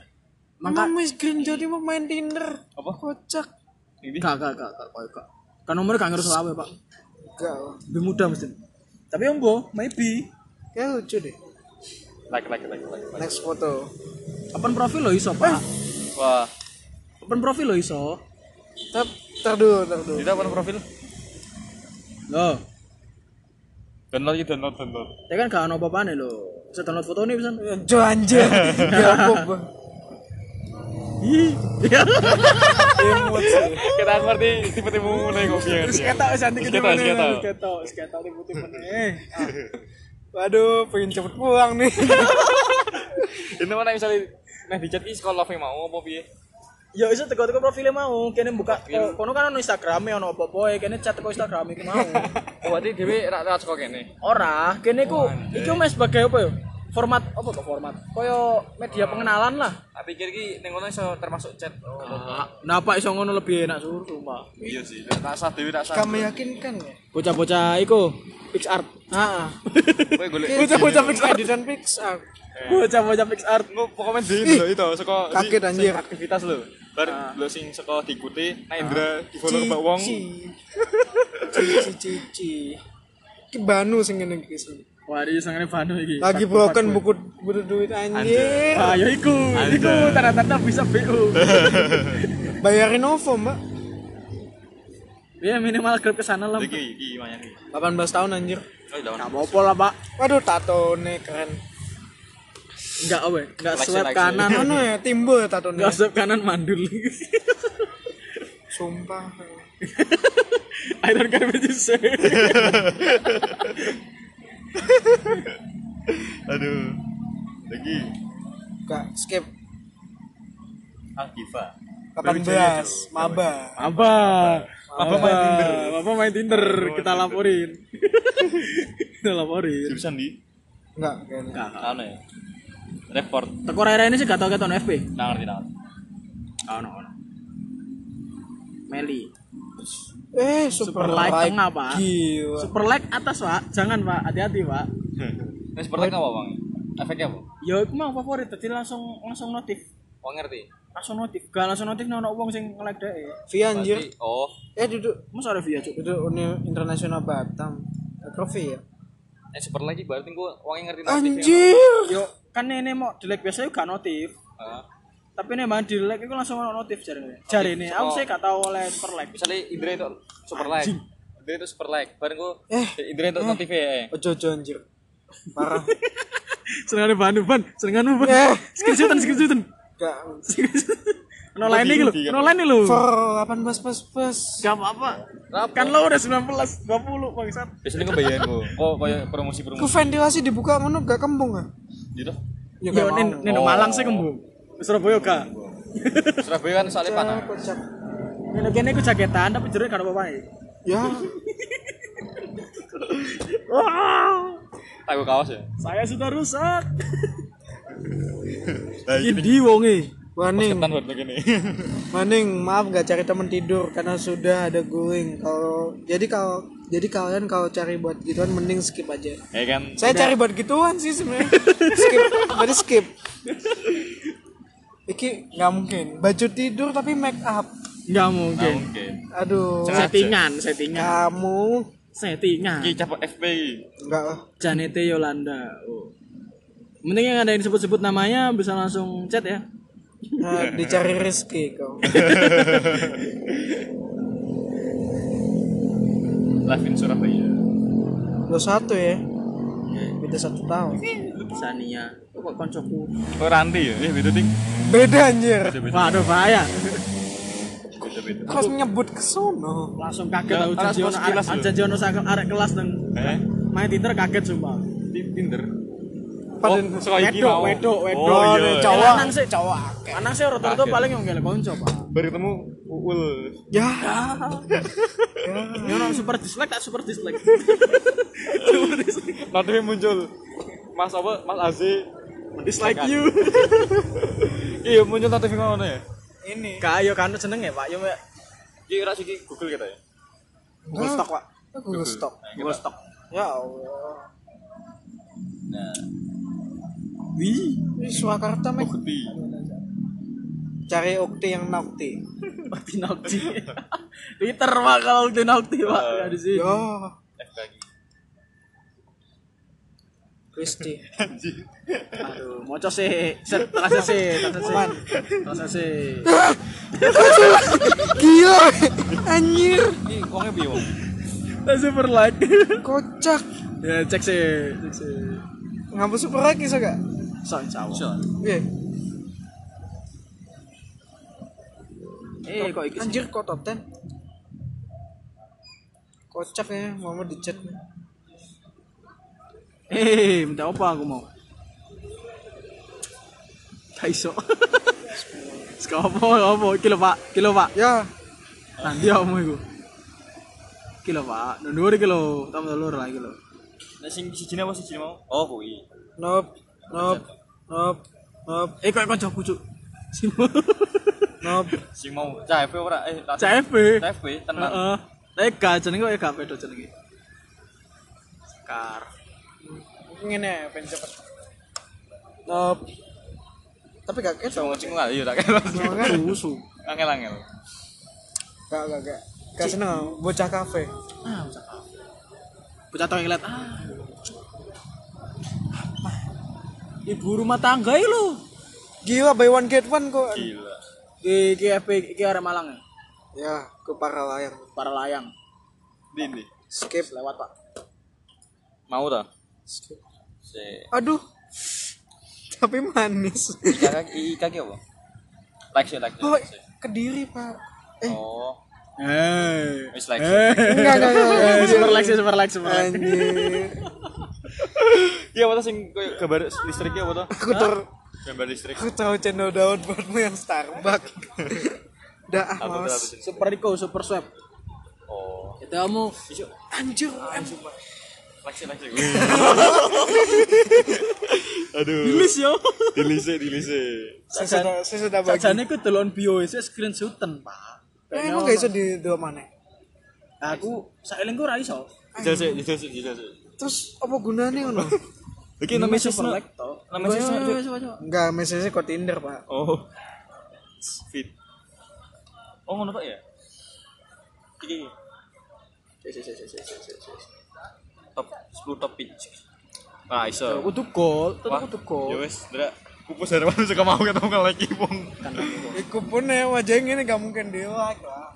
Speaker 2: Maka-
Speaker 4: Maka Miss Grand Jawa Timur main Tinder.
Speaker 3: Apa?
Speaker 4: Kocak.
Speaker 3: Ini
Speaker 2: Kak, kak, kak, kak, kak, kak. Kan nomornya kak ngerti selawe pak.
Speaker 4: Gak.
Speaker 2: Lebih mudah mesti. Tapi ombo, maybe.
Speaker 4: Kayak lucu deh.
Speaker 3: like like like like like.
Speaker 4: Next foto.
Speaker 2: Open profil lo iso
Speaker 4: Eh.
Speaker 2: pak.
Speaker 3: wah
Speaker 2: Open profil lo iso.
Speaker 4: Tap, tar dulu, tar dulu.
Speaker 3: itu apa profil
Speaker 2: Loh,
Speaker 3: download iki download download
Speaker 2: ya kan gak ada apa-apaan lo. Bisa download foto nih bisa.
Speaker 3: Iya.
Speaker 4: Jo anjir. Ya apa,
Speaker 3: kita ngerti tipe-tipe mulai kok piye
Speaker 4: Terus ketok Santi
Speaker 3: Terus
Speaker 4: gitu
Speaker 3: ketok,
Speaker 4: mana?
Speaker 3: terus ketok.
Speaker 4: Terus ketok, terus ketok tiba-tiba eh. ah. Waduh, pengen cepet pulang nih.
Speaker 3: ini mana misalnya nek di chat iki sekolah love mau apa piye
Speaker 2: Ya iso teko-teko profilnya mau, kene buka ko- kono kan ono Instagrame ono apa-apa, e, kene chat teko Instagrame iku mau.
Speaker 3: oh berarti dhewe ra ra sekolah kene
Speaker 2: Ora, kene ku iki mes sebagai apa ya? Format apa kok format? Koyo media pengenalan lah. Ah,
Speaker 3: tak pikir iki ning ngono iso termasuk chat oh
Speaker 2: Nah, Pak iso ngono lebih enak suruh sumpah.
Speaker 3: iya sih tak sah dhewe tak sah
Speaker 4: Kamu meyakinkan ya?
Speaker 2: Bocah-bocah iku Ah, PixArt.
Speaker 4: Heeh.
Speaker 3: kowe golek
Speaker 4: Bocah-bocah Pixar editan Pixar.
Speaker 2: Bocah-bocah PixArt.
Speaker 3: Nggak, pokoknya di lo itu, seko
Speaker 4: kaget,
Speaker 3: di-
Speaker 4: anjir. Ah.
Speaker 3: seko aktivitas lo. Bar lo sing seko diikuti, nah Indra di follow ke Mbak Wong.
Speaker 4: Cici. Cici cici. Ki Banu sing ngene iki. sing.
Speaker 2: Wah, iki sangane Banu iki.
Speaker 4: Lagi broken buku butuh duit anjir.
Speaker 2: Ah, ya iku. Iku tanda-tanda bisa BU.
Speaker 4: Bayarin OVO, Mbak.
Speaker 2: Ya minimal grab ke sana lah.
Speaker 3: Iki iki mana iki?
Speaker 4: 18 tahun anjir.
Speaker 3: Oh, lawan.
Speaker 2: Enggak apa-apa lah, Pak.
Speaker 4: Waduh, kan. tato nih keren.
Speaker 2: Enggak, apa Enggak
Speaker 3: Seleksi,
Speaker 2: swipe
Speaker 3: seleksi.
Speaker 2: kanan.
Speaker 4: Anu ya, timbul tato
Speaker 2: Enggak
Speaker 4: nih.
Speaker 2: swipe kanan mandul.
Speaker 4: Sumpah.
Speaker 2: I don't care what you say.
Speaker 8: Aduh. Lagi
Speaker 4: Gak skip.
Speaker 3: Ah,
Speaker 8: Akiva.
Speaker 4: 18 maba.
Speaker 2: Apa? Apa main Tinder? Apa main Tinder? Kita laporin. Kita laporin.
Speaker 8: Jurusan di
Speaker 4: Enggak, kayaknya.
Speaker 3: Anu ya. Report,
Speaker 2: Teko Rere ini sih gak tau keton FP.
Speaker 3: nggak ngerti nggak.
Speaker 2: Oh
Speaker 3: Ah,
Speaker 2: no, no. Meli.
Speaker 4: Eh, super,
Speaker 2: Super like tengah, Pak.
Speaker 4: Gila.
Speaker 2: Super like atas, Pak. Jangan, Pak. Hati-hati, Pak.
Speaker 3: Ini seperti apa bang? Efeknya apa?
Speaker 2: Ya, aku mau favorit. Jadi langsung langsung notif.
Speaker 3: Oh ngerti.
Speaker 2: Langsung notif. Gak langsung notif nono wong sing nge-like deh.
Speaker 4: Via anjir.
Speaker 3: Berarti, oh,
Speaker 4: Eh, duduk
Speaker 2: Mas ada via, Cuk.
Speaker 4: duduk Uni Internasional Batam. Profi ya.
Speaker 3: ini Eh, super lagi berarti gua uangnya ngerti ya, nanti.
Speaker 4: Anjir.
Speaker 2: Yo, kan ini mau delek biasanya gak notif. Tapi ini emang di like itu langsung ono notif jari ini. Jari ini, aku sih gak tau oleh per like.
Speaker 3: Misalnya Indra itu super like. Indra itu super like. Bareng gua
Speaker 4: Eh,
Speaker 3: Indra itu notif ya. eh.
Speaker 4: Ojo ojo anjir. Parah.
Speaker 2: Senengan ban, ban, senengan ban.
Speaker 4: Eh.
Speaker 2: Skripsiutan, skripsiutan.
Speaker 4: Gak
Speaker 2: No lain iki lho, no lain iki lho.
Speaker 4: for 18 plus plus.
Speaker 2: Gak apa-apa. Kan lo udah 19, 20 bangsat.
Speaker 3: Biasanya gua bayar gua. Oh, Kok kayak promosi
Speaker 4: Ke
Speaker 3: promosi
Speaker 4: ventilasi dibuka ngono gak kembung ah.
Speaker 3: gitu?
Speaker 4: Ya
Speaker 2: Yo
Speaker 4: gak mau.
Speaker 2: nen nen Malang sih kembu. Surabaya gak.
Speaker 3: Surabaya kan soalnya panah.
Speaker 4: Eh, Kocak.
Speaker 2: Nen kene iku jaketan tapi jeruk gak ada apa-apa.
Speaker 4: Ya,
Speaker 2: Wow,
Speaker 3: Tahu kaos ya.
Speaker 2: saya sudah rusak.
Speaker 8: Nah, ini
Speaker 2: Indi wonge.
Speaker 4: e. maning,
Speaker 3: Ketan buat begini.
Speaker 4: maning, maaf gak cari teman tidur karena sudah ada going. Kalau jadi kalau jadi kalian kalau cari buat gituan mending skip aja.
Speaker 3: Ya kan.
Speaker 4: Saya cari buat gituan sih sebenarnya. skip, berarti skip. Iki nggak mungkin. Baju tidur tapi make up.
Speaker 2: Enggak mungkin.
Speaker 3: Nah, Mungkin.
Speaker 4: Aduh,
Speaker 2: Settingan, settingan,
Speaker 4: kamu
Speaker 2: settingan.
Speaker 3: Ki capek FP.
Speaker 4: enggak lah.
Speaker 2: Janete Yolanda. Oh. Mending yang ada yang sebut-sebut namanya bisa langsung chat ya.
Speaker 4: Nah, dicari rezeki kau.
Speaker 3: Live in Surabaya.
Speaker 4: Lo satu ya. Beda satu tahun.
Speaker 2: Sania. Oh, kok koncoku.
Speaker 3: Oh Ranti ya? Eh beda ding.
Speaker 4: Beda anjir.
Speaker 2: Waduh bahaya.
Speaker 3: Beda beda.
Speaker 4: Kau nyebut ke sono.
Speaker 2: Langsung kaget aku janji ono arek
Speaker 3: Ya, alas pas kilas lho.
Speaker 2: janji ono sakel arek kelas nang
Speaker 3: Eh?
Speaker 2: main Tinder kaget sumpah.
Speaker 3: Di Tinder. Oh,
Speaker 4: Padahal
Speaker 3: suka iki mau.
Speaker 2: wedok, wedok.
Speaker 3: Oh iya.
Speaker 4: Oh,
Speaker 3: Cowok.
Speaker 2: Eh,
Speaker 4: cowok.
Speaker 2: Lanang sih cowok. akeh. Lanang sih rata-rata paling yang gak konco, Pak.
Speaker 3: Baru ketemu Uul.
Speaker 4: ya.
Speaker 2: Ini orang super dislike tak super dislike.
Speaker 3: Notifnya muncul. Mas apa? Mas Aziz.
Speaker 2: dislike you.
Speaker 3: Iya muncul notifnya ngono ya.
Speaker 4: Ini.
Speaker 2: Kayak yo kan jenenge, Pak. Yo mek-
Speaker 3: Ki ora siki Google kita ya.
Speaker 2: Google Stock, Pak.
Speaker 4: Ah. Google Stock.
Speaker 7: Google Stock.
Speaker 4: Ya Allah.
Speaker 7: Nah,
Speaker 4: Wih, ini Surakarta meh.
Speaker 3: Oh,
Speaker 7: bukti.
Speaker 4: Cari Okti yang Nokti.
Speaker 2: Penalti. Twitter pak kalau penalti pak
Speaker 3: Eh,
Speaker 2: nggak di sini.
Speaker 4: Yo,
Speaker 3: F lagi.
Speaker 2: Kristi. Aduh, moco sih. Set, terasa sih, terasa sih. Terasa sih.
Speaker 4: gila, weh. anjir,
Speaker 3: Ini uangnya piye, Wong?
Speaker 2: Terasa berlag.
Speaker 4: kocak.
Speaker 2: Ya cek sih, cek sih.
Speaker 4: Ngapus super lagi so gak?
Speaker 2: So, insya Allah.
Speaker 4: Iya.
Speaker 2: Eh, kok iki sih?
Speaker 4: Anjir kok top 10 Kocak ya, mau di chat nih.
Speaker 2: Eh, minta apa aku mau? Kaiso. Skopo, apa? Kilo pak, kilo pak.
Speaker 4: Ya,
Speaker 2: Nanti kamu itu. Kilo pak, nundur kilo, tamu telur lagi kilo.
Speaker 3: Nah, sing siji apa siji mau? Oh, kuwi.
Speaker 4: nope, nope, nope, nope,
Speaker 2: Eh, kok kok jauh kucuk. Simu.
Speaker 4: nope.
Speaker 3: Sing mau CFP ora? Eh, tak-
Speaker 2: CFP.
Speaker 3: CFP tenang.
Speaker 2: Heeh. Lega Eh, jenenge kok ega pedo jenenge. Sekar. ya,
Speaker 4: Ngene pengen cepet. Nope. Tapi gak ketok.
Speaker 3: Cuma sing lah iya tak kira.
Speaker 2: Kan? Susu.
Speaker 3: Angel-angel.
Speaker 4: Gak, gak, gak. Gak seneng aku, bocah kafe.
Speaker 2: Ah, bocah kafe. Bocah toilet. Ah. Mah. Ibu rumah tangga iki lho.
Speaker 4: Gila, buy one get one kok.
Speaker 3: Gila.
Speaker 2: Iki iki FP iki arek Malang ya.
Speaker 4: Ya, ke para layar.
Speaker 2: Para layang.
Speaker 7: Di ini.
Speaker 4: Skip.
Speaker 2: Lewat, Pak.
Speaker 3: Mau ta?
Speaker 4: Skip.
Speaker 3: Si
Speaker 4: Aduh. Tapi manis.
Speaker 3: kakak i kaki apa? Like sih, like.
Speaker 4: Oh,
Speaker 3: sih.
Speaker 4: kediri, Pak. Eh,
Speaker 3: Oh,
Speaker 2: Eh.
Speaker 3: wis like. sih.
Speaker 4: enggak, enggak, enggak, enggak.
Speaker 2: Super like, super like, super like.
Speaker 4: Anjir.
Speaker 3: Iya, apa tuh sing koyo gambar listriknya apa tuh?
Speaker 4: Aku ter
Speaker 3: Gambar listrik.
Speaker 4: aku tahu cendol daun buatmu yang Starbucks. Udah ah,
Speaker 3: Aku
Speaker 4: males.
Speaker 3: tuh
Speaker 2: Super Rico, super swab.
Speaker 3: Oh.
Speaker 2: Kita kamu
Speaker 3: Isu,
Speaker 4: Anjir.
Speaker 3: like sih, like sih.
Speaker 2: tulis yo.
Speaker 3: Dilise, dilise.
Speaker 4: Saya sudah saya sudah bagi.
Speaker 2: Sajane ku delon bio wis screenshotan, Pak. Nah,
Speaker 4: Eh, emang gak bisa di dua mana?
Speaker 2: Aku saeling ku ora iso.
Speaker 3: Jajal sih, jajal sih, jajal sih.
Speaker 4: Terus apa gunanya ngono?
Speaker 3: Oke, nama
Speaker 2: super
Speaker 3: sisna.
Speaker 2: like to.
Speaker 3: Nama sisna.
Speaker 2: Coba, coba, coba.
Speaker 4: Enggak, message kok Tinder, Pak.
Speaker 3: Oh. Fit. Oh, ngono tok ya? Iki.
Speaker 2: Si, si, si, si, si, si, si.
Speaker 3: Top 10 top pitch. Nah, iso.
Speaker 2: Kudu gol, tetep
Speaker 3: Wah,
Speaker 2: kudu gol.
Speaker 3: Ya wis, Dra. Pupus Herman suka mau ketemu kan lagi wong.
Speaker 4: Iku pun ya wajahnya ini gak mungkin dia like lah.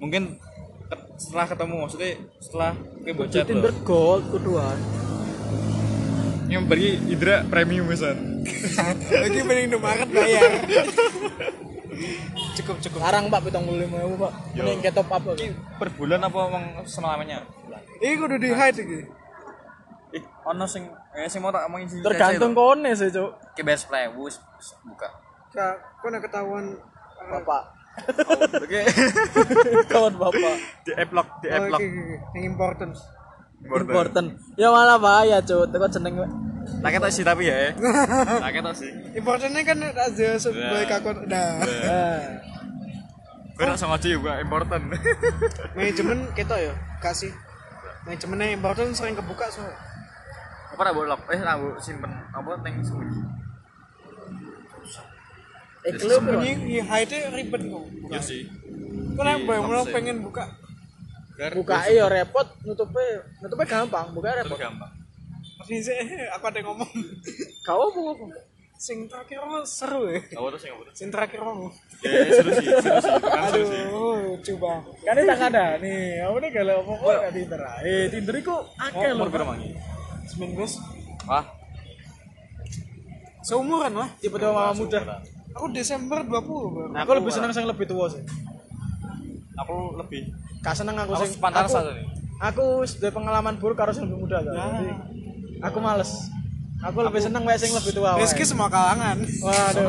Speaker 3: Mungkin ke- setelah ketemu maksudnya setelah ke
Speaker 2: Kudu
Speaker 3: bocor
Speaker 2: Tinder
Speaker 3: loh.
Speaker 2: gol kuduan.
Speaker 3: Yang beri Idra premium pesan.
Speaker 4: Lagi mending di market bayar. cukup cukup.
Speaker 2: Larang Pak 75.000, Pak. Mending ke top up. Pak.
Speaker 3: Ini per bulan apa emang selamanya?
Speaker 4: Ini kudu di hide iki.
Speaker 3: Ih, ono sing eh sing mau tak omongin sih.
Speaker 2: Tergantung kone sih, Cuk.
Speaker 3: ke best play wis wis buka.
Speaker 4: Kak, kok nak ketahuan eh,
Speaker 2: Bapak.
Speaker 3: Oke,
Speaker 2: Kawan Bapak.
Speaker 3: di eplok, di
Speaker 4: Oh,
Speaker 3: eplok.
Speaker 4: iki, iki, iki. yang important.
Speaker 2: Important. Ya malah bahaya, Cuk. Teko jeneng
Speaker 3: Tak ketok sih tapi ya. eh. Tak ketok sih.
Speaker 4: Importantnya kan aja sebagai kakon. Nah,
Speaker 2: eh,
Speaker 3: Gue rasa ngaji juga important.
Speaker 4: manajemen kita ya kasih. Manajemennya important sering kebuka so.
Speaker 3: Apa nak bolak? Eh, nak bawa simpen apa neng sembunyi.
Speaker 2: eh klub
Speaker 4: Ini di hide ribet kok.
Speaker 3: Iya sih.
Speaker 4: Kau yang bayang lo pengen buka.
Speaker 2: bukae ya repot, nutupe nutupe gampang, bukae repot.
Speaker 3: gampang.
Speaker 4: Ini sih, aku ada yang ngomong.
Speaker 2: Kau mau apa?
Speaker 4: Sing terakhir mah seru ya.
Speaker 3: Apa tuh sih apa tuh?
Speaker 4: Sing terakhir mau.
Speaker 3: Ya seru sih, seru sih. Kan seru sih.
Speaker 4: Aduh, coba.
Speaker 2: Kan ini tak ada nih. Aku ini kalau mau kok ada Tinder. ae. Eh, Tinder iku akeh lho.
Speaker 3: Umur berapa mangi?
Speaker 4: 19
Speaker 3: Wah,
Speaker 4: seumuran lah
Speaker 2: Tiba-tiba malah muda.
Speaker 4: aku Desember 20 baru
Speaker 2: Nah, aku lebih seneng sing lebih tua sih.
Speaker 3: aku lebih.
Speaker 2: Gak seneng aku
Speaker 3: Aku
Speaker 2: sing
Speaker 3: pantaran
Speaker 2: aku-
Speaker 3: satu nih.
Speaker 2: Aku sudah pengalaman buruk harus yang lebih muda kan. Jadi aku males. Aku lebih seneng wae sing lebih tua. wae.
Speaker 4: Rizky semua kalangan
Speaker 2: Waduh.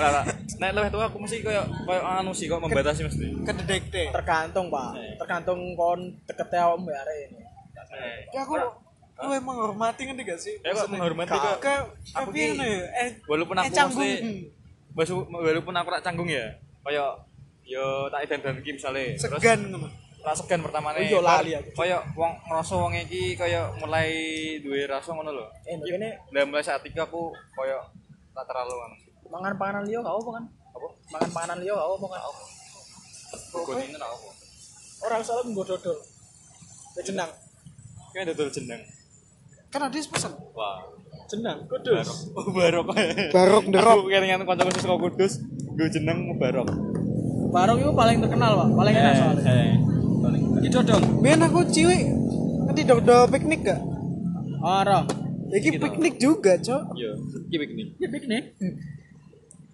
Speaker 3: Nah, nah, Nek lebih tua aku mesti koyo koyo anu sih kok membatasi mesti.
Speaker 4: kededek deh
Speaker 2: Tergantung, Pak. Tergantung kon dekete awakmu ya arek ini.
Speaker 3: Eh,
Speaker 4: ya aku lu emang hormati ngerti gak sih
Speaker 3: Ya kok menghormati kok.
Speaker 4: ke tapi
Speaker 3: ki-
Speaker 4: ini eh
Speaker 3: Walaupun
Speaker 4: eh
Speaker 3: aku
Speaker 4: canggung
Speaker 3: mesti
Speaker 2: hmm.
Speaker 3: Basu- walaupun aku rak canggung ya. Koyo yo tak dandan iki misale. Terus
Speaker 4: segan ngono
Speaker 3: tak segan pertama nih.
Speaker 2: Oh Iya, lali aku.
Speaker 3: Koyo wong ngerasa wong iki koyo mulai duwe rasa ngono lho.
Speaker 2: Eh, nduk kene
Speaker 3: Lah mulai saat itu aku koyo tak terlalu ngono.
Speaker 2: mangan panganan liya gak apa kan? Apa? Mangan panganan liya gak apa kan?
Speaker 3: Gon ini tak apa.
Speaker 2: Orang salah nggo dodol. Ya jenang.
Speaker 3: Kayak dodol jeneng.
Speaker 4: kan ada yang pesen
Speaker 3: Wah.
Speaker 2: Jenang kudus.
Speaker 3: Oh, barok.
Speaker 4: barok derok
Speaker 3: Aku kelingan kanca khusus kok kudus, gue jeneng barok.
Speaker 2: Barong itu paling terkenal, Pak. Paling enak soalnya. Eh. Itu dong.
Speaker 4: ben aku cilik nanti dok dok piknik gak
Speaker 2: Orang.
Speaker 4: Iki piknik juga, Cok.
Speaker 3: Iya, iki piknik.
Speaker 2: Ya piknik.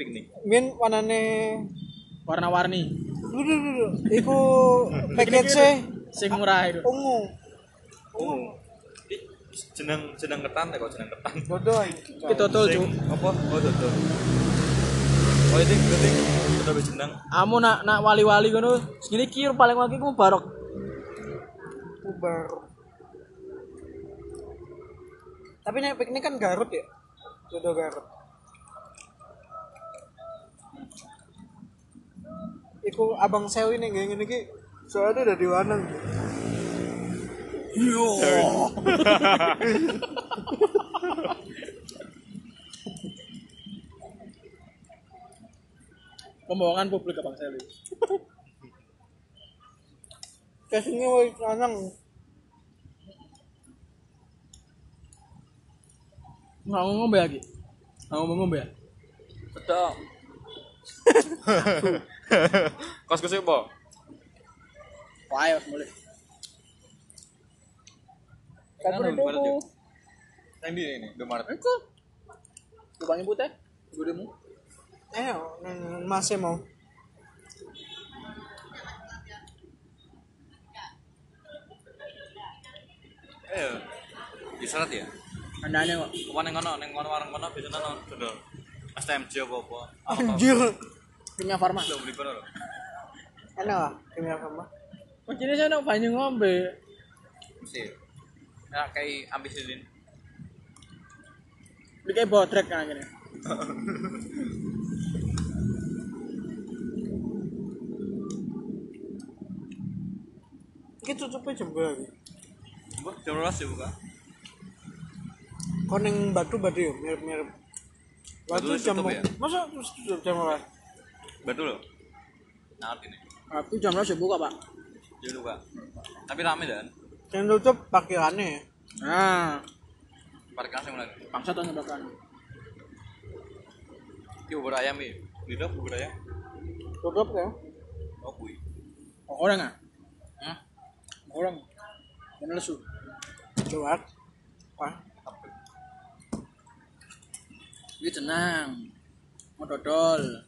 Speaker 3: Piknik.
Speaker 4: Mien wanane
Speaker 2: Warna-warni.
Speaker 4: Duh, duh, duh, duh. Iku package
Speaker 2: Sing murah itu.
Speaker 4: ungu.
Speaker 3: Oh. Ih, jeneng jeneng ketan ya kok jeneng ketan.
Speaker 4: Bodoh.
Speaker 2: Itu dodol,
Speaker 3: Sing-
Speaker 2: Cuk.
Speaker 3: Apa? Oh, dodol. Oh, itu berarti dodol wis jeneng.
Speaker 2: Amu nak nak wali-wali ngono, segini kir paling wagi ku barok.
Speaker 4: Uber. Tapi nek piknik kan Garut ya. Jodoh Garut. Iku abang sewi nih kayak gini ki. Soalnya udah di Wanang.
Speaker 2: Pembohongan publik Abang Seli.
Speaker 4: Kasihnya woi Wanang.
Speaker 2: Nggak mau ngombe lagi. Nggak mau ngombe ya?
Speaker 3: Betul. Kos kos apa?
Speaker 2: Wah, ayo mulai.
Speaker 3: Kan belum Maret yuk. Yang di ini, belum Maret.
Speaker 2: Iku. Lubangnya putih. Gudemu.
Speaker 4: Eh, neng- masih mau.
Speaker 3: Ayo. Di syarat ya.
Speaker 2: Aneh-aneh kok.
Speaker 3: Apa neng kono, neng kono warung kono biasanya nang dodol. STMJ apa apa.
Speaker 4: Anjir.
Speaker 2: Punya farma.
Speaker 3: Belum beli kono loh.
Speaker 4: Enak lah, kimia sama.
Speaker 2: Kuncinya saya nak banyu ngombe.
Speaker 3: Mesti. Ya kayak ambisilin.
Speaker 2: Ini kayak botrek kan akhirnya.
Speaker 4: Iki tutupnya jembal lagi.
Speaker 3: Mbah, jam 12 ya buka.
Speaker 4: Kau neng batu batu ya, mirip-mirip. Batu
Speaker 3: Batu
Speaker 4: jam
Speaker 3: tutup ya?
Speaker 4: Masa tutup jam apa?
Speaker 3: Betul loh. Nah, ini.
Speaker 2: Aku jam 12 buka, Pak.
Speaker 3: Ya buka. Tapi rame dan
Speaker 4: Yang tutup parkirannya ya.
Speaker 2: Nah,
Speaker 3: parkiran sing mulai.
Speaker 2: bangsa tuh nyebakan.
Speaker 3: Ki bubur ayam iki. Lidah bubur ayam.
Speaker 4: Tutup ya.
Speaker 3: Oh kuwi.
Speaker 2: Orang ah.
Speaker 3: Hah?
Speaker 2: Orang. Bener lesu.
Speaker 4: Lewat. Wah.
Speaker 2: Ini jenang. Mau dodol.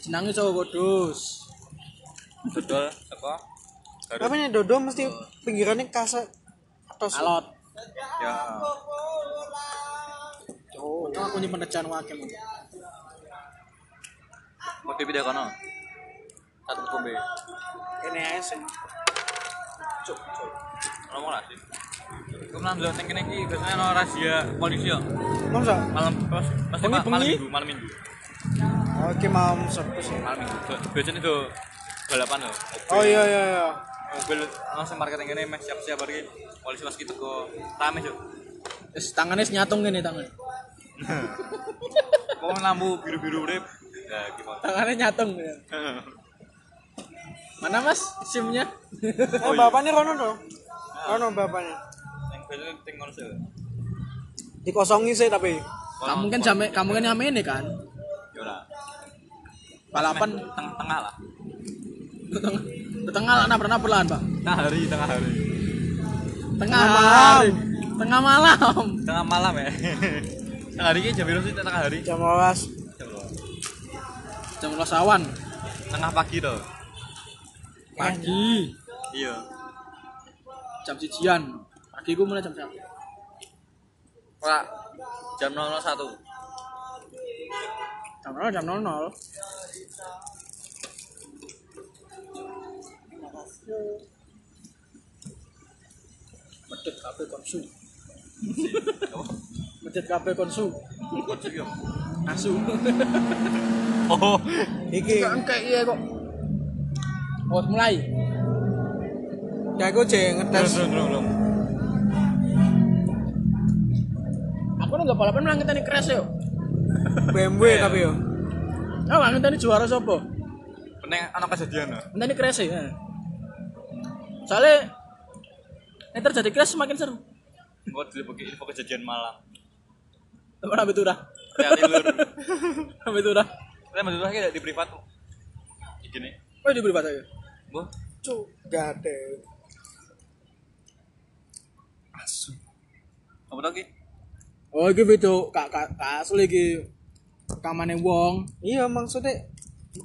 Speaker 2: Jenangnya cowok kudus.
Speaker 3: Dodol apa?
Speaker 4: Tapi nih Dodo mesti pinggirannya kasar atau sih?
Speaker 2: Alot.
Speaker 3: Ya.
Speaker 4: Oh.
Speaker 2: Untung aku nyimpen rejan wakil.
Speaker 3: Mau pindah kono. Satu kombe.
Speaker 4: Ini aja sih.
Speaker 3: Cuk, cuk. Ngomong lah sih. Kemudian lo tengkene iki biasanya ono razia polisi yo.
Speaker 4: Masa?
Speaker 3: Malam terus pasti ma- malam minggu, malam minggu.
Speaker 4: Oke, mau satu sih.
Speaker 3: Malam minggu. Tuh, Biasanya itu balapan loh.
Speaker 4: Oh iya iya iya.
Speaker 3: Mobil oh, langsung marketing ini mas siap-siap hari polisi pas kita ke rame cuk.
Speaker 2: Terus tangannya senyatung gini tangan.
Speaker 3: Kok lampu biru-biru urip. Ya gimana?
Speaker 2: Tangannya nyatung. Ya. Mana mas simnya?
Speaker 4: Eh, bapaknya Rono dong. Rono bapaknya.
Speaker 3: Yang biasanya tinggal sih.
Speaker 4: Dikosongi sih tapi.
Speaker 2: kamu kan sampe kamu kan nyame ini kan.
Speaker 3: Ya lah.
Speaker 2: Balapan
Speaker 3: tengah tengah lah
Speaker 2: ke tengah ke tengah lah nabrak nabrak lah pak.
Speaker 3: tengah hari tengah hari
Speaker 2: Tengah malam. Tengah malam.
Speaker 3: tengah malam ya tengah hari ini jam berapa sih tengah hari
Speaker 4: Jam awas.
Speaker 3: jam berapa?
Speaker 2: Jam ulas awan.
Speaker 3: tengah pagi tuh
Speaker 2: Pagi.
Speaker 3: iya
Speaker 2: Jam sijian. Pagi gue mulai jam berapa?
Speaker 3: pak jam 001
Speaker 2: Jam nol jam nol nol. Medit kafe konsu. Medit kafe konsu. Asu.
Speaker 3: oh
Speaker 4: Iki
Speaker 2: Enggak engkek iya kok. Oh, mulai.
Speaker 4: ya aku cek ngetes
Speaker 2: Aku nggak balapan malah ngeteni crash yo.
Speaker 4: BMW tapi yo
Speaker 2: Oh, nggak ngeteni juara sopo.
Speaker 3: Penting anak kejadian loh.
Speaker 2: Ngeteni crash ya. Soalnya yang terjadi crash semakin seru.
Speaker 3: Gue dulu bagi info kejadian malam.
Speaker 2: Teman ambil turah.
Speaker 3: Hati-hati lur.
Speaker 2: Ambil turah.
Speaker 3: Kita bantu lagi di privat. Gini.
Speaker 2: Oh, diberi batas ya.
Speaker 3: Bu,
Speaker 4: cuk gak ada
Speaker 3: apa lagi?
Speaker 2: Oh, iki video kak kak kak asli iki kamane wong.
Speaker 4: iya maksudnya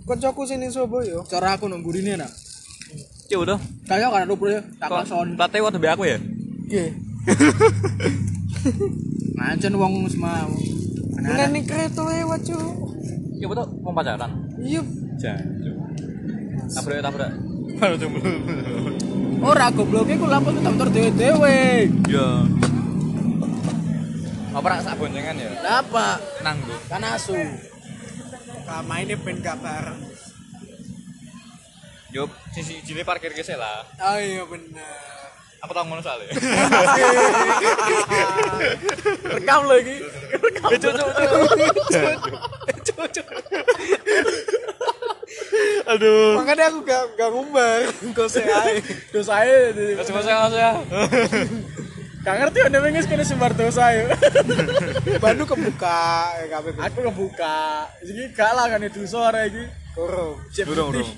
Speaker 4: kencoku sini Surabaya
Speaker 2: Cara aku nang gurine nah.
Speaker 3: Cuk Ya udah.
Speaker 2: Kayak kan ada bro ya, tak
Speaker 3: Kok
Speaker 2: kason.
Speaker 3: platnya waktu aku ya?
Speaker 4: iya
Speaker 2: Mancen wong semua.
Speaker 4: Nah, nih kereta lewat cuk
Speaker 3: Cuk betul Ya mau pacaran.
Speaker 4: iya
Speaker 7: Jancuk.
Speaker 3: Tabrak tabrak.
Speaker 7: Baru cuma.
Speaker 2: Ora goblok iku lampu tuh daftar dhewe-dhewe.
Speaker 3: Ya. Apa rak sak boncengan ya?
Speaker 2: Apa?
Speaker 3: Nanggung.
Speaker 2: Kan asu.
Speaker 4: lama ini ben kabar
Speaker 3: Yo, Ya, sisi jile parkir kese lah.
Speaker 4: oh iya bener
Speaker 3: Apa tau ngono soalnya?
Speaker 2: Rekam lho iki.
Speaker 3: Eh, cuk cuk cuk.
Speaker 4: makanya aku gak gak ngumbar kau saya
Speaker 2: Dosa ae. di-
Speaker 3: Kasih masuk kasih ya.
Speaker 2: Gak ngerti yo nek wis kene sembar dosa yo.
Speaker 4: Bandung kebuka ya kabeh
Speaker 2: Aku kebuka. Iki gak lah kan dosa ora iki.
Speaker 4: kurung
Speaker 7: Eh, Durung, durung.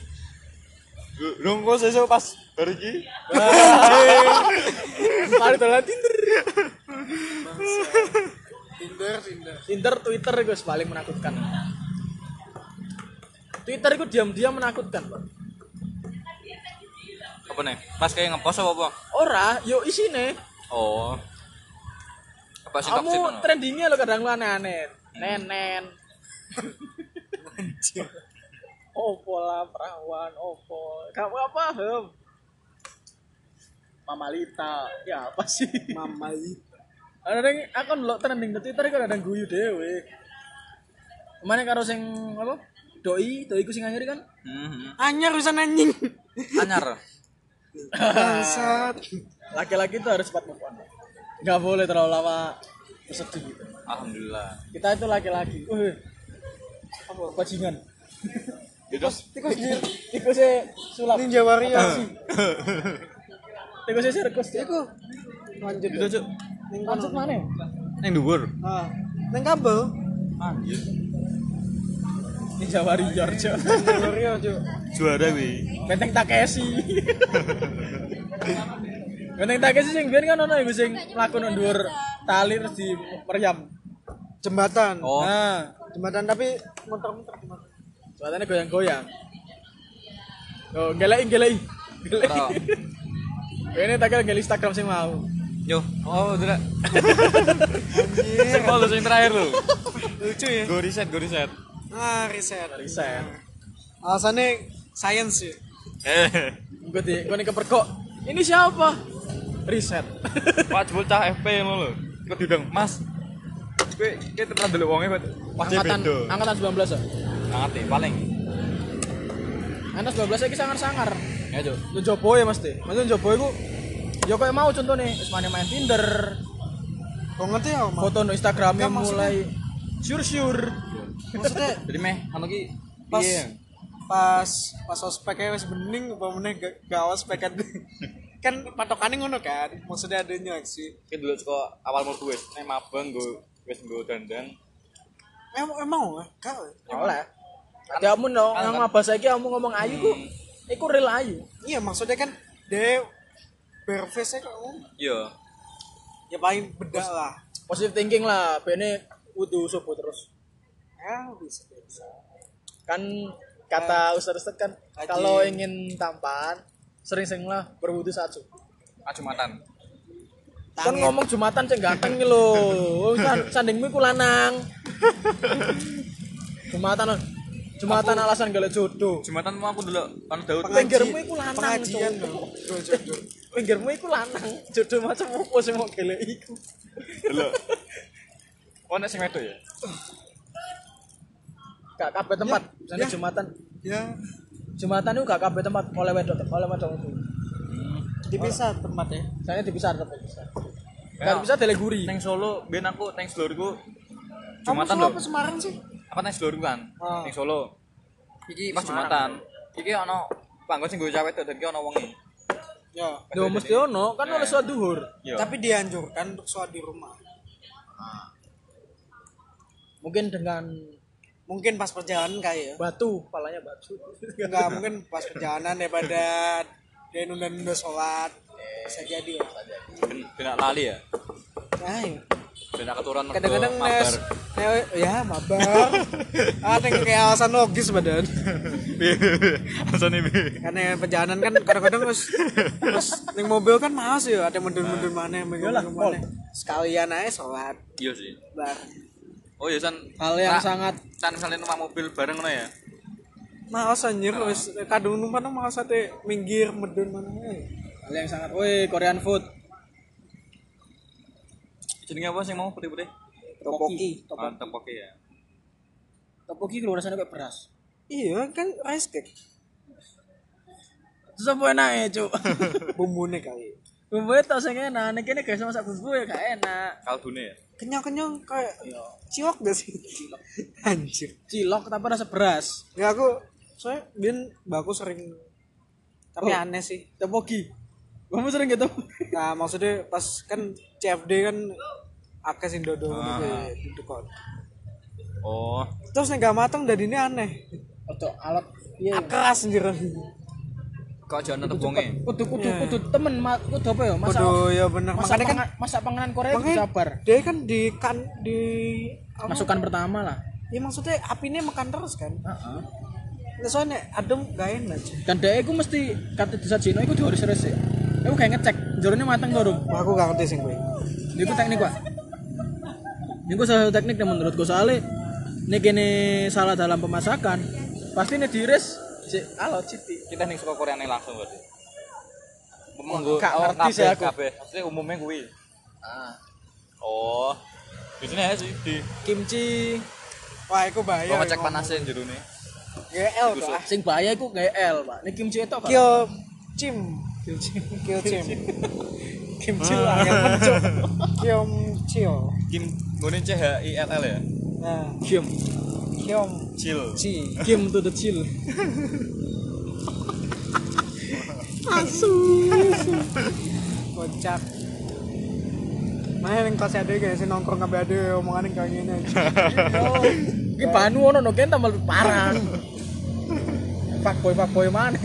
Speaker 7: Durung kok sesuk pas baru iki.
Speaker 2: Mari dolan Tinder.
Speaker 4: Tinder Tinder
Speaker 2: Tinder, Twitter iku wis paling menakutkan. Twitter iku diam-diam menakutkan, Pak.
Speaker 3: Apa nih? Pas kayak ngepost apa apa?
Speaker 2: Ora, yo isine.
Speaker 3: Oh. Apa sih toxic?
Speaker 2: Kamu
Speaker 3: ngono?
Speaker 2: trendingnya lo kadang lu aneh-aneh. Nenen. Opo lah perawan, opo. Kamu apa paham. Mamalita, ya apa sih?
Speaker 4: mama
Speaker 2: Kadang aku lo trending di Twitter iku kadang guyu dewe. Kemana karo sing apa? Doi, doi ku sing anyar kan?
Speaker 3: Mhm.
Speaker 4: anyar bisa anjing
Speaker 3: Anyar.
Speaker 4: bangsat
Speaker 2: Laki-laki itu harus cepat move on. Gak boleh terlalu lama bersedih gitu.
Speaker 3: Alhamdulillah.
Speaker 2: Kita itu laki-laki. Uh, apa bajingan?
Speaker 3: Ya, Terus
Speaker 2: tikus di tikusnya sulap
Speaker 4: Ninja Warrior
Speaker 2: tikusnya sirkus tikus
Speaker 4: iku lanjut
Speaker 7: Gitu cuk.
Speaker 4: ning kono
Speaker 2: maksud mana
Speaker 7: Neng dhuwur.
Speaker 4: ah ning kabel
Speaker 7: Anjir.
Speaker 2: ninja warrior cok
Speaker 4: Ninja Warrior cuk
Speaker 7: Juara kuwi.
Speaker 2: benteng takeshi benteng takeshi sing biar kan ono iku sing mlaku nang dhuwur tali terus di meriam
Speaker 4: jembatan
Speaker 3: Oh.
Speaker 2: nah
Speaker 4: jembatan tapi muter-muter jembatan
Speaker 2: suasananya goyang-goyang oh gelai gelai
Speaker 3: Tau.
Speaker 2: gelai ini tak kira gelai Instagram sing mau
Speaker 3: Yo, oh tidak. Sing mau lu, sing terakhir lu.
Speaker 4: lucu ya
Speaker 3: Go reset, go reset.
Speaker 4: ah riset
Speaker 2: riset
Speaker 4: alasannya science ya. sih
Speaker 3: Eh,
Speaker 2: gue di gue nih kepergok ini siapa riset
Speaker 3: Pak Jebul cah FP yang lo. Ikut diundang, Mas. Kowe kowe tenan delok wonge kok. Pasti
Speaker 2: angkatan
Speaker 3: beda.
Speaker 2: angkatan 19 ya
Speaker 3: Sangat ya, paling.
Speaker 2: Anak 12 iki sangar-sangar.
Speaker 3: Ya, Cuk.
Speaker 2: Yo jopo ya mesti. Mesti jopo iku yo koyo mau contohnya wis mana main Tinder,
Speaker 4: kok ngerti ya Om?
Speaker 2: foto no Instagramnya
Speaker 4: Enggak,
Speaker 2: mulai
Speaker 4: maksudnya-
Speaker 2: syur-syur.
Speaker 4: maksudnya
Speaker 3: Jadi meh anu ki iya.
Speaker 4: pas
Speaker 3: piye?
Speaker 4: pas pas ospeknya wis bening apa meneh gak gak ospek kan kan patokannya ngono kan maksudnya ada sih
Speaker 3: Ki dulu kok awal mlebu wis nek mabeng go wis go dandan.
Speaker 4: emang emang eh, gak eh.
Speaker 2: Oleh. Ada amun Ya no nang mabas iki amun ngomong ayu ku iku real ayu.
Speaker 4: iya maksudnya kan dia berface kok oh,
Speaker 3: Iya.
Speaker 4: ya paling beda lah
Speaker 2: Positive thinking lah, bene kudu sopo terus.
Speaker 4: ya bisa bisa
Speaker 2: Kan kata ustaz-ustaz kan
Speaker 4: Nah. Haji.
Speaker 2: kalau ingin tampan sering-seringlah berwudu saat subuh.
Speaker 3: Acumatan.
Speaker 2: Kan ngomong Jumatan sing ganteng iki lho. Oh, san- Sandingmu iku lanang. Jumatan. Jumatan alasan golek jodoh.
Speaker 3: Jumatan mau aku dulu anu Daud.
Speaker 4: Pengaji-
Speaker 2: pinggirmu iku lanang,
Speaker 4: pengajian
Speaker 2: Cuk.
Speaker 4: loh Duh, Cuk, Cuk.
Speaker 2: Pinggirmu iku lanang, jodoh macam opo sing mau golek iku.
Speaker 3: Dulu. Oh nek sing wedok ya.
Speaker 2: Gak kabeh tempat, misalnya
Speaker 4: ya.
Speaker 2: Jumatan.
Speaker 4: ya
Speaker 2: Jumatan itu gak kabeh tempat oleh wedok oleh wedok itu. Hmm.
Speaker 4: dipisah tempatnya
Speaker 2: Saya dipisah tetap bisa. Kalau bisa deleguri.
Speaker 3: Neng Solo, ben aku neng Slorku
Speaker 4: kamu
Speaker 3: Jumatan
Speaker 4: Solo
Speaker 3: lho.
Speaker 4: apa Semarang sih
Speaker 3: Apa neng Slorku kan?
Speaker 4: Ah.
Speaker 3: Neng Solo. Iki pas Jumatan. Iki ana panggon sing nggo cawet dan iki ana wengi.
Speaker 4: ya
Speaker 2: Yo mesti ono, kan oleh suatu duhur.
Speaker 3: Yo.
Speaker 4: tapi dianjurkan untuk sholat di rumah
Speaker 2: Mungkin dengan
Speaker 4: mungkin pas perjalanan kayak ya
Speaker 2: batu, palanya batu.
Speaker 4: enggak mungkin pas perjalanan daripada dia nunda-nunda sholat bisa jadi ya
Speaker 3: ben benak lali ya.
Speaker 4: nah ya.
Speaker 3: Benak keturunan mergo
Speaker 4: kadang-kadang
Speaker 3: mabar.
Speaker 4: nes nes- ya mabar ada yang kayak alasan logis badan
Speaker 7: Alasannya bi.
Speaker 4: karena perjalanan kan kadang-kadang terus terus neng mobil kan males ya ada yang mundur-mundur mana yang mundur-mundur mana sekalian aja sholat
Speaker 3: Iya sih.
Speaker 4: bar
Speaker 3: Oh ya san
Speaker 2: Hal yang
Speaker 3: Nah.
Speaker 2: sangat
Speaker 3: san misalnya numpak mobil bareng ngono ya.
Speaker 4: males anjir wis kadung numpan nang males ate minggir medun mana ae.
Speaker 2: hal yang sangat woi Korean food.
Speaker 3: Jenenge apa sing mau putih-putih?
Speaker 2: Topoki.
Speaker 3: Ah, Tteokbokki ya.
Speaker 2: Topoki kalau rasanya kayak beras.
Speaker 4: iya kan rice cake
Speaker 2: Terus apa enak ya, Cuk?
Speaker 4: bumbune kali
Speaker 2: Bumbu itu sing enak, nek kene guys masak bumbu ya gak enak.
Speaker 3: Kaldune ya.
Speaker 4: kenyang-kenyang kayak
Speaker 2: Iya.
Speaker 4: cilok gak sih anjir
Speaker 2: Cilok tapi rasa beras.
Speaker 4: ya aku soalnya bin baku sering tapi
Speaker 2: Oh.
Speaker 4: aneh sih
Speaker 2: Topoki. Kamu sering gitu?
Speaker 4: nah maksudnya pas kan CFD kan akeh sing dodo gitu ya, duduk kok.
Speaker 3: Oh,
Speaker 4: terus nek gak mateng dadine aneh
Speaker 2: Atau alat iya. ya.
Speaker 4: keras anjir
Speaker 3: kok aja ana tebonge.
Speaker 2: Kudu kudu kudu temen ma- kudu apa ya? Masak
Speaker 4: Waduh ya bener
Speaker 2: masak
Speaker 4: makanya kan
Speaker 2: pangan- masak panganan Korea itu
Speaker 4: Makanya
Speaker 2: sabar.
Speaker 4: Dia kan di kan di apa?
Speaker 2: Masukan pertama lah.
Speaker 4: Ya maksudnya apinya makan terus kan. Nah, soalnya adem gak enak. cuy.
Speaker 2: Dan dia itu mesti kata desa Cina itu harus rese. Aku kayak ngecek, jorone mateng gak rum.
Speaker 4: Wah, aku gak ngerti sih gue.
Speaker 2: Ini ku teknik pak. Ini ku salah satu teknik dan menurut gue soalnya ini kene salah dalam pemasakan. Pasti ini diiris. Cik, halo Citi.
Speaker 3: Kita ning saka Koreane langsung berarti.
Speaker 2: Wah, gak ngerti sih aku.
Speaker 3: Kabeh. Maksudnya umumnya kuwi. Ah. Oh. Biasanya ya sih di
Speaker 2: Kimchi
Speaker 4: Wah, aku bahaya.
Speaker 2: Iya,
Speaker 3: Gua ngecek panasnya yang jerone.
Speaker 4: GL tuh. ah.
Speaker 2: sing bahaya iku GL, Pak. Ini kimchi itu apa?
Speaker 4: Kill Chim. Kill Chim. Kill Chim. Ah. Kim Chil lah ya, yang mencok. Kiom Chil.
Speaker 3: Kim ngene C H I L L ya.
Speaker 4: Nah,
Speaker 2: Kim.
Speaker 4: Kiom
Speaker 3: Chill.
Speaker 4: Chi.
Speaker 2: Kim to the chill.
Speaker 4: Kocak. Mana yang kelas ada kayak si nongkrong kabeh ada omongannya kayak gini.
Speaker 2: Iki banu ono no kene tambah lebih parah. Pak boy pak boy mana?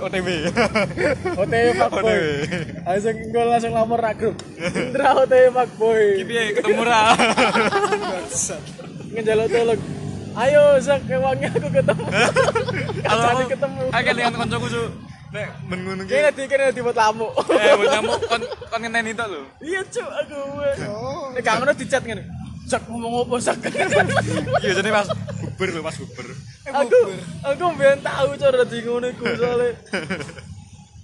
Speaker 7: OTW.
Speaker 2: OTW pak boy. Langsung gue langsung lapor rak grup. Indra OTW pak boy.
Speaker 7: Iya ketemu ra.
Speaker 2: Ngejaluk tolong. Ayo Zak, kewangnya aku ketemu. Kacane ketemu.
Speaker 3: Ah, kan
Speaker 7: Akeh dengan kancaku cu. Nek ben ngono ki.
Speaker 2: Ini nanti kan nanti buat lamu.
Speaker 7: Eh buat nyamuk kon kon ngenen itu lho.
Speaker 2: Iya cuk aku. Nek gak ngono dicat ngene. Zak ngomong apa Zak?
Speaker 7: Iya jadi pas buber lho pas buber.
Speaker 2: aku aku mbiyen tau cara dadi ngono iku soalé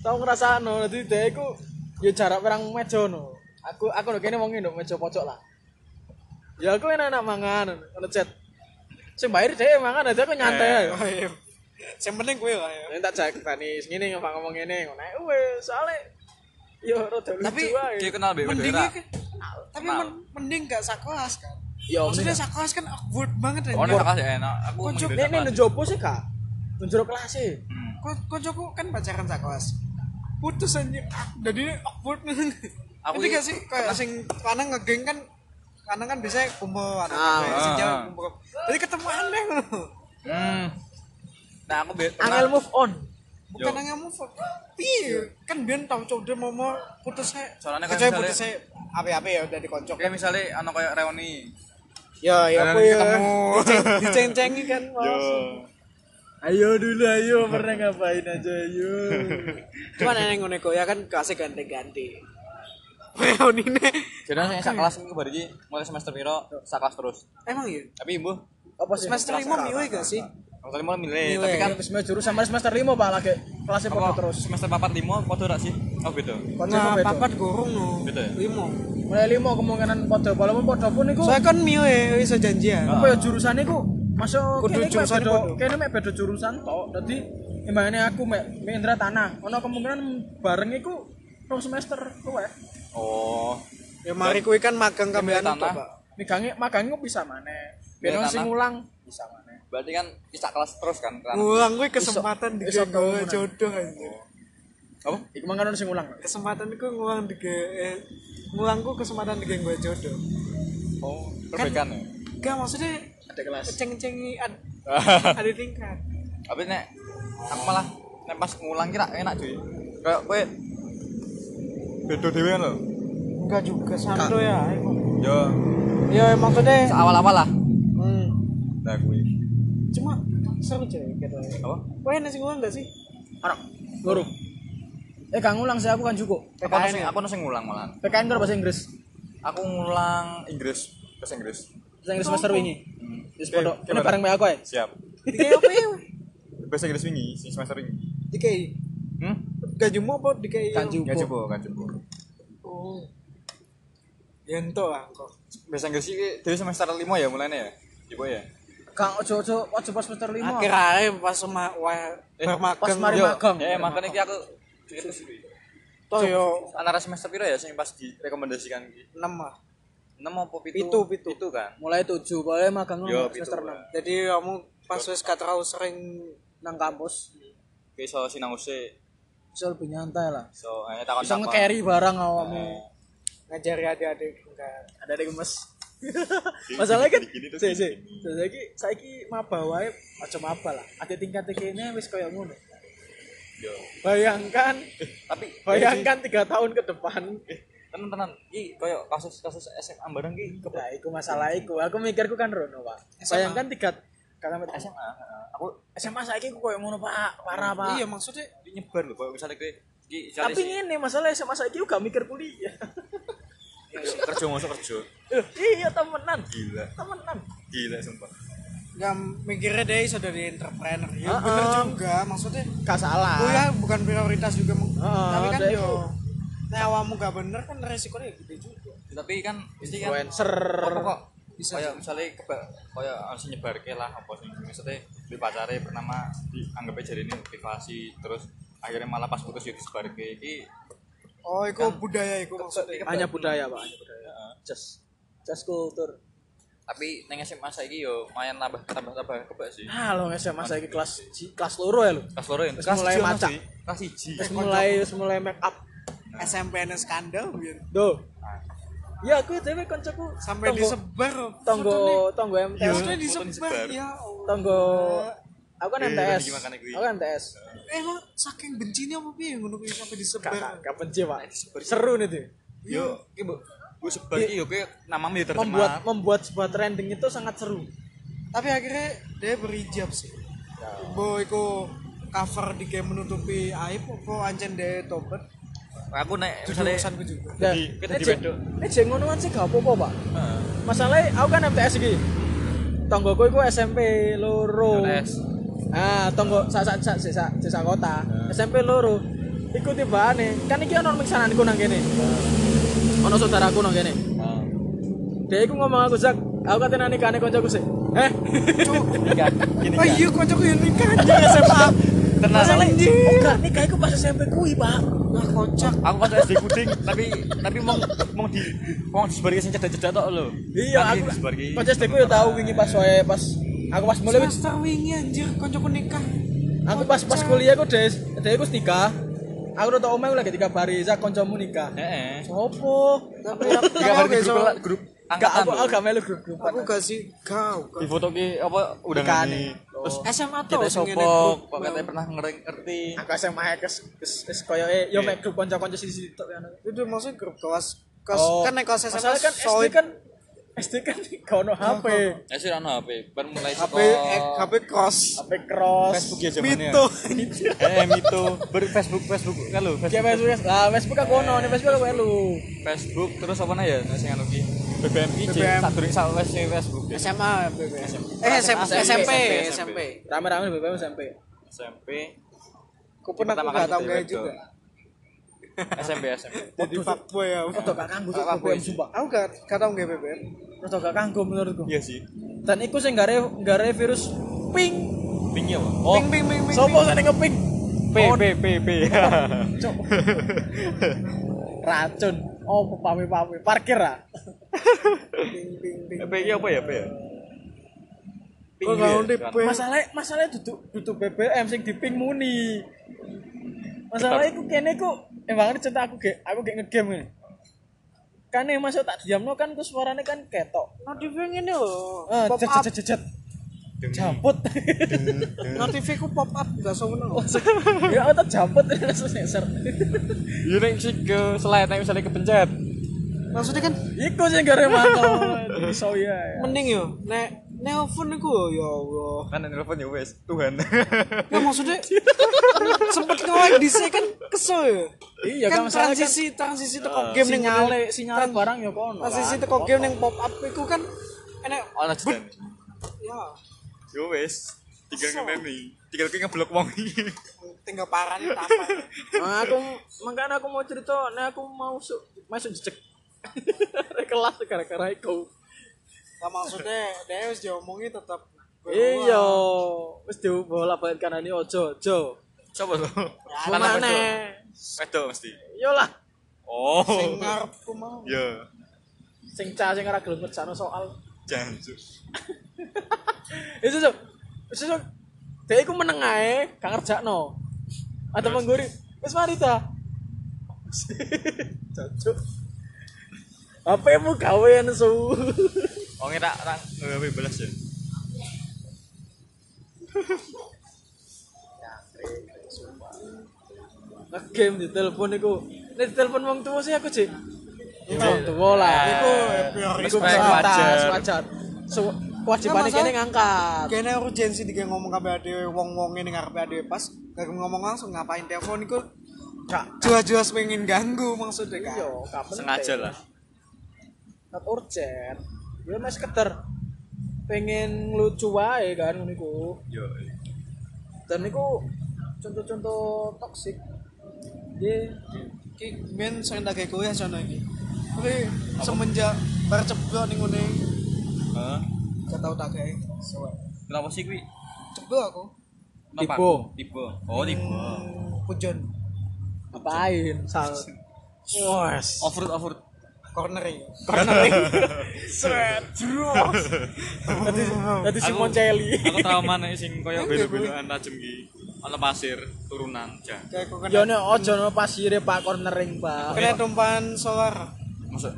Speaker 2: tau ngrasakno dadi dhek iku ya jarak perang meja no aku aku ndek kene wong ndek meja pojok lah ya aku enak-enak mangan ngono chat sing bayar dhek mangan aja aku nyantai ae
Speaker 4: Oh, iya. Yang penting gue lah ya.
Speaker 2: Ini tak cek tani ngene ngomong ngomong ngene ngono ae wis soalé yo rada
Speaker 4: Tapi,
Speaker 2: lucu ae
Speaker 3: Ki kenal mbek
Speaker 4: mending
Speaker 3: Wedera.
Speaker 4: tapi men- mending gak sakelas kan
Speaker 2: yo
Speaker 4: maksudnya sakelas kan awkward banget
Speaker 3: Oh,
Speaker 4: dan
Speaker 3: nek kelas ya enak. Aku
Speaker 4: Kok, Cuk,
Speaker 3: menghindari
Speaker 2: nek nek
Speaker 3: kelas.
Speaker 2: njopo sih kak njero kelas e
Speaker 4: kocokku kan pacaran sakelas putus aja jadi awkward
Speaker 3: Aku
Speaker 4: aku gak
Speaker 3: i-
Speaker 4: sih kayak sing lanang ngegeng kan lanang kan biasanya kumpul anak
Speaker 2: Ah,
Speaker 4: cewek, sing
Speaker 3: ah.
Speaker 4: cewek kumpul jadi ketemu aneh loh
Speaker 3: Hmm. Nah, aku mbek
Speaker 2: angel move on
Speaker 4: bukan yang move on piye kan biar tau cowok dia mau mau putus saya
Speaker 3: Soalnya kan
Speaker 4: kecuali
Speaker 3: misalnya-
Speaker 4: putus saya apa-apa ya udah dikocok
Speaker 3: Kayak misalnya ana kayak reuni.
Speaker 4: ya ya
Speaker 7: Karena
Speaker 4: apa ya
Speaker 7: ketemu.
Speaker 4: Diceng- diceng-cengi kan
Speaker 7: Yo.
Speaker 4: mas
Speaker 2: ayo dulu ayo pernah ngapain aja ayo
Speaker 4: Cuma neneng ngono iku, ya kan kelasnya ganti-ganti. Reunine.
Speaker 3: Jadi sing sak kelas iki bar iki mulai semester piro sak kelas terus.
Speaker 4: Emang ya?
Speaker 3: Tapi ibu
Speaker 2: apa sih
Speaker 4: Semester 5 miwe gak sih?
Speaker 3: Maksudnya mulai milih,
Speaker 4: Milih.
Speaker 3: tapi kan
Speaker 2: kan semester jurus sama semester lima pak lagi kelasnya
Speaker 3: apa
Speaker 2: pada terus
Speaker 3: terus semester 4 5 podo rak sih? Oh beda.
Speaker 2: Konsepnya beda.
Speaker 4: gorong no.
Speaker 3: Beda ya?
Speaker 4: Limo.
Speaker 2: mulai lima kemungkinan pada walaupun pada pun itu
Speaker 4: Soalnya kan miwe iso janjian.
Speaker 2: apa ya jurusannya ku Masuk
Speaker 4: Kudu
Speaker 2: kene iku mek
Speaker 4: jurusan
Speaker 2: bedo-
Speaker 4: kudu.
Speaker 2: kene mek beda jurusan tok. Dadi imbangane aku mek mek Indra tanah. Ono kemungkinan bareng iku rong semester luwe.
Speaker 3: oh
Speaker 4: Ya mari kuwi kan magang
Speaker 3: Iya,
Speaker 4: kabehan
Speaker 3: tanah.
Speaker 4: itu, Pak.
Speaker 2: Migange magange kok bisa maneh. Ben
Speaker 3: Iya,
Speaker 2: ono sing
Speaker 3: tanah.
Speaker 2: ngulang bisa maneh.
Speaker 3: berarti kan bisa kelas terus kan kan
Speaker 4: Ngulang kuwi kesempatan di
Speaker 2: Iso- iso
Speaker 4: gawe
Speaker 2: bangunan.
Speaker 4: jodoh anjir.
Speaker 2: Apa? Iku mangkane ono sing ngulang.
Speaker 4: Kesempatan ku ngulang di eh, ngulang ku kesempatan di gawe jodoh.
Speaker 3: oh perbaikan ya
Speaker 4: Gak maksudnya
Speaker 2: Ada kelas.
Speaker 4: ceng-cengi ad- ada tingkat.
Speaker 3: tapi nek aku malah nek pas ngulang kira enak cuy kayak kowe beda dhewe kan lho
Speaker 4: Enggak juga santo ya.
Speaker 3: yo
Speaker 4: Ya maksudnya
Speaker 3: awal-awal lah
Speaker 4: hmm,
Speaker 3: nah kuwi
Speaker 4: cuma seru cuy gitu.
Speaker 3: apa
Speaker 4: Wah, nasi ngulang gak sih?
Speaker 2: Ono loro. Eh gak ngulang sih aku kan cukup.
Speaker 3: aku
Speaker 4: PKN
Speaker 3: nasi
Speaker 4: ya?
Speaker 3: aku nasi ngulang malah
Speaker 2: PKN karo bahasa Inggris.
Speaker 3: aku ngulang Inggris bahasa Inggris
Speaker 2: Bahasa Inggris semester wingi.
Speaker 3: Hmm.
Speaker 2: Wis
Speaker 3: Oke,
Speaker 2: podo.
Speaker 3: oke,
Speaker 2: Kene bareng mek aku ae.
Speaker 3: siap
Speaker 4: Dikei apa ya?
Speaker 3: bahasa Inggris wingi sing semester wingi Ya,
Speaker 4: Dikei
Speaker 3: hmm
Speaker 4: gajimu apa dikei?
Speaker 2: Gak
Speaker 3: gak
Speaker 2: cukup.
Speaker 3: coba gak coba
Speaker 4: Oh. Yento lah kok.
Speaker 3: bahasa Inggris iki dhewe semester 5 ya mulainya ya Ibu ya
Speaker 2: Kang ojo ojo ojo pas semester 5.
Speaker 4: Akhir ae pas sama wah
Speaker 2: Eh,
Speaker 3: Eh,
Speaker 2: pas
Speaker 4: bermagang
Speaker 2: mari
Speaker 4: yo.
Speaker 2: magang.
Speaker 3: ya makanya iki aku cukup terus iki.
Speaker 4: Toh ya, yo
Speaker 3: antara semester piro ya sing pas direkomendasikan iki
Speaker 4: 6 lah.
Speaker 3: 6 apa 7
Speaker 4: Pitu, pitu.
Speaker 3: kan
Speaker 2: Mulai 7, boleh magang
Speaker 3: Yo,
Speaker 2: nang semester
Speaker 3: pitu,
Speaker 2: 6
Speaker 4: Jadi kamu pas wis gak terlalu sering
Speaker 2: nang kampus.
Speaker 3: Oke, so sinau sih
Speaker 2: Bisa lebih nyantai lah.
Speaker 3: so hanya takon Nah,
Speaker 2: Bisa nge-carry barang awakmu.
Speaker 4: ngajari adik-adik enggak.
Speaker 2: Ada ada gemes. Masalahnya kan
Speaker 3: Gini, gini, terus
Speaker 2: sih sih.
Speaker 3: gini.
Speaker 2: Saiki saiki maba wae aja maba lah. Ada tingkat kene wis koyo ngono.
Speaker 3: Yo.
Speaker 2: Bayangkan
Speaker 3: tapi iya.
Speaker 2: bayangkan 3 tahun ke depan.
Speaker 3: tenan-tenan iki koyo kasus-kasus SMA bareng iki ke
Speaker 2: Nah, iku masalah iku. Aku mikirku kan rono, Pak. Bayangkan 3 karena SMA.
Speaker 3: SMA. Aku
Speaker 2: SMA saiki ku koyo ngono, Pak. Parah, Pak.
Speaker 4: Iya maksudnya
Speaker 3: iki nyebar lho koyo misalnya kowe iki
Speaker 2: Tapi
Speaker 3: cari sih,
Speaker 2: ngene masalah SMA saiki ku gak mikir kuliah.
Speaker 3: sing kerja masuk kerja.
Speaker 2: Eh, iya temenan.
Speaker 3: Gila,
Speaker 2: Temenan.
Speaker 3: gila sumpah.
Speaker 4: enggak mikirnya deh iso dari entrepreneur. Ya bener juga maksudnya
Speaker 2: Gak salah.
Speaker 4: kuliah bukan prioritas juga Meng.
Speaker 2: Ah. Heeh,
Speaker 4: tapi kan
Speaker 2: deh.
Speaker 4: yo nek awakmu gak bener kan resikonya gede juga.
Speaker 3: Tapi kan mesti kan
Speaker 2: Influencer.
Speaker 3: apa kok bisa koyo misalnya keba koyo harus nyebarke lah apa sih maksudnya di pacare bernama dianggap aja ini motivasi terus akhirnya malah pas putus yo disebarke iki
Speaker 4: Oh, itu
Speaker 2: Kan.
Speaker 4: budaya itu maksudnya.
Speaker 2: Hanya budaya, Pak. Hanya budaya. Just just culture.
Speaker 3: tapi neng SMA saiki yo lumayan nambah tambah tambah kebak sih.
Speaker 2: Ah, lo SMA saya kelas ji- kelas loro ya lo.
Speaker 3: Kelas loro ya.
Speaker 2: Terus
Speaker 3: Kelas
Speaker 2: mulai
Speaker 3: siji ono
Speaker 2: maca.
Speaker 3: sih. Kelas siji.
Speaker 2: Terus mulai terus mulai make up. Nah.
Speaker 4: SMPN skandal biar
Speaker 2: Do. Ya aku dhewe kancaku
Speaker 4: sampai
Speaker 2: tonggo-
Speaker 4: disebar loh.
Speaker 2: tonggo
Speaker 4: Fotonya-
Speaker 2: tonggo MTS.
Speaker 4: fotonya
Speaker 3: Iya, fotonya
Speaker 4: disebar
Speaker 3: disebar.
Speaker 4: ya Allah.
Speaker 2: Tonggo aku kan
Speaker 3: Eh,
Speaker 2: MTS.
Speaker 3: lagi makan aku.
Speaker 2: Aku kan MTS.
Speaker 4: Eh lo saking bencinya apa piye ngono kuwi sampai disebar.
Speaker 2: Kakak gak benci, Pak. Seru nih tuh.
Speaker 3: Yo, iki mbok gue sebar iki yo kowe namamu ya yo tercemar.
Speaker 2: Membuat membuat sebuah trending itu sangat seru.
Speaker 4: Tapi akhirnya dia berijab sih. Bo iku cover di game menutupi aib apa ancen dia tobat.
Speaker 3: aku nek
Speaker 2: Eh,
Speaker 3: misalnya
Speaker 4: Jurusanku juga.
Speaker 2: Dan
Speaker 3: Jadi, kita
Speaker 2: nek jek-
Speaker 3: dibedok.
Speaker 2: Nek jek ngono kan sih gak apa-apa, Pak.
Speaker 3: Heeh.
Speaker 2: Masalahnya aku kan MTS iki. Tonggoku iku SMP loro.
Speaker 3: Les.
Speaker 2: Ah, tonggo sak sak sak sak sak- sak kota. SMP loro. Iku tibane. Kan iki ono miksananku nang kene. Ono saudaraku nang kene.
Speaker 3: Heeh.
Speaker 2: Dia iku ngomong aku Zak, aku katene nikane kancaku sih. Eh,
Speaker 3: Gini
Speaker 4: Oh
Speaker 3: kan.
Speaker 4: iya kocok ya nikah anjing SMA.
Speaker 3: Tenang.
Speaker 4: Anjing.
Speaker 2: enggak nikah iku pas SMP kuwi, Pak.
Speaker 4: Wah kocak.
Speaker 3: Aku kan SD Kuding, tapi tapi mau mau di mau disebar sing cedak-cedak tok lho.
Speaker 2: Iya,
Speaker 3: Tapi
Speaker 2: aku.
Speaker 3: disebar iki.
Speaker 2: Pas SD ku ya tau wingi pas wae pas aku pas mulai
Speaker 4: Semester wingi anjir kocokku nikah.
Speaker 2: aku pas pas kuliah ku des, dia iku nikah. Aku udah tau omah aku lagi tiga bari, Zak kancamu nikah.
Speaker 3: Heeh.
Speaker 2: Sopo?
Speaker 3: Tiga hari di
Speaker 4: besok-
Speaker 3: grup grup
Speaker 2: Enggak
Speaker 3: angkatan.
Speaker 2: aku aku gak melu grup-grupan.
Speaker 4: Aku gak sih kau.
Speaker 3: Di foto ki apa udah
Speaker 2: Nikahane.
Speaker 3: ngani. Terus
Speaker 2: Oh.
Speaker 4: SMA tuh
Speaker 3: kita sopok, kok katanya pernah ngerti.
Speaker 2: Aku SMA kes kes kes koyoke yo mek grup kanca-kanca sisi tok ya.
Speaker 4: Itu maksudnya grup kelas kelas
Speaker 2: Oh.
Speaker 4: kan naik kelas SMA
Speaker 2: Masalah kan SD
Speaker 4: solid.
Speaker 2: kan SD kan gak ono HP.
Speaker 3: Ya sih ono HP, bar mulai
Speaker 4: HP
Speaker 3: saka-
Speaker 2: Oh.
Speaker 4: eh, HP cross
Speaker 2: HP cross.
Speaker 3: Facebook ya zamannya.
Speaker 4: Mito
Speaker 3: Eh, Mito. Ber Facebook Facebook kan lho,
Speaker 2: Ya
Speaker 3: Facebook.
Speaker 2: Facebook, lah Facebook aku ono, nih Facebook aku elu.
Speaker 3: Facebook terus apa nih ya sing anu ki? BBM ki
Speaker 4: BBM.
Speaker 3: sak durung sak wes sing Facebook. ya.
Speaker 4: SMA eh SMP
Speaker 2: SMP.
Speaker 4: SMP
Speaker 3: SMP.
Speaker 4: SMP
Speaker 2: Rame-rame di BBM SMP.
Speaker 3: SMP.
Speaker 4: aku pernah
Speaker 3: Pertama
Speaker 4: aku gak
Speaker 3: kali
Speaker 4: tau
Speaker 3: kita
Speaker 4: gaya
Speaker 3: di
Speaker 4: juga
Speaker 3: webdom. SMP SMP
Speaker 4: Jadi fuckboy ya.
Speaker 2: Rodok gak kanggo cuk, BBM sumpah.
Speaker 4: Aku gak gak tau nggak BBM.
Speaker 2: Rodok gak kanggo menurutku.
Speaker 3: iya sih
Speaker 2: Dan iku sing gare gare virus ping.
Speaker 3: pingnya
Speaker 2: ya,
Speaker 3: apa oh
Speaker 4: Ping ping ping ping.
Speaker 2: Sopo sing ngeping?
Speaker 3: p p p p
Speaker 2: Cuk. Racun. Oh, pame-pame. Parkir ah.
Speaker 4: Ping ping ping.
Speaker 3: p apa ya p ya ping
Speaker 4: Kok gak ngerti
Speaker 3: ya?
Speaker 4: ping.
Speaker 2: Masalahnya masalahnya duduk duduk BBM sing diping muni. Masalah iku kene ku emang cerita aku ge aku ge ngegame ngene. Kan yang masuk tak diamno kan ku suarane kan ketok.
Speaker 4: Notif ini loh.
Speaker 2: Eh,
Speaker 4: Pop
Speaker 2: cet
Speaker 4: up.
Speaker 2: cet cet cet. Jabut.
Speaker 4: Notif ku pop up gak sono.
Speaker 2: ya otak jabut langsung sensor.
Speaker 3: iya neng sih ke slide neng misalnya kepencet
Speaker 4: Maksudnya kan
Speaker 2: Iku sing gare mantau. So ya. ya.
Speaker 4: mending yo nek nelpon iku ya Allah.
Speaker 3: kan yang telepon ya wes Tuhan
Speaker 4: Nah, maksudnya sempet nge-like di kan kesel ya.
Speaker 2: Iya, kan
Speaker 4: kan
Speaker 2: masalah kan- Ah,
Speaker 4: transisi transisi teko game ning kan
Speaker 2: Sinyale sinyale barang ya kono.
Speaker 4: Transisi
Speaker 2: kan.
Speaker 4: teko game ning pop up iku kan enek
Speaker 3: oh nih
Speaker 4: ya
Speaker 3: ya wes tiga kena nih tiga kali ngeblok wong ini
Speaker 4: tinggal paran apa.
Speaker 2: Nah, aku makanya aku mau cerita, nah aku mau su- masuk jejek. Arek kelas gara-gara iku.
Speaker 4: Lah maksudnya dia wis diomongi tetep
Speaker 2: Iya, wis diubah balik kanane ojo, ojo.
Speaker 3: siapa lo
Speaker 2: Mana?
Speaker 3: wedo mesti
Speaker 2: Yo lah,
Speaker 3: oh
Speaker 4: sing ngarepku mau.
Speaker 3: iya
Speaker 2: sing cah sing ora gelem ngerjakno soal. Eh,
Speaker 3: jancu
Speaker 2: Itu so, itu so, dia iku meneng ae, gak ngerjakno. Ada mengguri, wis mari ta. Cocok. HP-mu gawean su.
Speaker 3: oh ngira orang nggak belas ya
Speaker 2: Ngegame di telepon iku. Nek di telepon wong tuwa sih aku, Cik. Wong tuwa lah. Iku
Speaker 3: Wes
Speaker 2: iku
Speaker 3: baik,
Speaker 2: wajar,
Speaker 3: wajar.
Speaker 2: wajar. So, kewajiban
Speaker 4: Nah,
Speaker 2: kene
Speaker 4: masalah-
Speaker 2: ngangkat.
Speaker 4: Kene urgensi dikene ngomong kabeh adewe wong-wonge ning ngarepe adewe pas gak ngomong langsung ngapain telepon iku
Speaker 2: Gak
Speaker 4: jua-jua pengen ganggu maksudnya kan.
Speaker 2: iya, gak penting.
Speaker 3: sengaja lah
Speaker 2: Not urgent. Ya mas sekedar pengen lucu wae kan ngono iku.
Speaker 3: yo eh.
Speaker 2: Dan iku contoh-contoh toksik. Dia
Speaker 4: Ki ben sering tak kayak kuliah sono iki. Tapi semenjak bar ceblok ning ngene gak tau tak kayak.
Speaker 3: kenapa sih kui
Speaker 4: Ceblok aku.
Speaker 3: Kenapa?
Speaker 2: Tibo.
Speaker 3: tibo oh tibo
Speaker 4: Pujon
Speaker 2: ngapain? Sal. Wes.
Speaker 3: offroad offroad
Speaker 4: corner ya.
Speaker 2: Sret. Tadi tadi si Moncelli.
Speaker 3: aku trauma nih sing koyo belu-beluan tajam ki ana pasir turunan jan
Speaker 4: Kayak aku
Speaker 2: Yo
Speaker 4: kena
Speaker 2: nek aja no pasire Pak cornering, Pak.
Speaker 4: kena tumpahan solar
Speaker 3: maksud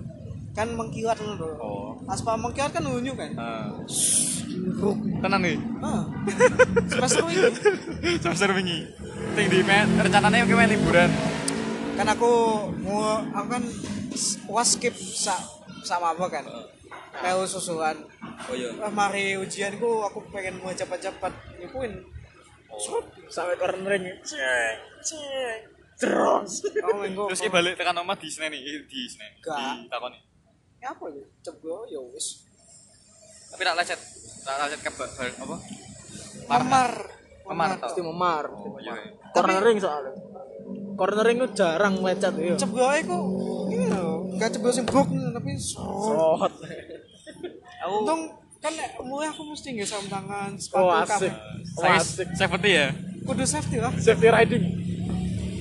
Speaker 4: kan mengkilat ngono lho.
Speaker 3: oh
Speaker 4: Aspal mengkilat kan unyu kan.
Speaker 3: eh, tenan nih
Speaker 4: Heeh. Semester ini
Speaker 3: semester wingi ting di men rencananya oke men liburan
Speaker 4: kan aku mau aku kan s- was skip sa, sama apa kan. Kayak susulan.
Speaker 3: oh iya
Speaker 4: Ah, mari ujian ku aku pengen Ya, mau cepat-cepat nyukuin.
Speaker 2: Sampai cornering. Cek, cek. Terus.
Speaker 4: Oh, minggu.
Speaker 3: terus ki balik tekan omah di senen nih di senen
Speaker 4: Gak.
Speaker 3: di takoni
Speaker 4: apa ya? Ceblok ya wis.
Speaker 3: tapi tak lecet tak lecet ke bar bar- apa
Speaker 4: Memar.
Speaker 3: Memar, tau.
Speaker 2: Pasti memar.
Speaker 3: oh iya
Speaker 2: Cornering soalnya. Cornering itu jarang lecet ya.
Speaker 4: Ceblok iku iya, enggak ceblok sing buk tapi so.
Speaker 2: Sot.
Speaker 4: Untung kan nek mulai aku mesti nggak sarung tangan, sepatu
Speaker 2: Oh
Speaker 4: kabeh.
Speaker 2: asik. Oh
Speaker 3: saya
Speaker 2: asik.
Speaker 3: seperti ya
Speaker 4: Kudu safety lah.
Speaker 2: Safety riding.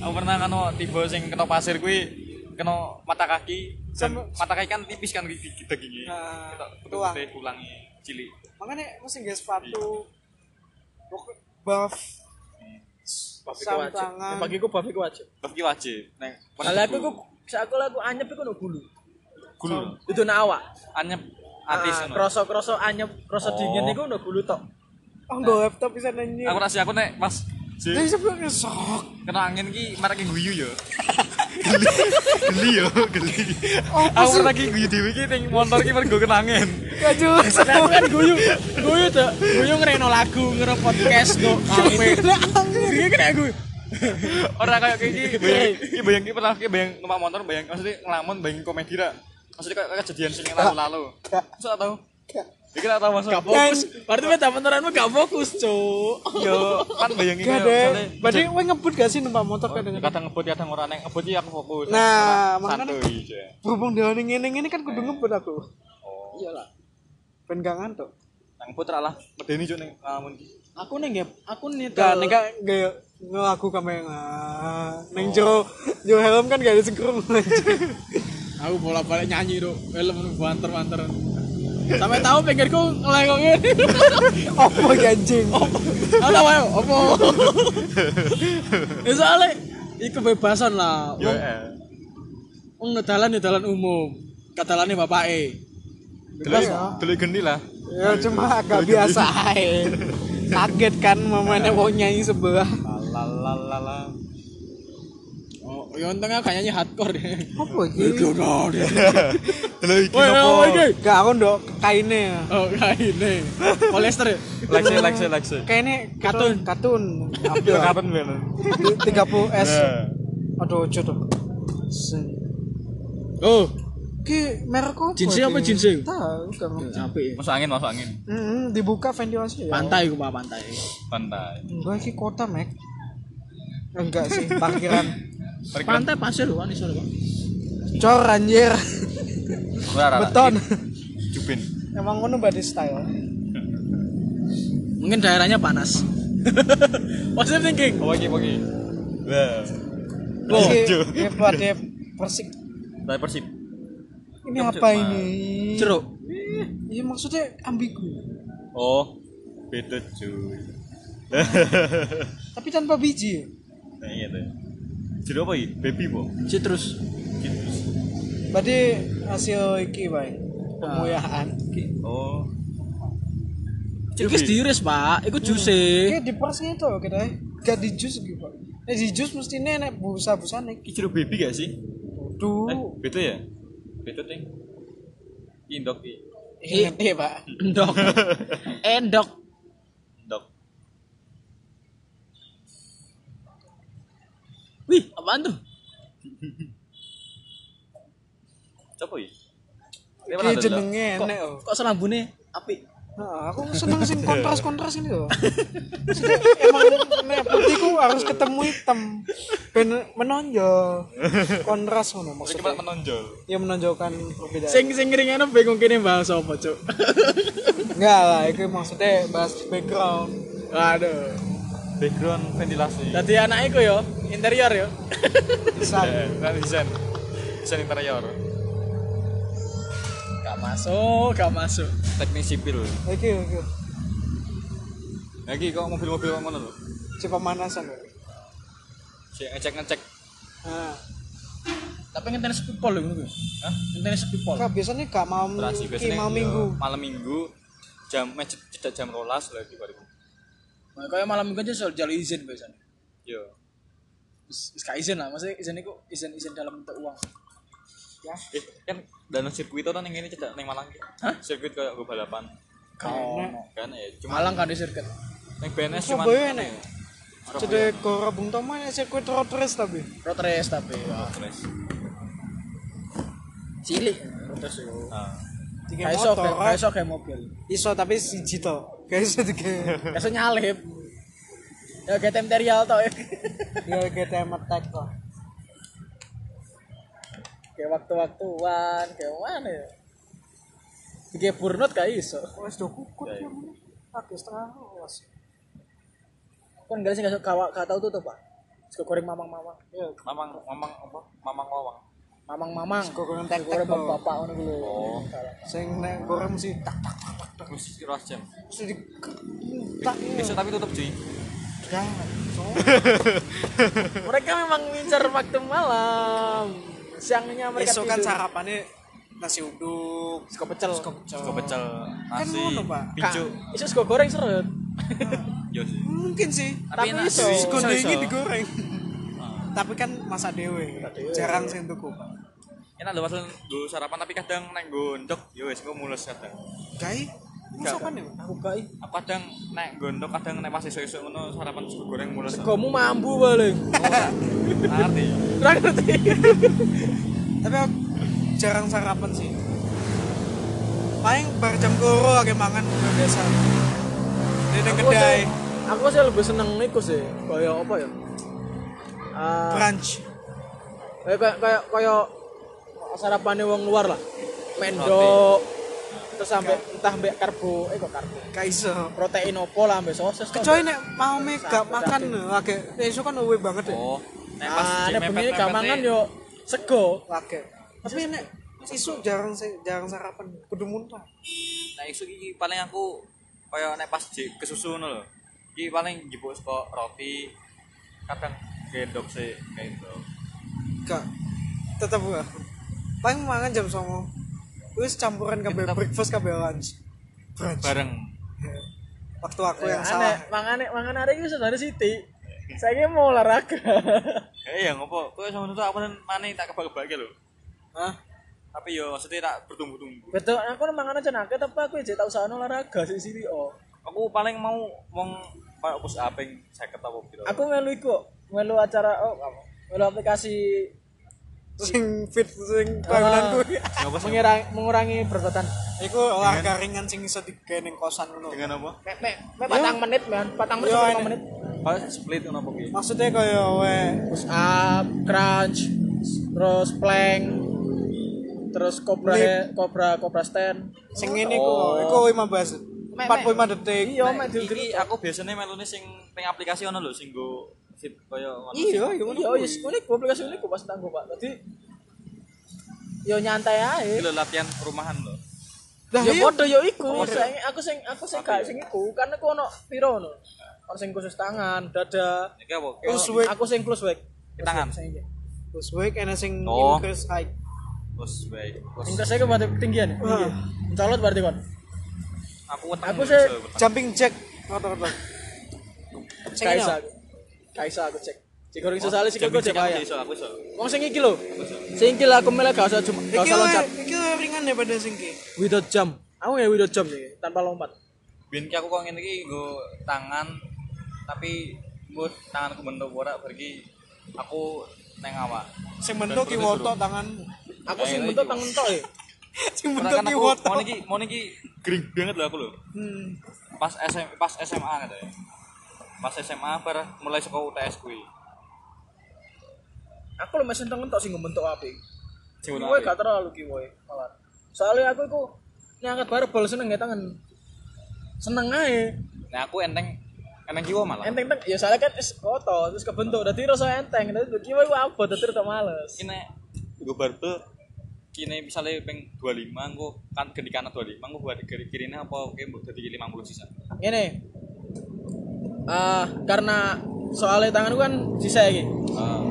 Speaker 3: aku pernah kan tiba sing kena pasir kui kena mata kaki dan mata kaki kan tipis kan gigi dagingnya
Speaker 4: Nah,
Speaker 3: tulang
Speaker 4: tulang.
Speaker 3: tulangnya cilik
Speaker 4: Makanya mesti nggak sepatu. Pokok- Buff.
Speaker 2: Babi
Speaker 4: Sarung
Speaker 2: wajib.
Speaker 4: tangan.
Speaker 2: Bagi ku babi ku wajib.
Speaker 3: tapi wajib neng
Speaker 2: Kalau aku ku aku lagu anyep iku no gulu.
Speaker 3: gul
Speaker 2: Itu nak awak.
Speaker 3: anyep artis
Speaker 2: Ah,
Speaker 3: ngono.
Speaker 2: Kroso-kroso anyep, kroso
Speaker 3: Oh.
Speaker 2: dingin iku no gulu tok.
Speaker 4: Oh, nggak laptop bisa nanya.
Speaker 3: aku rasa aku nek pas si
Speaker 4: Jadi ceblok ngesok.
Speaker 3: kena angin ki marah ki guyu yo geli geli yo geli
Speaker 4: Oh,
Speaker 3: aku pernah ki guyu dewi ki ting motor ki mergo kena angin
Speaker 4: Gak jelas.
Speaker 2: Nah, aku kan guyu, guyu tuh, guyu ngereno lagu, ngero podcast kok kame. Guyu kena guyu.
Speaker 3: orang kayak ki bayang ki bayang ki pernah ki bayang numpak motor bayang maksudnya ngelamun bayang komedi ra maksudnya kayak kejadian sing lalu lalu maksud tau
Speaker 9: Iki ora tau masuk.
Speaker 2: Gak fokus. Kan, Berarti meta peneranmu gak fokus, Cuk.
Speaker 9: Yo, kan bayangin
Speaker 3: Iya,
Speaker 9: ya,
Speaker 4: Gak ada.
Speaker 9: misalnya-
Speaker 4: Berarti gue ngebut gak sih numpak motor
Speaker 3: Oh,
Speaker 4: kadang kadang
Speaker 9: kadang ngebut kadang ora nek ngebut iki aku fokus.
Speaker 4: Nah, makanya-
Speaker 9: santuy aja.
Speaker 4: Berhubung dengan ini ini kan kudu ngebut aku.
Speaker 9: Oh,
Speaker 4: Iyalah. Ben gak ngantuk.
Speaker 9: nang ngebut ra lah. Medeni juk ning ngalamun iki.
Speaker 2: Aku nih nggak, aku nih
Speaker 4: Gak nih gak gak ngelaku kamu yang ah, neng jero jero helm kan gak ada segrum anjing.
Speaker 2: Aku bola balik nyanyi tuh, film banter banter. Sampai tahu pikirku ngelengok ini.
Speaker 4: Opo iki anjing.
Speaker 2: Apa wae, opo? Ya soalnya, ini kebebasan lah.
Speaker 3: Yo,
Speaker 2: Wong
Speaker 3: eh.
Speaker 2: wong ngedalan ya dalan umum. Kadalane bapake. Iya.
Speaker 3: Delik, delik geni lah.
Speaker 4: Ya cuma agak biasa ae. Kaget kan mamanya mau nyanyi sebelah.
Speaker 3: Lalalala.
Speaker 2: Oh, ya untungnya gak nyanyi hardcore deh.
Speaker 4: Opo iki?
Speaker 3: Lha iki
Speaker 2: Woi, woi, woi,
Speaker 3: napa?
Speaker 2: woi.
Speaker 4: Gak aku ndok kaine ya.
Speaker 2: Oh, gak ini. Polyester ya?
Speaker 3: Lexe, lexe, lexe.
Speaker 4: Kaine
Speaker 2: Katun.
Speaker 4: katun.
Speaker 3: Yo kapan ben?
Speaker 4: 30 S.
Speaker 2: Nah.
Speaker 3: Eh,
Speaker 4: Aduh, ojo to. Sing.
Speaker 2: Oh,
Speaker 4: Ki merek apa?
Speaker 2: Jinsi apa
Speaker 4: iki?
Speaker 2: jinsi?
Speaker 4: Tahu gak ngerti.
Speaker 2: capek.
Speaker 9: Masuk angin, masuk angin.
Speaker 4: Heeh, dibuka ventilasi ya.
Speaker 2: Pantai gue pak pantai.
Speaker 9: Pantai.
Speaker 4: Enggak sih kota, Mek. Enggak sih, parkiran.
Speaker 9: Perkiraan
Speaker 2: Pantai pasir loh, nih sore.
Speaker 4: Cor anjir.
Speaker 9: ora ra.
Speaker 4: Beton.
Speaker 3: Jupin.
Speaker 4: Emang ngono badai style.
Speaker 2: Mungkin daerahnya panas. Positive thinking.
Speaker 9: Apa iki, apa iki?
Speaker 3: Lah,
Speaker 2: Oh,
Speaker 4: Pasti dia badai persik.
Speaker 9: Dari Persib.
Speaker 4: Ini apa
Speaker 9: Jeruk,
Speaker 4: ini?
Speaker 2: Jeruk.
Speaker 4: Iya maksudnya ambigu.
Speaker 3: Oh, beda cuy.
Speaker 4: Tapi tanpa biji.
Speaker 3: Nah, iya tuh. Jadi apa iki? Baby po.
Speaker 2: Citrus.
Speaker 3: Gitu.
Speaker 4: Berarti hasil iki,
Speaker 2: Nah.
Speaker 4: Bay. Pemuliaan.
Speaker 3: Oh,
Speaker 2: Citrus diiris pak. Iku juse.
Speaker 4: Kayak Iya, di persnya itu kita ya. Gak di jus gitu, Pak. Nek di jus mesti nenek busa-busa nek.
Speaker 3: iki jeruk baby gak sih? Eh,
Speaker 9: Oh.
Speaker 4: Duh.
Speaker 3: beda ya? Beda ting. Iki ndok iki.
Speaker 4: Iya, Pak.
Speaker 2: Endok. Endok.
Speaker 3: Ndok.
Speaker 2: Wih, apaan tuh?
Speaker 3: Apa iki?
Speaker 4: Kayak Iya, jenenge enek. oh.
Speaker 2: Kok selambune api?
Speaker 4: Nah, aku seneng sih kontras-kontras ini loh. Maksudnya emang nek putih ku harus ketemu hitam. Ben menonjol. Kontras ngono
Speaker 3: Iki
Speaker 4: maksudnya.
Speaker 3: malah menonjol.
Speaker 4: Ya menonjolkan perbedaan.
Speaker 2: Sing sing ringene bingung kene bahas apa, Cuk.
Speaker 4: Enggak lah, itu maksudnya bahas background.
Speaker 2: Waduh.
Speaker 3: Background ventilasi.
Speaker 2: Dadi anak iku yo, interior yo.
Speaker 4: Bisa.
Speaker 3: Nah, desain. Desain interior.
Speaker 2: Gak masuk, gak masuk.
Speaker 3: Teknik sipil.
Speaker 4: Oke, oke.
Speaker 3: Lagi kok mobil-mobil kok ngono lho.
Speaker 4: Coba pemanasan. loh.
Speaker 3: Sik ngecek-ngecek.
Speaker 4: Nah,
Speaker 2: Tapi ngenteni sepipol lho ngono kuwi. Hah? Ngenteni sepipol.
Speaker 4: enggak biasanya enggak mau
Speaker 3: Terasi
Speaker 4: ki
Speaker 3: biasanya
Speaker 4: mau
Speaker 3: iya,
Speaker 4: minggu.
Speaker 3: Malam Minggu jam eh, ced- cedak jam 12 lagi baru.
Speaker 2: Nah, Kayak malam minggu aja soal jalur izin biasanya.
Speaker 3: Yo.
Speaker 2: Wis wis gak izin lah, maksudnya izin iku izin-izin dalam bentuk uang.
Speaker 3: Eh, kan dana sirkuit orang yang ini cedak ning Malang. Hah? Sirkuit kayak gue balapan.
Speaker 2: Kau.
Speaker 3: Kan ya cuma
Speaker 2: Malang kan di sirkuit.
Speaker 3: ning BNS cuma
Speaker 4: Surabaya enek. Cedek Gora Bung Tomo enek sirkuit road race tapi.
Speaker 2: Road race tapi. ya. wah.
Speaker 3: Terus.
Speaker 2: Cilik road race yo.
Speaker 3: Nah,
Speaker 4: Tiga
Speaker 2: Kayak iso,
Speaker 4: motor.
Speaker 2: kayak kayak iso kayak mobil.
Speaker 4: Iso tapi siji to. Kayak iso tiga.
Speaker 2: Kayak iso nyalip. Ya kayak tem terial to.
Speaker 4: Ya GTM Attack lah.
Speaker 2: Kayak waktu-waktuan, kayak mana ya? Kayak burnut kayak iso.
Speaker 4: Wes do kukut ya. Aku setengah was.
Speaker 2: Kan enggak sih enggak kawa gak tau tuh Pak. Sego goreng mamang-mamang. Iya,
Speaker 4: Ya,
Speaker 3: mamang mamang apa? Mamang lawang.
Speaker 2: Mamang-mamang.
Speaker 4: Sego goreng tek
Speaker 2: Goreng
Speaker 4: tek.
Speaker 2: bapak ngono kuwi. Oh.
Speaker 4: Sing nek goreng mesti tak tak
Speaker 3: Terus ras jam.
Speaker 4: mesti di tak.
Speaker 3: Besok tapi tutup cuy.
Speaker 2: Mereka memang mengincar waktu malam. Siangnya mereka
Speaker 4: Besok kan
Speaker 2: tidur.
Speaker 4: sarapannya nasi uduk, sego pecel, sego pecel.
Speaker 3: Sego pecel,
Speaker 4: Kan
Speaker 3: nasi,
Speaker 4: ngono, Pak.
Speaker 3: picu.
Speaker 2: Ka- Iso sego goreng seret.
Speaker 3: Yo sih.
Speaker 4: Mungkin sih,
Speaker 2: Tapi
Speaker 4: tapi
Speaker 2: enak
Speaker 4: iso.
Speaker 2: sih.
Speaker 4: Sego
Speaker 2: Oh, Iso,
Speaker 4: ini
Speaker 2: iso.
Speaker 4: digoreng.
Speaker 3: Ah.
Speaker 4: Tapi kan masak dewe, jarang sing tuku.
Speaker 3: Enak lho pasal dulu sarapan tapi kadang neng gondok, yo wis engko mules kadang.
Speaker 4: Gai, masakan ya?
Speaker 2: Aku kai.
Speaker 3: Aku kadang nek gondok, kadang nek pas esuk-esuk ngono sarapan sego goreng mules. Ah,
Speaker 2: Kamu mambu paling.
Speaker 3: Arti.
Speaker 2: Ora ngerti.
Speaker 4: Tapi aku jarang sarapan sih. paling bar jam koro akeh mangan udah biasa di nang
Speaker 2: Aku
Speaker 4: kedai
Speaker 2: sih- Aku sih lebih seneng iku sih, kaya apa ya? Ah,
Speaker 4: brunch
Speaker 2: kayak kayak kayak kaya sarapannya wong luar lah. Mendok terus sampai entah mbek karbo, eh kok karbo.
Speaker 4: kaiso
Speaker 2: Protein opo lah mbek sosis toh.
Speaker 4: kecuali nek mau mega makan akeh iso kan uwe banget deh
Speaker 3: oh nek pas
Speaker 2: Nah,
Speaker 3: cek
Speaker 2: Ah, nek bengi
Speaker 3: mepet-mepet e,
Speaker 2: gak mangan
Speaker 3: nih.
Speaker 2: yo sego.
Speaker 4: akeh tapi nek isu jarang sih- jarang sarapan kudu muntah
Speaker 3: nek isu iki paling aku kaya nek pas jek kesusu ngono lho iki paling jebuk saka roti kadang gendok sih gendok
Speaker 4: gak tetep gak paling mangan jam songo wis campuran kabeh
Speaker 3: Tetep.
Speaker 4: breakfast kabeh lunch brunch
Speaker 3: bareng
Speaker 4: waktu aku yang
Speaker 2: Aneh,
Speaker 4: salah
Speaker 2: Eh, mangane mangan arek iki saudara Siti. Saya mau olahraga.
Speaker 3: eh ya ngopo kowe sama aku nang mane tak kebak-kebak iki lho
Speaker 2: Hah?
Speaker 3: tapi yo maksudnya tak bertumbuh-tumbuh
Speaker 2: Betul, aku nang mangan aja nakal tapi aku jadi tak usah olahraga sih sini oh.
Speaker 3: aku paling mau wong kaya push up ping 50 apa piro
Speaker 2: Aku melu iku, melu acara oh, apa? melu aplikasi
Speaker 4: sing fit
Speaker 2: Oh.
Speaker 4: sing bangunan kuwi
Speaker 3: Ngapa sih?
Speaker 2: mengurangi, mengurangi berat badan.
Speaker 4: iku olahraga ringan sing iso digawe ning kosan ngono
Speaker 3: dengan apa
Speaker 2: Mek mek mek patang menit men, patang menit
Speaker 4: Yo,
Speaker 2: sampai
Speaker 4: ini.
Speaker 2: lima menit.
Speaker 3: kaya split ngono apa piye
Speaker 4: maksudnya kaya we
Speaker 2: Push up, crunch, terus plank, terus cobra he- cobra cobra stand.
Speaker 4: sing ngene iku iku 15 45 detik
Speaker 2: Iya, mek dilgeri.
Speaker 3: iki aku biasanya melune sing ping aplikasi ngono lho sing go fit kaya ngono
Speaker 4: iya iya
Speaker 2: Iya,
Speaker 4: ngono
Speaker 2: yes, unik aplikasi unik pas tanggo Pak. Tadi yo nyantai ae.
Speaker 3: Iki lho latihan rumahan lho
Speaker 4: Lah,
Speaker 2: ya
Speaker 4: iya.
Speaker 2: podo yo iku sing aku sing aku sing gak sing iku karena aku ono piro ono ono sing khusus tangan dada
Speaker 3: iki apa Kayak
Speaker 4: Close weight.
Speaker 2: aku sing close back
Speaker 3: tangan
Speaker 4: terus wake ana sing
Speaker 3: Oh.
Speaker 4: increase height
Speaker 3: terus baik terus
Speaker 2: sing saya berarti ketinggian ya
Speaker 4: Wah.
Speaker 2: colot berarti kon
Speaker 3: aku weteng
Speaker 2: Aku sih-
Speaker 3: bisa weteng.
Speaker 4: jumping jack rata-rata Sing
Speaker 2: gak
Speaker 4: ini,
Speaker 2: iso
Speaker 4: oh.
Speaker 2: aku gak iso aku cek jika orang sesali sih
Speaker 3: Jam
Speaker 2: gue
Speaker 3: injek
Speaker 2: cek
Speaker 3: aku
Speaker 2: aja
Speaker 3: iso, aku iso.
Speaker 2: wong sing iki lho sing iki eh. lah aku melek gak usah cuma gak
Speaker 4: iki
Speaker 2: usah
Speaker 4: we
Speaker 2: loncat
Speaker 4: iki we ringan daripada sing ki
Speaker 2: without jump aku ya without jump sih tanpa lompat
Speaker 3: Biyen ki aku kok ngene iki nggo tangan tapi nggo tanganku bentuk ora pergi aku neng awak.
Speaker 4: sing bentuk ki wotok tanganmu
Speaker 2: aku sing bentuk tangan tok ya
Speaker 4: sing
Speaker 3: Ora
Speaker 4: bentuk
Speaker 3: kan
Speaker 4: ki
Speaker 3: aku
Speaker 4: wotok
Speaker 3: mau iki mau iki gering banget lho aku lho.
Speaker 4: Hmm.
Speaker 3: Pas SM pas SMA katanya. Pas SMA per mulai saka UTS kuwi.
Speaker 2: aku lho mesin tangan tok sing bentuk apik
Speaker 3: Sing
Speaker 2: Kiwoy
Speaker 3: bentuk
Speaker 2: gak terlalu kiwoy malah. Soalnya aku iku nyangkat barbel seneng ya tangan. Seneng aja.
Speaker 3: apik. Nah aku enteng enteng kiwa malah.
Speaker 2: Enteng teng ya soalnya kan es kotor terus kebentuk dadi rasa enteng dadi kiwoy ku abot dadi rada males.
Speaker 3: Iki nek nggo barbel kini misalnya peng 25 engko kan geni kanan 25 engko buat kiri kirine apa oke mbok dadi 50 sisa.
Speaker 2: Ngene. Ah, karena soalnya tanganku kan sisa iki.
Speaker 3: Ah,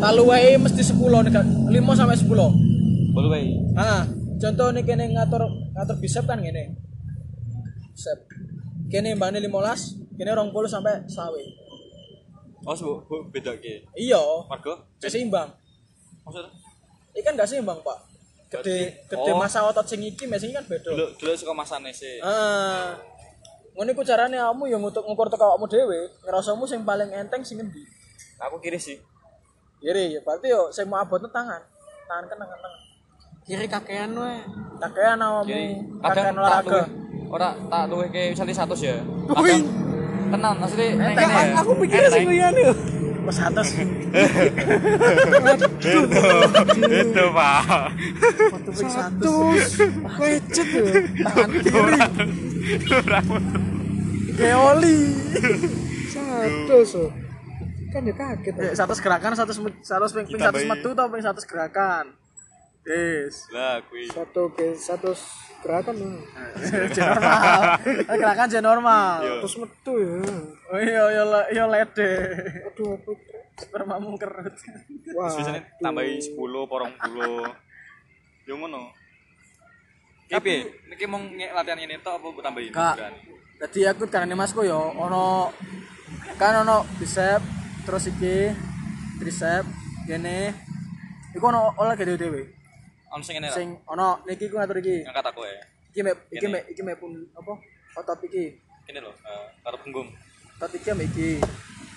Speaker 2: Talu wae mesti 10 nek 5 sampai 10.
Speaker 3: bolu wae.
Speaker 2: Ah, contoh nih kene ngatur ngatur bicep kan ngene. Bicep. Kene mbane 15, kene 20 sampai sawe.
Speaker 3: Oh, sebab bu, beda ke.
Speaker 2: Iya,
Speaker 3: Margo,
Speaker 2: seimbang.
Speaker 3: maksudnya?
Speaker 2: Ikan gak seimbang pak. Gede, gede
Speaker 3: Oh.
Speaker 2: masa otot sing iki meh sing iki kan beda.
Speaker 3: Dulu, dulu suka masane sih.
Speaker 2: Ah. Ngono iku carane kamu yang ngutuk ngukur teko awakmu dhewe, ngerasamu sing paling enteng sing endi?
Speaker 3: Aku kiri sih.
Speaker 2: Kiri ya, berarti yo sing mau abotne tangan. Tangan kan tangan tangan.
Speaker 4: kiri kakean we
Speaker 2: Kakean awakmu,
Speaker 3: Kiri.
Speaker 4: Oh.
Speaker 2: kakean
Speaker 3: Kadang tak
Speaker 2: olahraga.
Speaker 3: luwe. Ora tak luwe ke misalnya 100 ya.
Speaker 4: Wih.
Speaker 3: Kadang tenan maksudnya ya. neng
Speaker 4: Gak,
Speaker 3: kene.
Speaker 4: aku pikirnya sing liyane lho
Speaker 2: Wes atas.
Speaker 3: Itu, Pak.
Speaker 4: satu lecet lho tangan kiri geoli satu so kan dia kaget
Speaker 2: Ya, 100 gerakan, 100 met- 100 ping ping 100 metu tau ping 100 gerakan. Yes.
Speaker 3: Lah, kuwi.
Speaker 4: satu ke satu gerakan lho
Speaker 2: Jen normal. Gerakan jen normal.
Speaker 4: terus metu ya
Speaker 2: Oh iya iya le- iya lede.
Speaker 4: aduh apa itu?
Speaker 2: Permamu kerut.
Speaker 4: wah
Speaker 3: Terus biasanya tambahi 10, porong 10. Yo ngono. Tapi, niki mau nge- latihan ini tok apa tambahin?
Speaker 2: Kak, jadi aku karena masku yo, ya, ono kan ono bicep, terus iki tricep, gini. Iku ono olahraga dewe dewe.
Speaker 3: Ono sing ngene lah.
Speaker 2: Sing ono niki ku ngatur iki.
Speaker 3: Ngangkat aku ya.
Speaker 2: Iki mek iki mek iki mek pun apa? Otot iki.
Speaker 3: Ini loh, eh, karo punggung.
Speaker 2: Otot iki mek iki.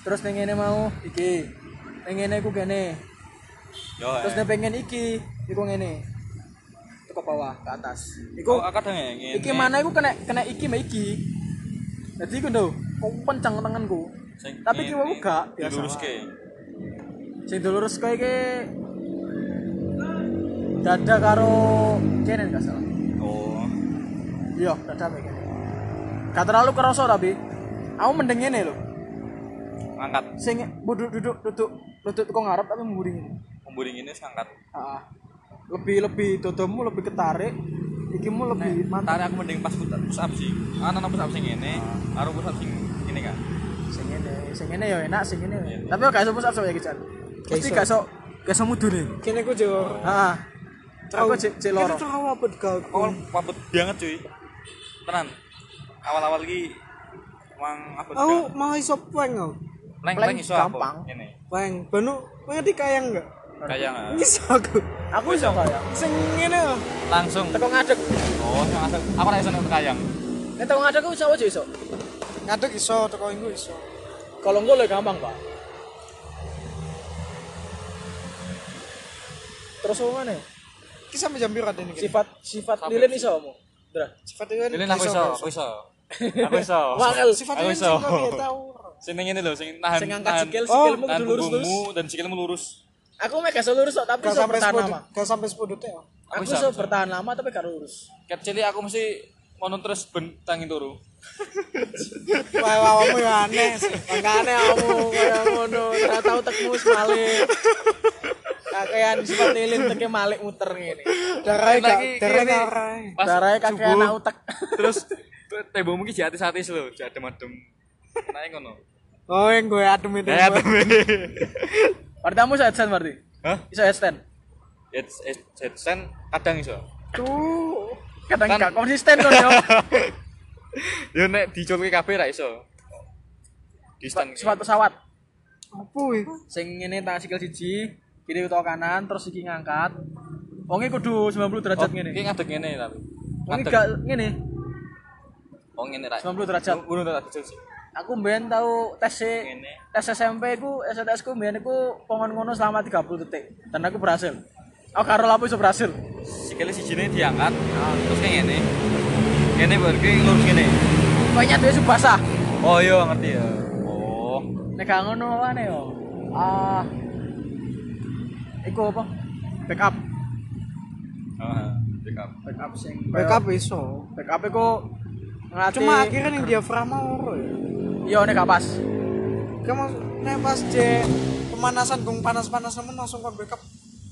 Speaker 2: Terus ning ngene mau iki. Ning ngene ku gini.
Speaker 3: Yo.
Speaker 2: Terus
Speaker 3: eh.
Speaker 2: nek pengen iki, iku ngene. Iku ke bawah ke atas
Speaker 3: Kok
Speaker 2: iku
Speaker 3: kadang ya ngene.
Speaker 2: iki mana iku kena kena iki mbak iki jadi iku ndo kok pencang tanganku
Speaker 3: Sing
Speaker 2: tapi iki wau
Speaker 3: ngene.
Speaker 2: gak biasa
Speaker 3: Diluruske.
Speaker 2: sing lurus kae iki dada karo kenen gak salah
Speaker 3: Oh.
Speaker 2: iya dada mbak kenen gak terlalu kerasa tapi aku mending ngene lho
Speaker 3: Angkat
Speaker 2: sing duduk duduk duduk lutut kok ngarep tapi mburing
Speaker 3: pemburing ini angkat.
Speaker 2: Heeh. lebih lebih Ah, dodomu lebih ketarik ikimu lebih mantap
Speaker 3: Tari aku mending pas push push up sih. Kan ana push up sing ngene,
Speaker 2: Ah.
Speaker 3: karo push up sing ngene kan.
Speaker 2: sing ini sing ini ya enak sing ini ya. tapi gak iso push up soalnya iki Jan mesti gak iso gak iso mudune
Speaker 4: kini aku jor
Speaker 2: heeh aku cek cek loro
Speaker 4: itu cowok apa gaul
Speaker 3: Awal pabut banget cuy. Tenan. Awal-awal iki mang apa
Speaker 4: aku mau iso prank aku
Speaker 3: Leng
Speaker 2: Plank
Speaker 3: leng iso apa?
Speaker 2: Oh. gampang.
Speaker 3: Ngene. ah.
Speaker 4: prank banu ngerti kayang nggak
Speaker 3: Kayak nggak?
Speaker 4: iso aku
Speaker 2: aku iso kaya
Speaker 4: sing ngene lho
Speaker 3: langsung.
Speaker 2: teko ngadeg
Speaker 3: Oh, yang asal aku ora iso nek kayang.
Speaker 2: nek teko ngadeg aku iso aja iso
Speaker 4: ngaduk iso teko iku iso
Speaker 2: kalau enggak lebih gampang pak terus apa mana
Speaker 4: iki sampe jam piro ini
Speaker 2: sifat sifat lilin iso kamu Iya. Dra
Speaker 4: sifat kan iwan
Speaker 3: Ini aku iso, aku iso. Aku iso.
Speaker 2: Wangel.
Speaker 4: sifat
Speaker 3: Aku
Speaker 4: iwan sing
Speaker 3: iso.
Speaker 4: kok tau
Speaker 3: Sing ini lho, sing nahan.
Speaker 2: sing angkat sikil
Speaker 3: nahan-
Speaker 2: sikilmu
Speaker 3: nahan
Speaker 2: kudu lurus lurus
Speaker 3: punggungmu dan sikilmu lurus.
Speaker 2: aku mek gak iso lurus kok, tapi
Speaker 4: gak
Speaker 2: iso
Speaker 4: sampe
Speaker 2: bertahan
Speaker 4: sepuluh
Speaker 2: lama
Speaker 4: gak sampe sepuluh detik ya.
Speaker 3: Aku
Speaker 2: aku
Speaker 3: iso,
Speaker 2: iso
Speaker 3: aku iso.
Speaker 2: bertahan lama tapi gak lurus
Speaker 3: Ket cilik aku mesti ngono terus ben tangi turu.
Speaker 4: wah wah kamu ya aneh sih.
Speaker 2: makanya kamu kayak ngono gak tau tekmu semalik kakean sifat lilin teke malik muter ngene
Speaker 4: darahnya gak
Speaker 3: Lagi-
Speaker 4: darahnya
Speaker 3: lagi-
Speaker 4: gak arahnya.
Speaker 3: Pas
Speaker 2: darahnya kakean
Speaker 3: subuh.
Speaker 2: anak utek
Speaker 3: terus tembokmu ki jati sate lho, jadem-adem. Naik ngono.
Speaker 4: oh yang gue adem itu
Speaker 3: Ya adem.
Speaker 2: berarti kamu iso headstand berarti
Speaker 3: Hah?
Speaker 2: iso headstand
Speaker 3: It's it's headstand kadang iso.
Speaker 4: tuh
Speaker 2: kadang
Speaker 3: Kan-
Speaker 2: gak konsisten kok yo
Speaker 3: Yo nek diculki kabeh ra iso. Di stand.
Speaker 2: sifat pesawat
Speaker 4: apa ya? itu
Speaker 2: sing ngene tak sikil siji kiri utawa kanan terus iki ngangkat wonge kudu 90 derajat ngene
Speaker 3: Oh, Iki ngadeg ngene tapi.
Speaker 2: wonge
Speaker 3: ngadeg.
Speaker 2: gak ngene
Speaker 3: Oh ngene ra. Oh,
Speaker 2: 90 derajat.
Speaker 3: Ngono ra dicul sih.
Speaker 2: aku mbiyen tau tes e-
Speaker 3: Ngene.
Speaker 2: tes SMP ku STS ku mbiyen iku pongon ngono selama 30 detik dan aku berhasil aku karo lapo iso berhasil
Speaker 3: Sikile sijine diangkat, terus kayak ngene. Ngene berarti lurus ngene.
Speaker 2: pokoknya dia subasa
Speaker 3: Oh iya ngerti ya. Oh.
Speaker 2: nek gak ngono apa yo ah iku apa backup
Speaker 3: Heeh. Backup.
Speaker 2: backup sing
Speaker 4: backup iso
Speaker 2: backup iku ngelatih
Speaker 4: cuma akhirnya yang diafragma ora ya
Speaker 2: yo nek gak pas
Speaker 4: kamu nek pas je pemanasan gong panas-panas nemen langsung kon backup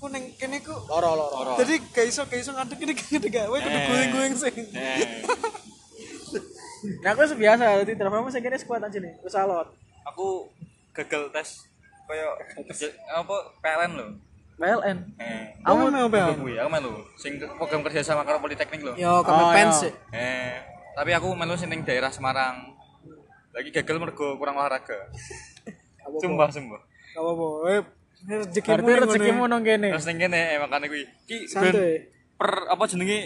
Speaker 4: ku ning kene ku
Speaker 2: loro loro
Speaker 3: Loro.
Speaker 4: jadi gak iso gak iso ngadeg ini gak ngadeg gawe kudu
Speaker 3: Eh.
Speaker 4: guling-guling sing
Speaker 3: Eh.
Speaker 2: nah aku biasa dadi driver mesti kene squat aja nih wis alot
Speaker 3: aku gagal tes kayak je- apa PLN lho.
Speaker 2: PLN
Speaker 3: Eh.
Speaker 4: aku mau
Speaker 3: Aku kuwi, aku melu sing ke- program kerja sama karo Politeknik
Speaker 4: Oh,
Speaker 3: lho.
Speaker 4: yo
Speaker 2: kamu
Speaker 4: kamu
Speaker 2: fans
Speaker 4: fans
Speaker 2: sih.
Speaker 3: Eh, tapi aku melu sing ning daerah Semarang. Lagi gagal mergo kurang olahraga. Sumpah, sumpah.
Speaker 4: gak apa-apa eh rezekimu
Speaker 2: berarti
Speaker 4: ning
Speaker 2: rezekimu
Speaker 4: ngono.
Speaker 2: nang kene
Speaker 3: Terus ning kene eh, makane kuwi. Ki ben
Speaker 4: santai
Speaker 3: per apa jenenge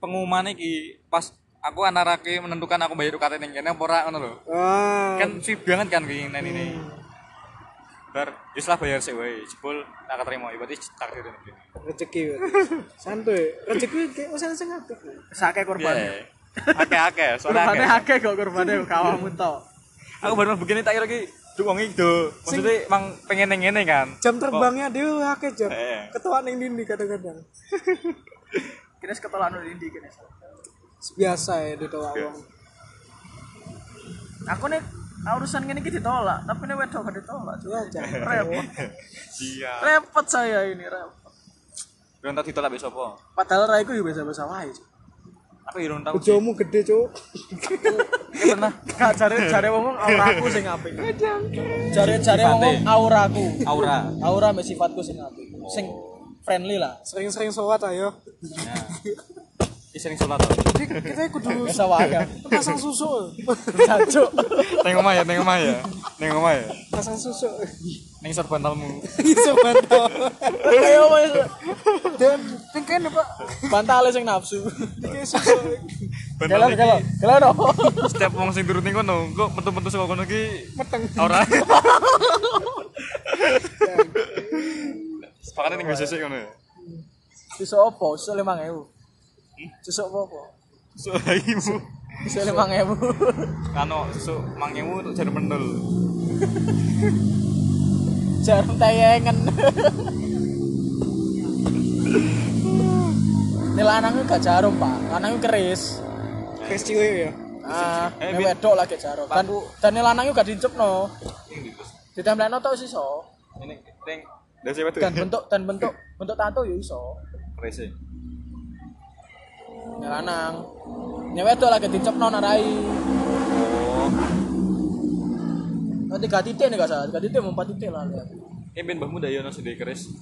Speaker 3: pengumuman iki pas aku antara ki menentukan aku bayar UKT ning kene apa ora ngono lho.
Speaker 4: ah
Speaker 3: Kan sip banget kan kuwi nen ini. Bar, wis lah bayar sik wae. Jebul tak keterima. Ya, Berarti takdir ning kene.
Speaker 4: rezeki weh. santai rezeki kayak usaha sing ngadeg
Speaker 2: sakake korban
Speaker 3: Iya. Akeh-akeh, soalnya
Speaker 2: korbane
Speaker 3: akeh.
Speaker 2: akeh kok korbane kawamu to
Speaker 3: Aku baru begini tak kira ki duk wong iki do. Maksudnya mang pengen ning ngene kan.
Speaker 4: jam terbangnya dia akeh jam
Speaker 3: Eh.
Speaker 4: ketua ning dindi kadang-kadang
Speaker 2: kene ketolak nang ndi anu kene
Speaker 4: biasa ya ditolak wong
Speaker 2: aku nih urusan gini gitu ditolak tapi nih wedok gak ditolak
Speaker 4: ya jam
Speaker 2: repot
Speaker 3: Iya.
Speaker 2: repot saya ini repot
Speaker 3: Belum tau ditolak besok apa?
Speaker 2: padahal rai ku biasa biasa wae Cuk.
Speaker 3: Aku ya belum tau sih.
Speaker 4: Bojomu gede, Cuk.
Speaker 3: Ini pernah
Speaker 2: gak jare jare wong auraku sing apik jare jare wong auraku
Speaker 3: aura.
Speaker 2: aura mbek sifatku sing apik sing friendly lah
Speaker 4: Sering-sering sholat ayo.
Speaker 3: Ini sering sholat tau.
Speaker 4: Jadi kita kudu
Speaker 2: biasa wae kan
Speaker 4: pasang susuk.
Speaker 2: jancuk
Speaker 3: Neng omah ya, neng omah ya. Neng omah ya.
Speaker 4: pasang susuk.
Speaker 3: Neng sorban talmu.
Speaker 4: Iso bantal.
Speaker 2: ayo wes
Speaker 4: Dan tingkain Pak.
Speaker 2: bantale sing nafsu
Speaker 4: Tingkain susuk.
Speaker 2: kelon
Speaker 3: Bener
Speaker 2: kelon kelon no
Speaker 3: Setiap wong sing turun ning kono, kok metu-metu saka kono ki
Speaker 4: Meteng.
Speaker 3: aura. Sepakatnya ning sesek kono ya.
Speaker 2: iso opo iso 5000
Speaker 4: Susuk apa?
Speaker 3: Susuk bayimu.
Speaker 2: Bisa lima ribu.
Speaker 3: Kano susuk mangemu untuk jadi pendel.
Speaker 2: Jarum tayangan. Ini lanangnya gak jarum pak, lanangnya keris.
Speaker 4: Kes cilik ya.
Speaker 2: Ah, ini wedok lagi jarum. Dan dan ini lanangnya gak diinjek no. Ditempel no tau sih so.
Speaker 3: Ini ning dari siapa tuh?
Speaker 2: Dan bentuk dan bentuk bentuk tato ya iso.
Speaker 3: Rese.
Speaker 2: Ini lanang. Ini wedok lagi diinjek no narai.
Speaker 3: Oh.
Speaker 2: Oh, tiga titik nih gak salah, tiga titik mau empat titik lah lihat.
Speaker 3: Ini ben mbahmu ndak yo nang sendiri keris.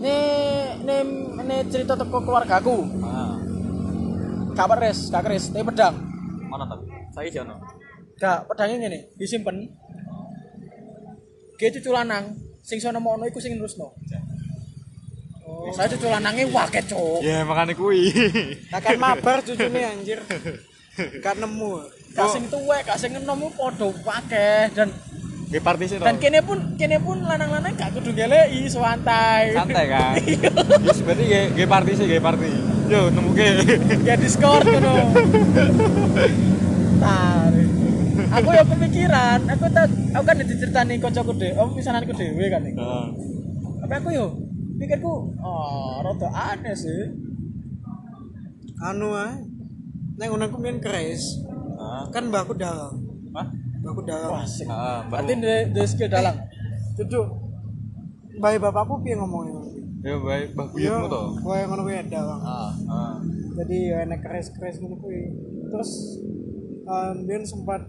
Speaker 2: Ini ini ini cerita teko keluargaku.
Speaker 3: Ah,
Speaker 2: Gak peres, gak keris, tapi pedang.
Speaker 3: mana tak? Saiki jono.
Speaker 2: Gak, pedangnya ngene, disimpen. Ki cucu lanang, sing sono mono iku sing nerusno. Oh, saya cucu lanange waket, Cuk.
Speaker 3: Ya makane kuwi.
Speaker 4: Akan mabar cucune anjir. Gak nemu.
Speaker 2: Gak sing tuwek, gak sing enom iku padha wakeh dan
Speaker 3: Di partisi to.
Speaker 2: dan kene pun kene pun lanang-lanang gak kudu ngeleki santai.
Speaker 3: Santai kan. Wis berarti ge ge partisi ge parti. Yo nemu ge.
Speaker 2: Ya Discord ngono. Tarik. Aku ya kepikiran, aku tak aku kan diceritani kancaku dhewe, oh pisananku dhewe kan iku.
Speaker 3: Heeh.
Speaker 2: Tapi aku yo pikirku oh rada aneh sih.
Speaker 4: Anu ah. Nang ngono ku main keris.
Speaker 3: Ah.
Speaker 4: Kan mbakku dalang.
Speaker 3: Hah?
Speaker 4: Mbakku dalang.
Speaker 2: Wah, sih.
Speaker 3: Heeh,
Speaker 2: Berarti di, di skill dalang.
Speaker 4: Duduk. Bae bapakku piye ngomongnya?
Speaker 3: Yo bae mbah
Speaker 4: Iya,
Speaker 3: buyutmu to.
Speaker 4: kowe ngono kuwi dalang.
Speaker 3: ya, Ah, ah.
Speaker 4: jadi ya enak keres keres gitu kuy terus um, dia sempat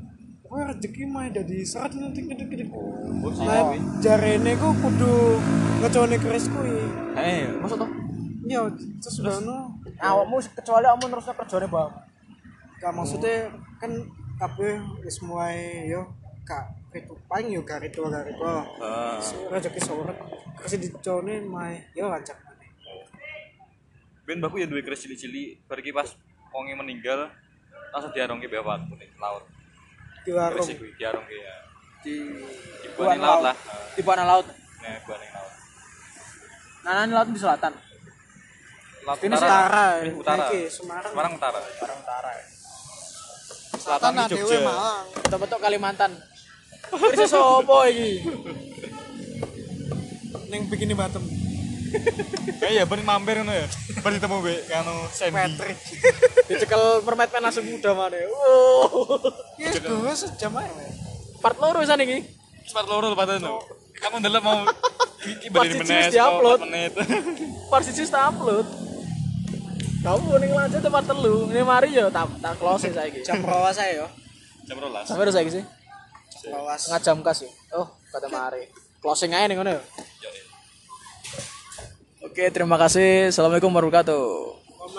Speaker 4: wah rezeki mah ada di serat nanti gede gede
Speaker 3: Mbok sih
Speaker 4: nah
Speaker 3: kuwi.
Speaker 4: jarene ku kudu ngecone keres kuy
Speaker 3: Eh, masuk to?
Speaker 4: iya terus udah no
Speaker 2: Awakmu kecuali awakmu terus kerjane bang.
Speaker 4: gak maksudnya kan kabeh wis mulai yo kak ketupan yo gak ritual gak ritual
Speaker 3: Heeh.
Speaker 4: rezeki sorot kasih dicone mah yo lancar
Speaker 3: Ben mbahku ya duwe keris cilik-cilik, bar iki pas wonge meninggal langsung diarungke mbek bapakku ning laut.
Speaker 4: di warung
Speaker 3: Keris iki kuwi diarungke ya.
Speaker 2: Di
Speaker 3: Dibuat ning laut lah.
Speaker 2: Di buana laut.
Speaker 3: Nah, buat ning laut.
Speaker 2: Nah, ini laut di selatan.
Speaker 3: Laut
Speaker 4: ini
Speaker 3: utara.
Speaker 4: setara
Speaker 3: Ini utara.
Speaker 4: iki Semarang
Speaker 3: Semarang utara.
Speaker 2: Barang utara.
Speaker 3: Selatan
Speaker 4: Tanah
Speaker 3: iki
Speaker 4: dewe
Speaker 3: Jogja.
Speaker 4: Malang
Speaker 2: Betul-betul Kalimantan. Kerja sopo iki?
Speaker 4: neng bikini bottom
Speaker 3: Eh ya ben mampir ngono ya. Ben ditemu mbek kanu Sandy.
Speaker 4: Patrick
Speaker 2: Dicekel permen-permen langsung muda mana? Wow.
Speaker 4: Ya dua sejam aja.
Speaker 2: Part loro san iki.
Speaker 3: Smart loro lho padahal lho. Kamu ndelok mau iki
Speaker 2: Pas
Speaker 3: balik
Speaker 2: di
Speaker 3: menit,
Speaker 2: Jogja upload.
Speaker 3: 4 menit.
Speaker 2: Part siji tak upload. Kamu Ya ning lanjut tempat telu. Ini mari yo tak tak close saiki.
Speaker 4: Jam rawas aja yo.
Speaker 3: Jam 12.
Speaker 2: Sampai saiki sih.
Speaker 4: Jam rawas.
Speaker 2: Setengah jam kas ya. Oh, kata mari. Closing
Speaker 3: eh.
Speaker 2: aja nih ngono ya. Oke, terima kasih. Assalamualaikum warahmatullahi wabarakatuh.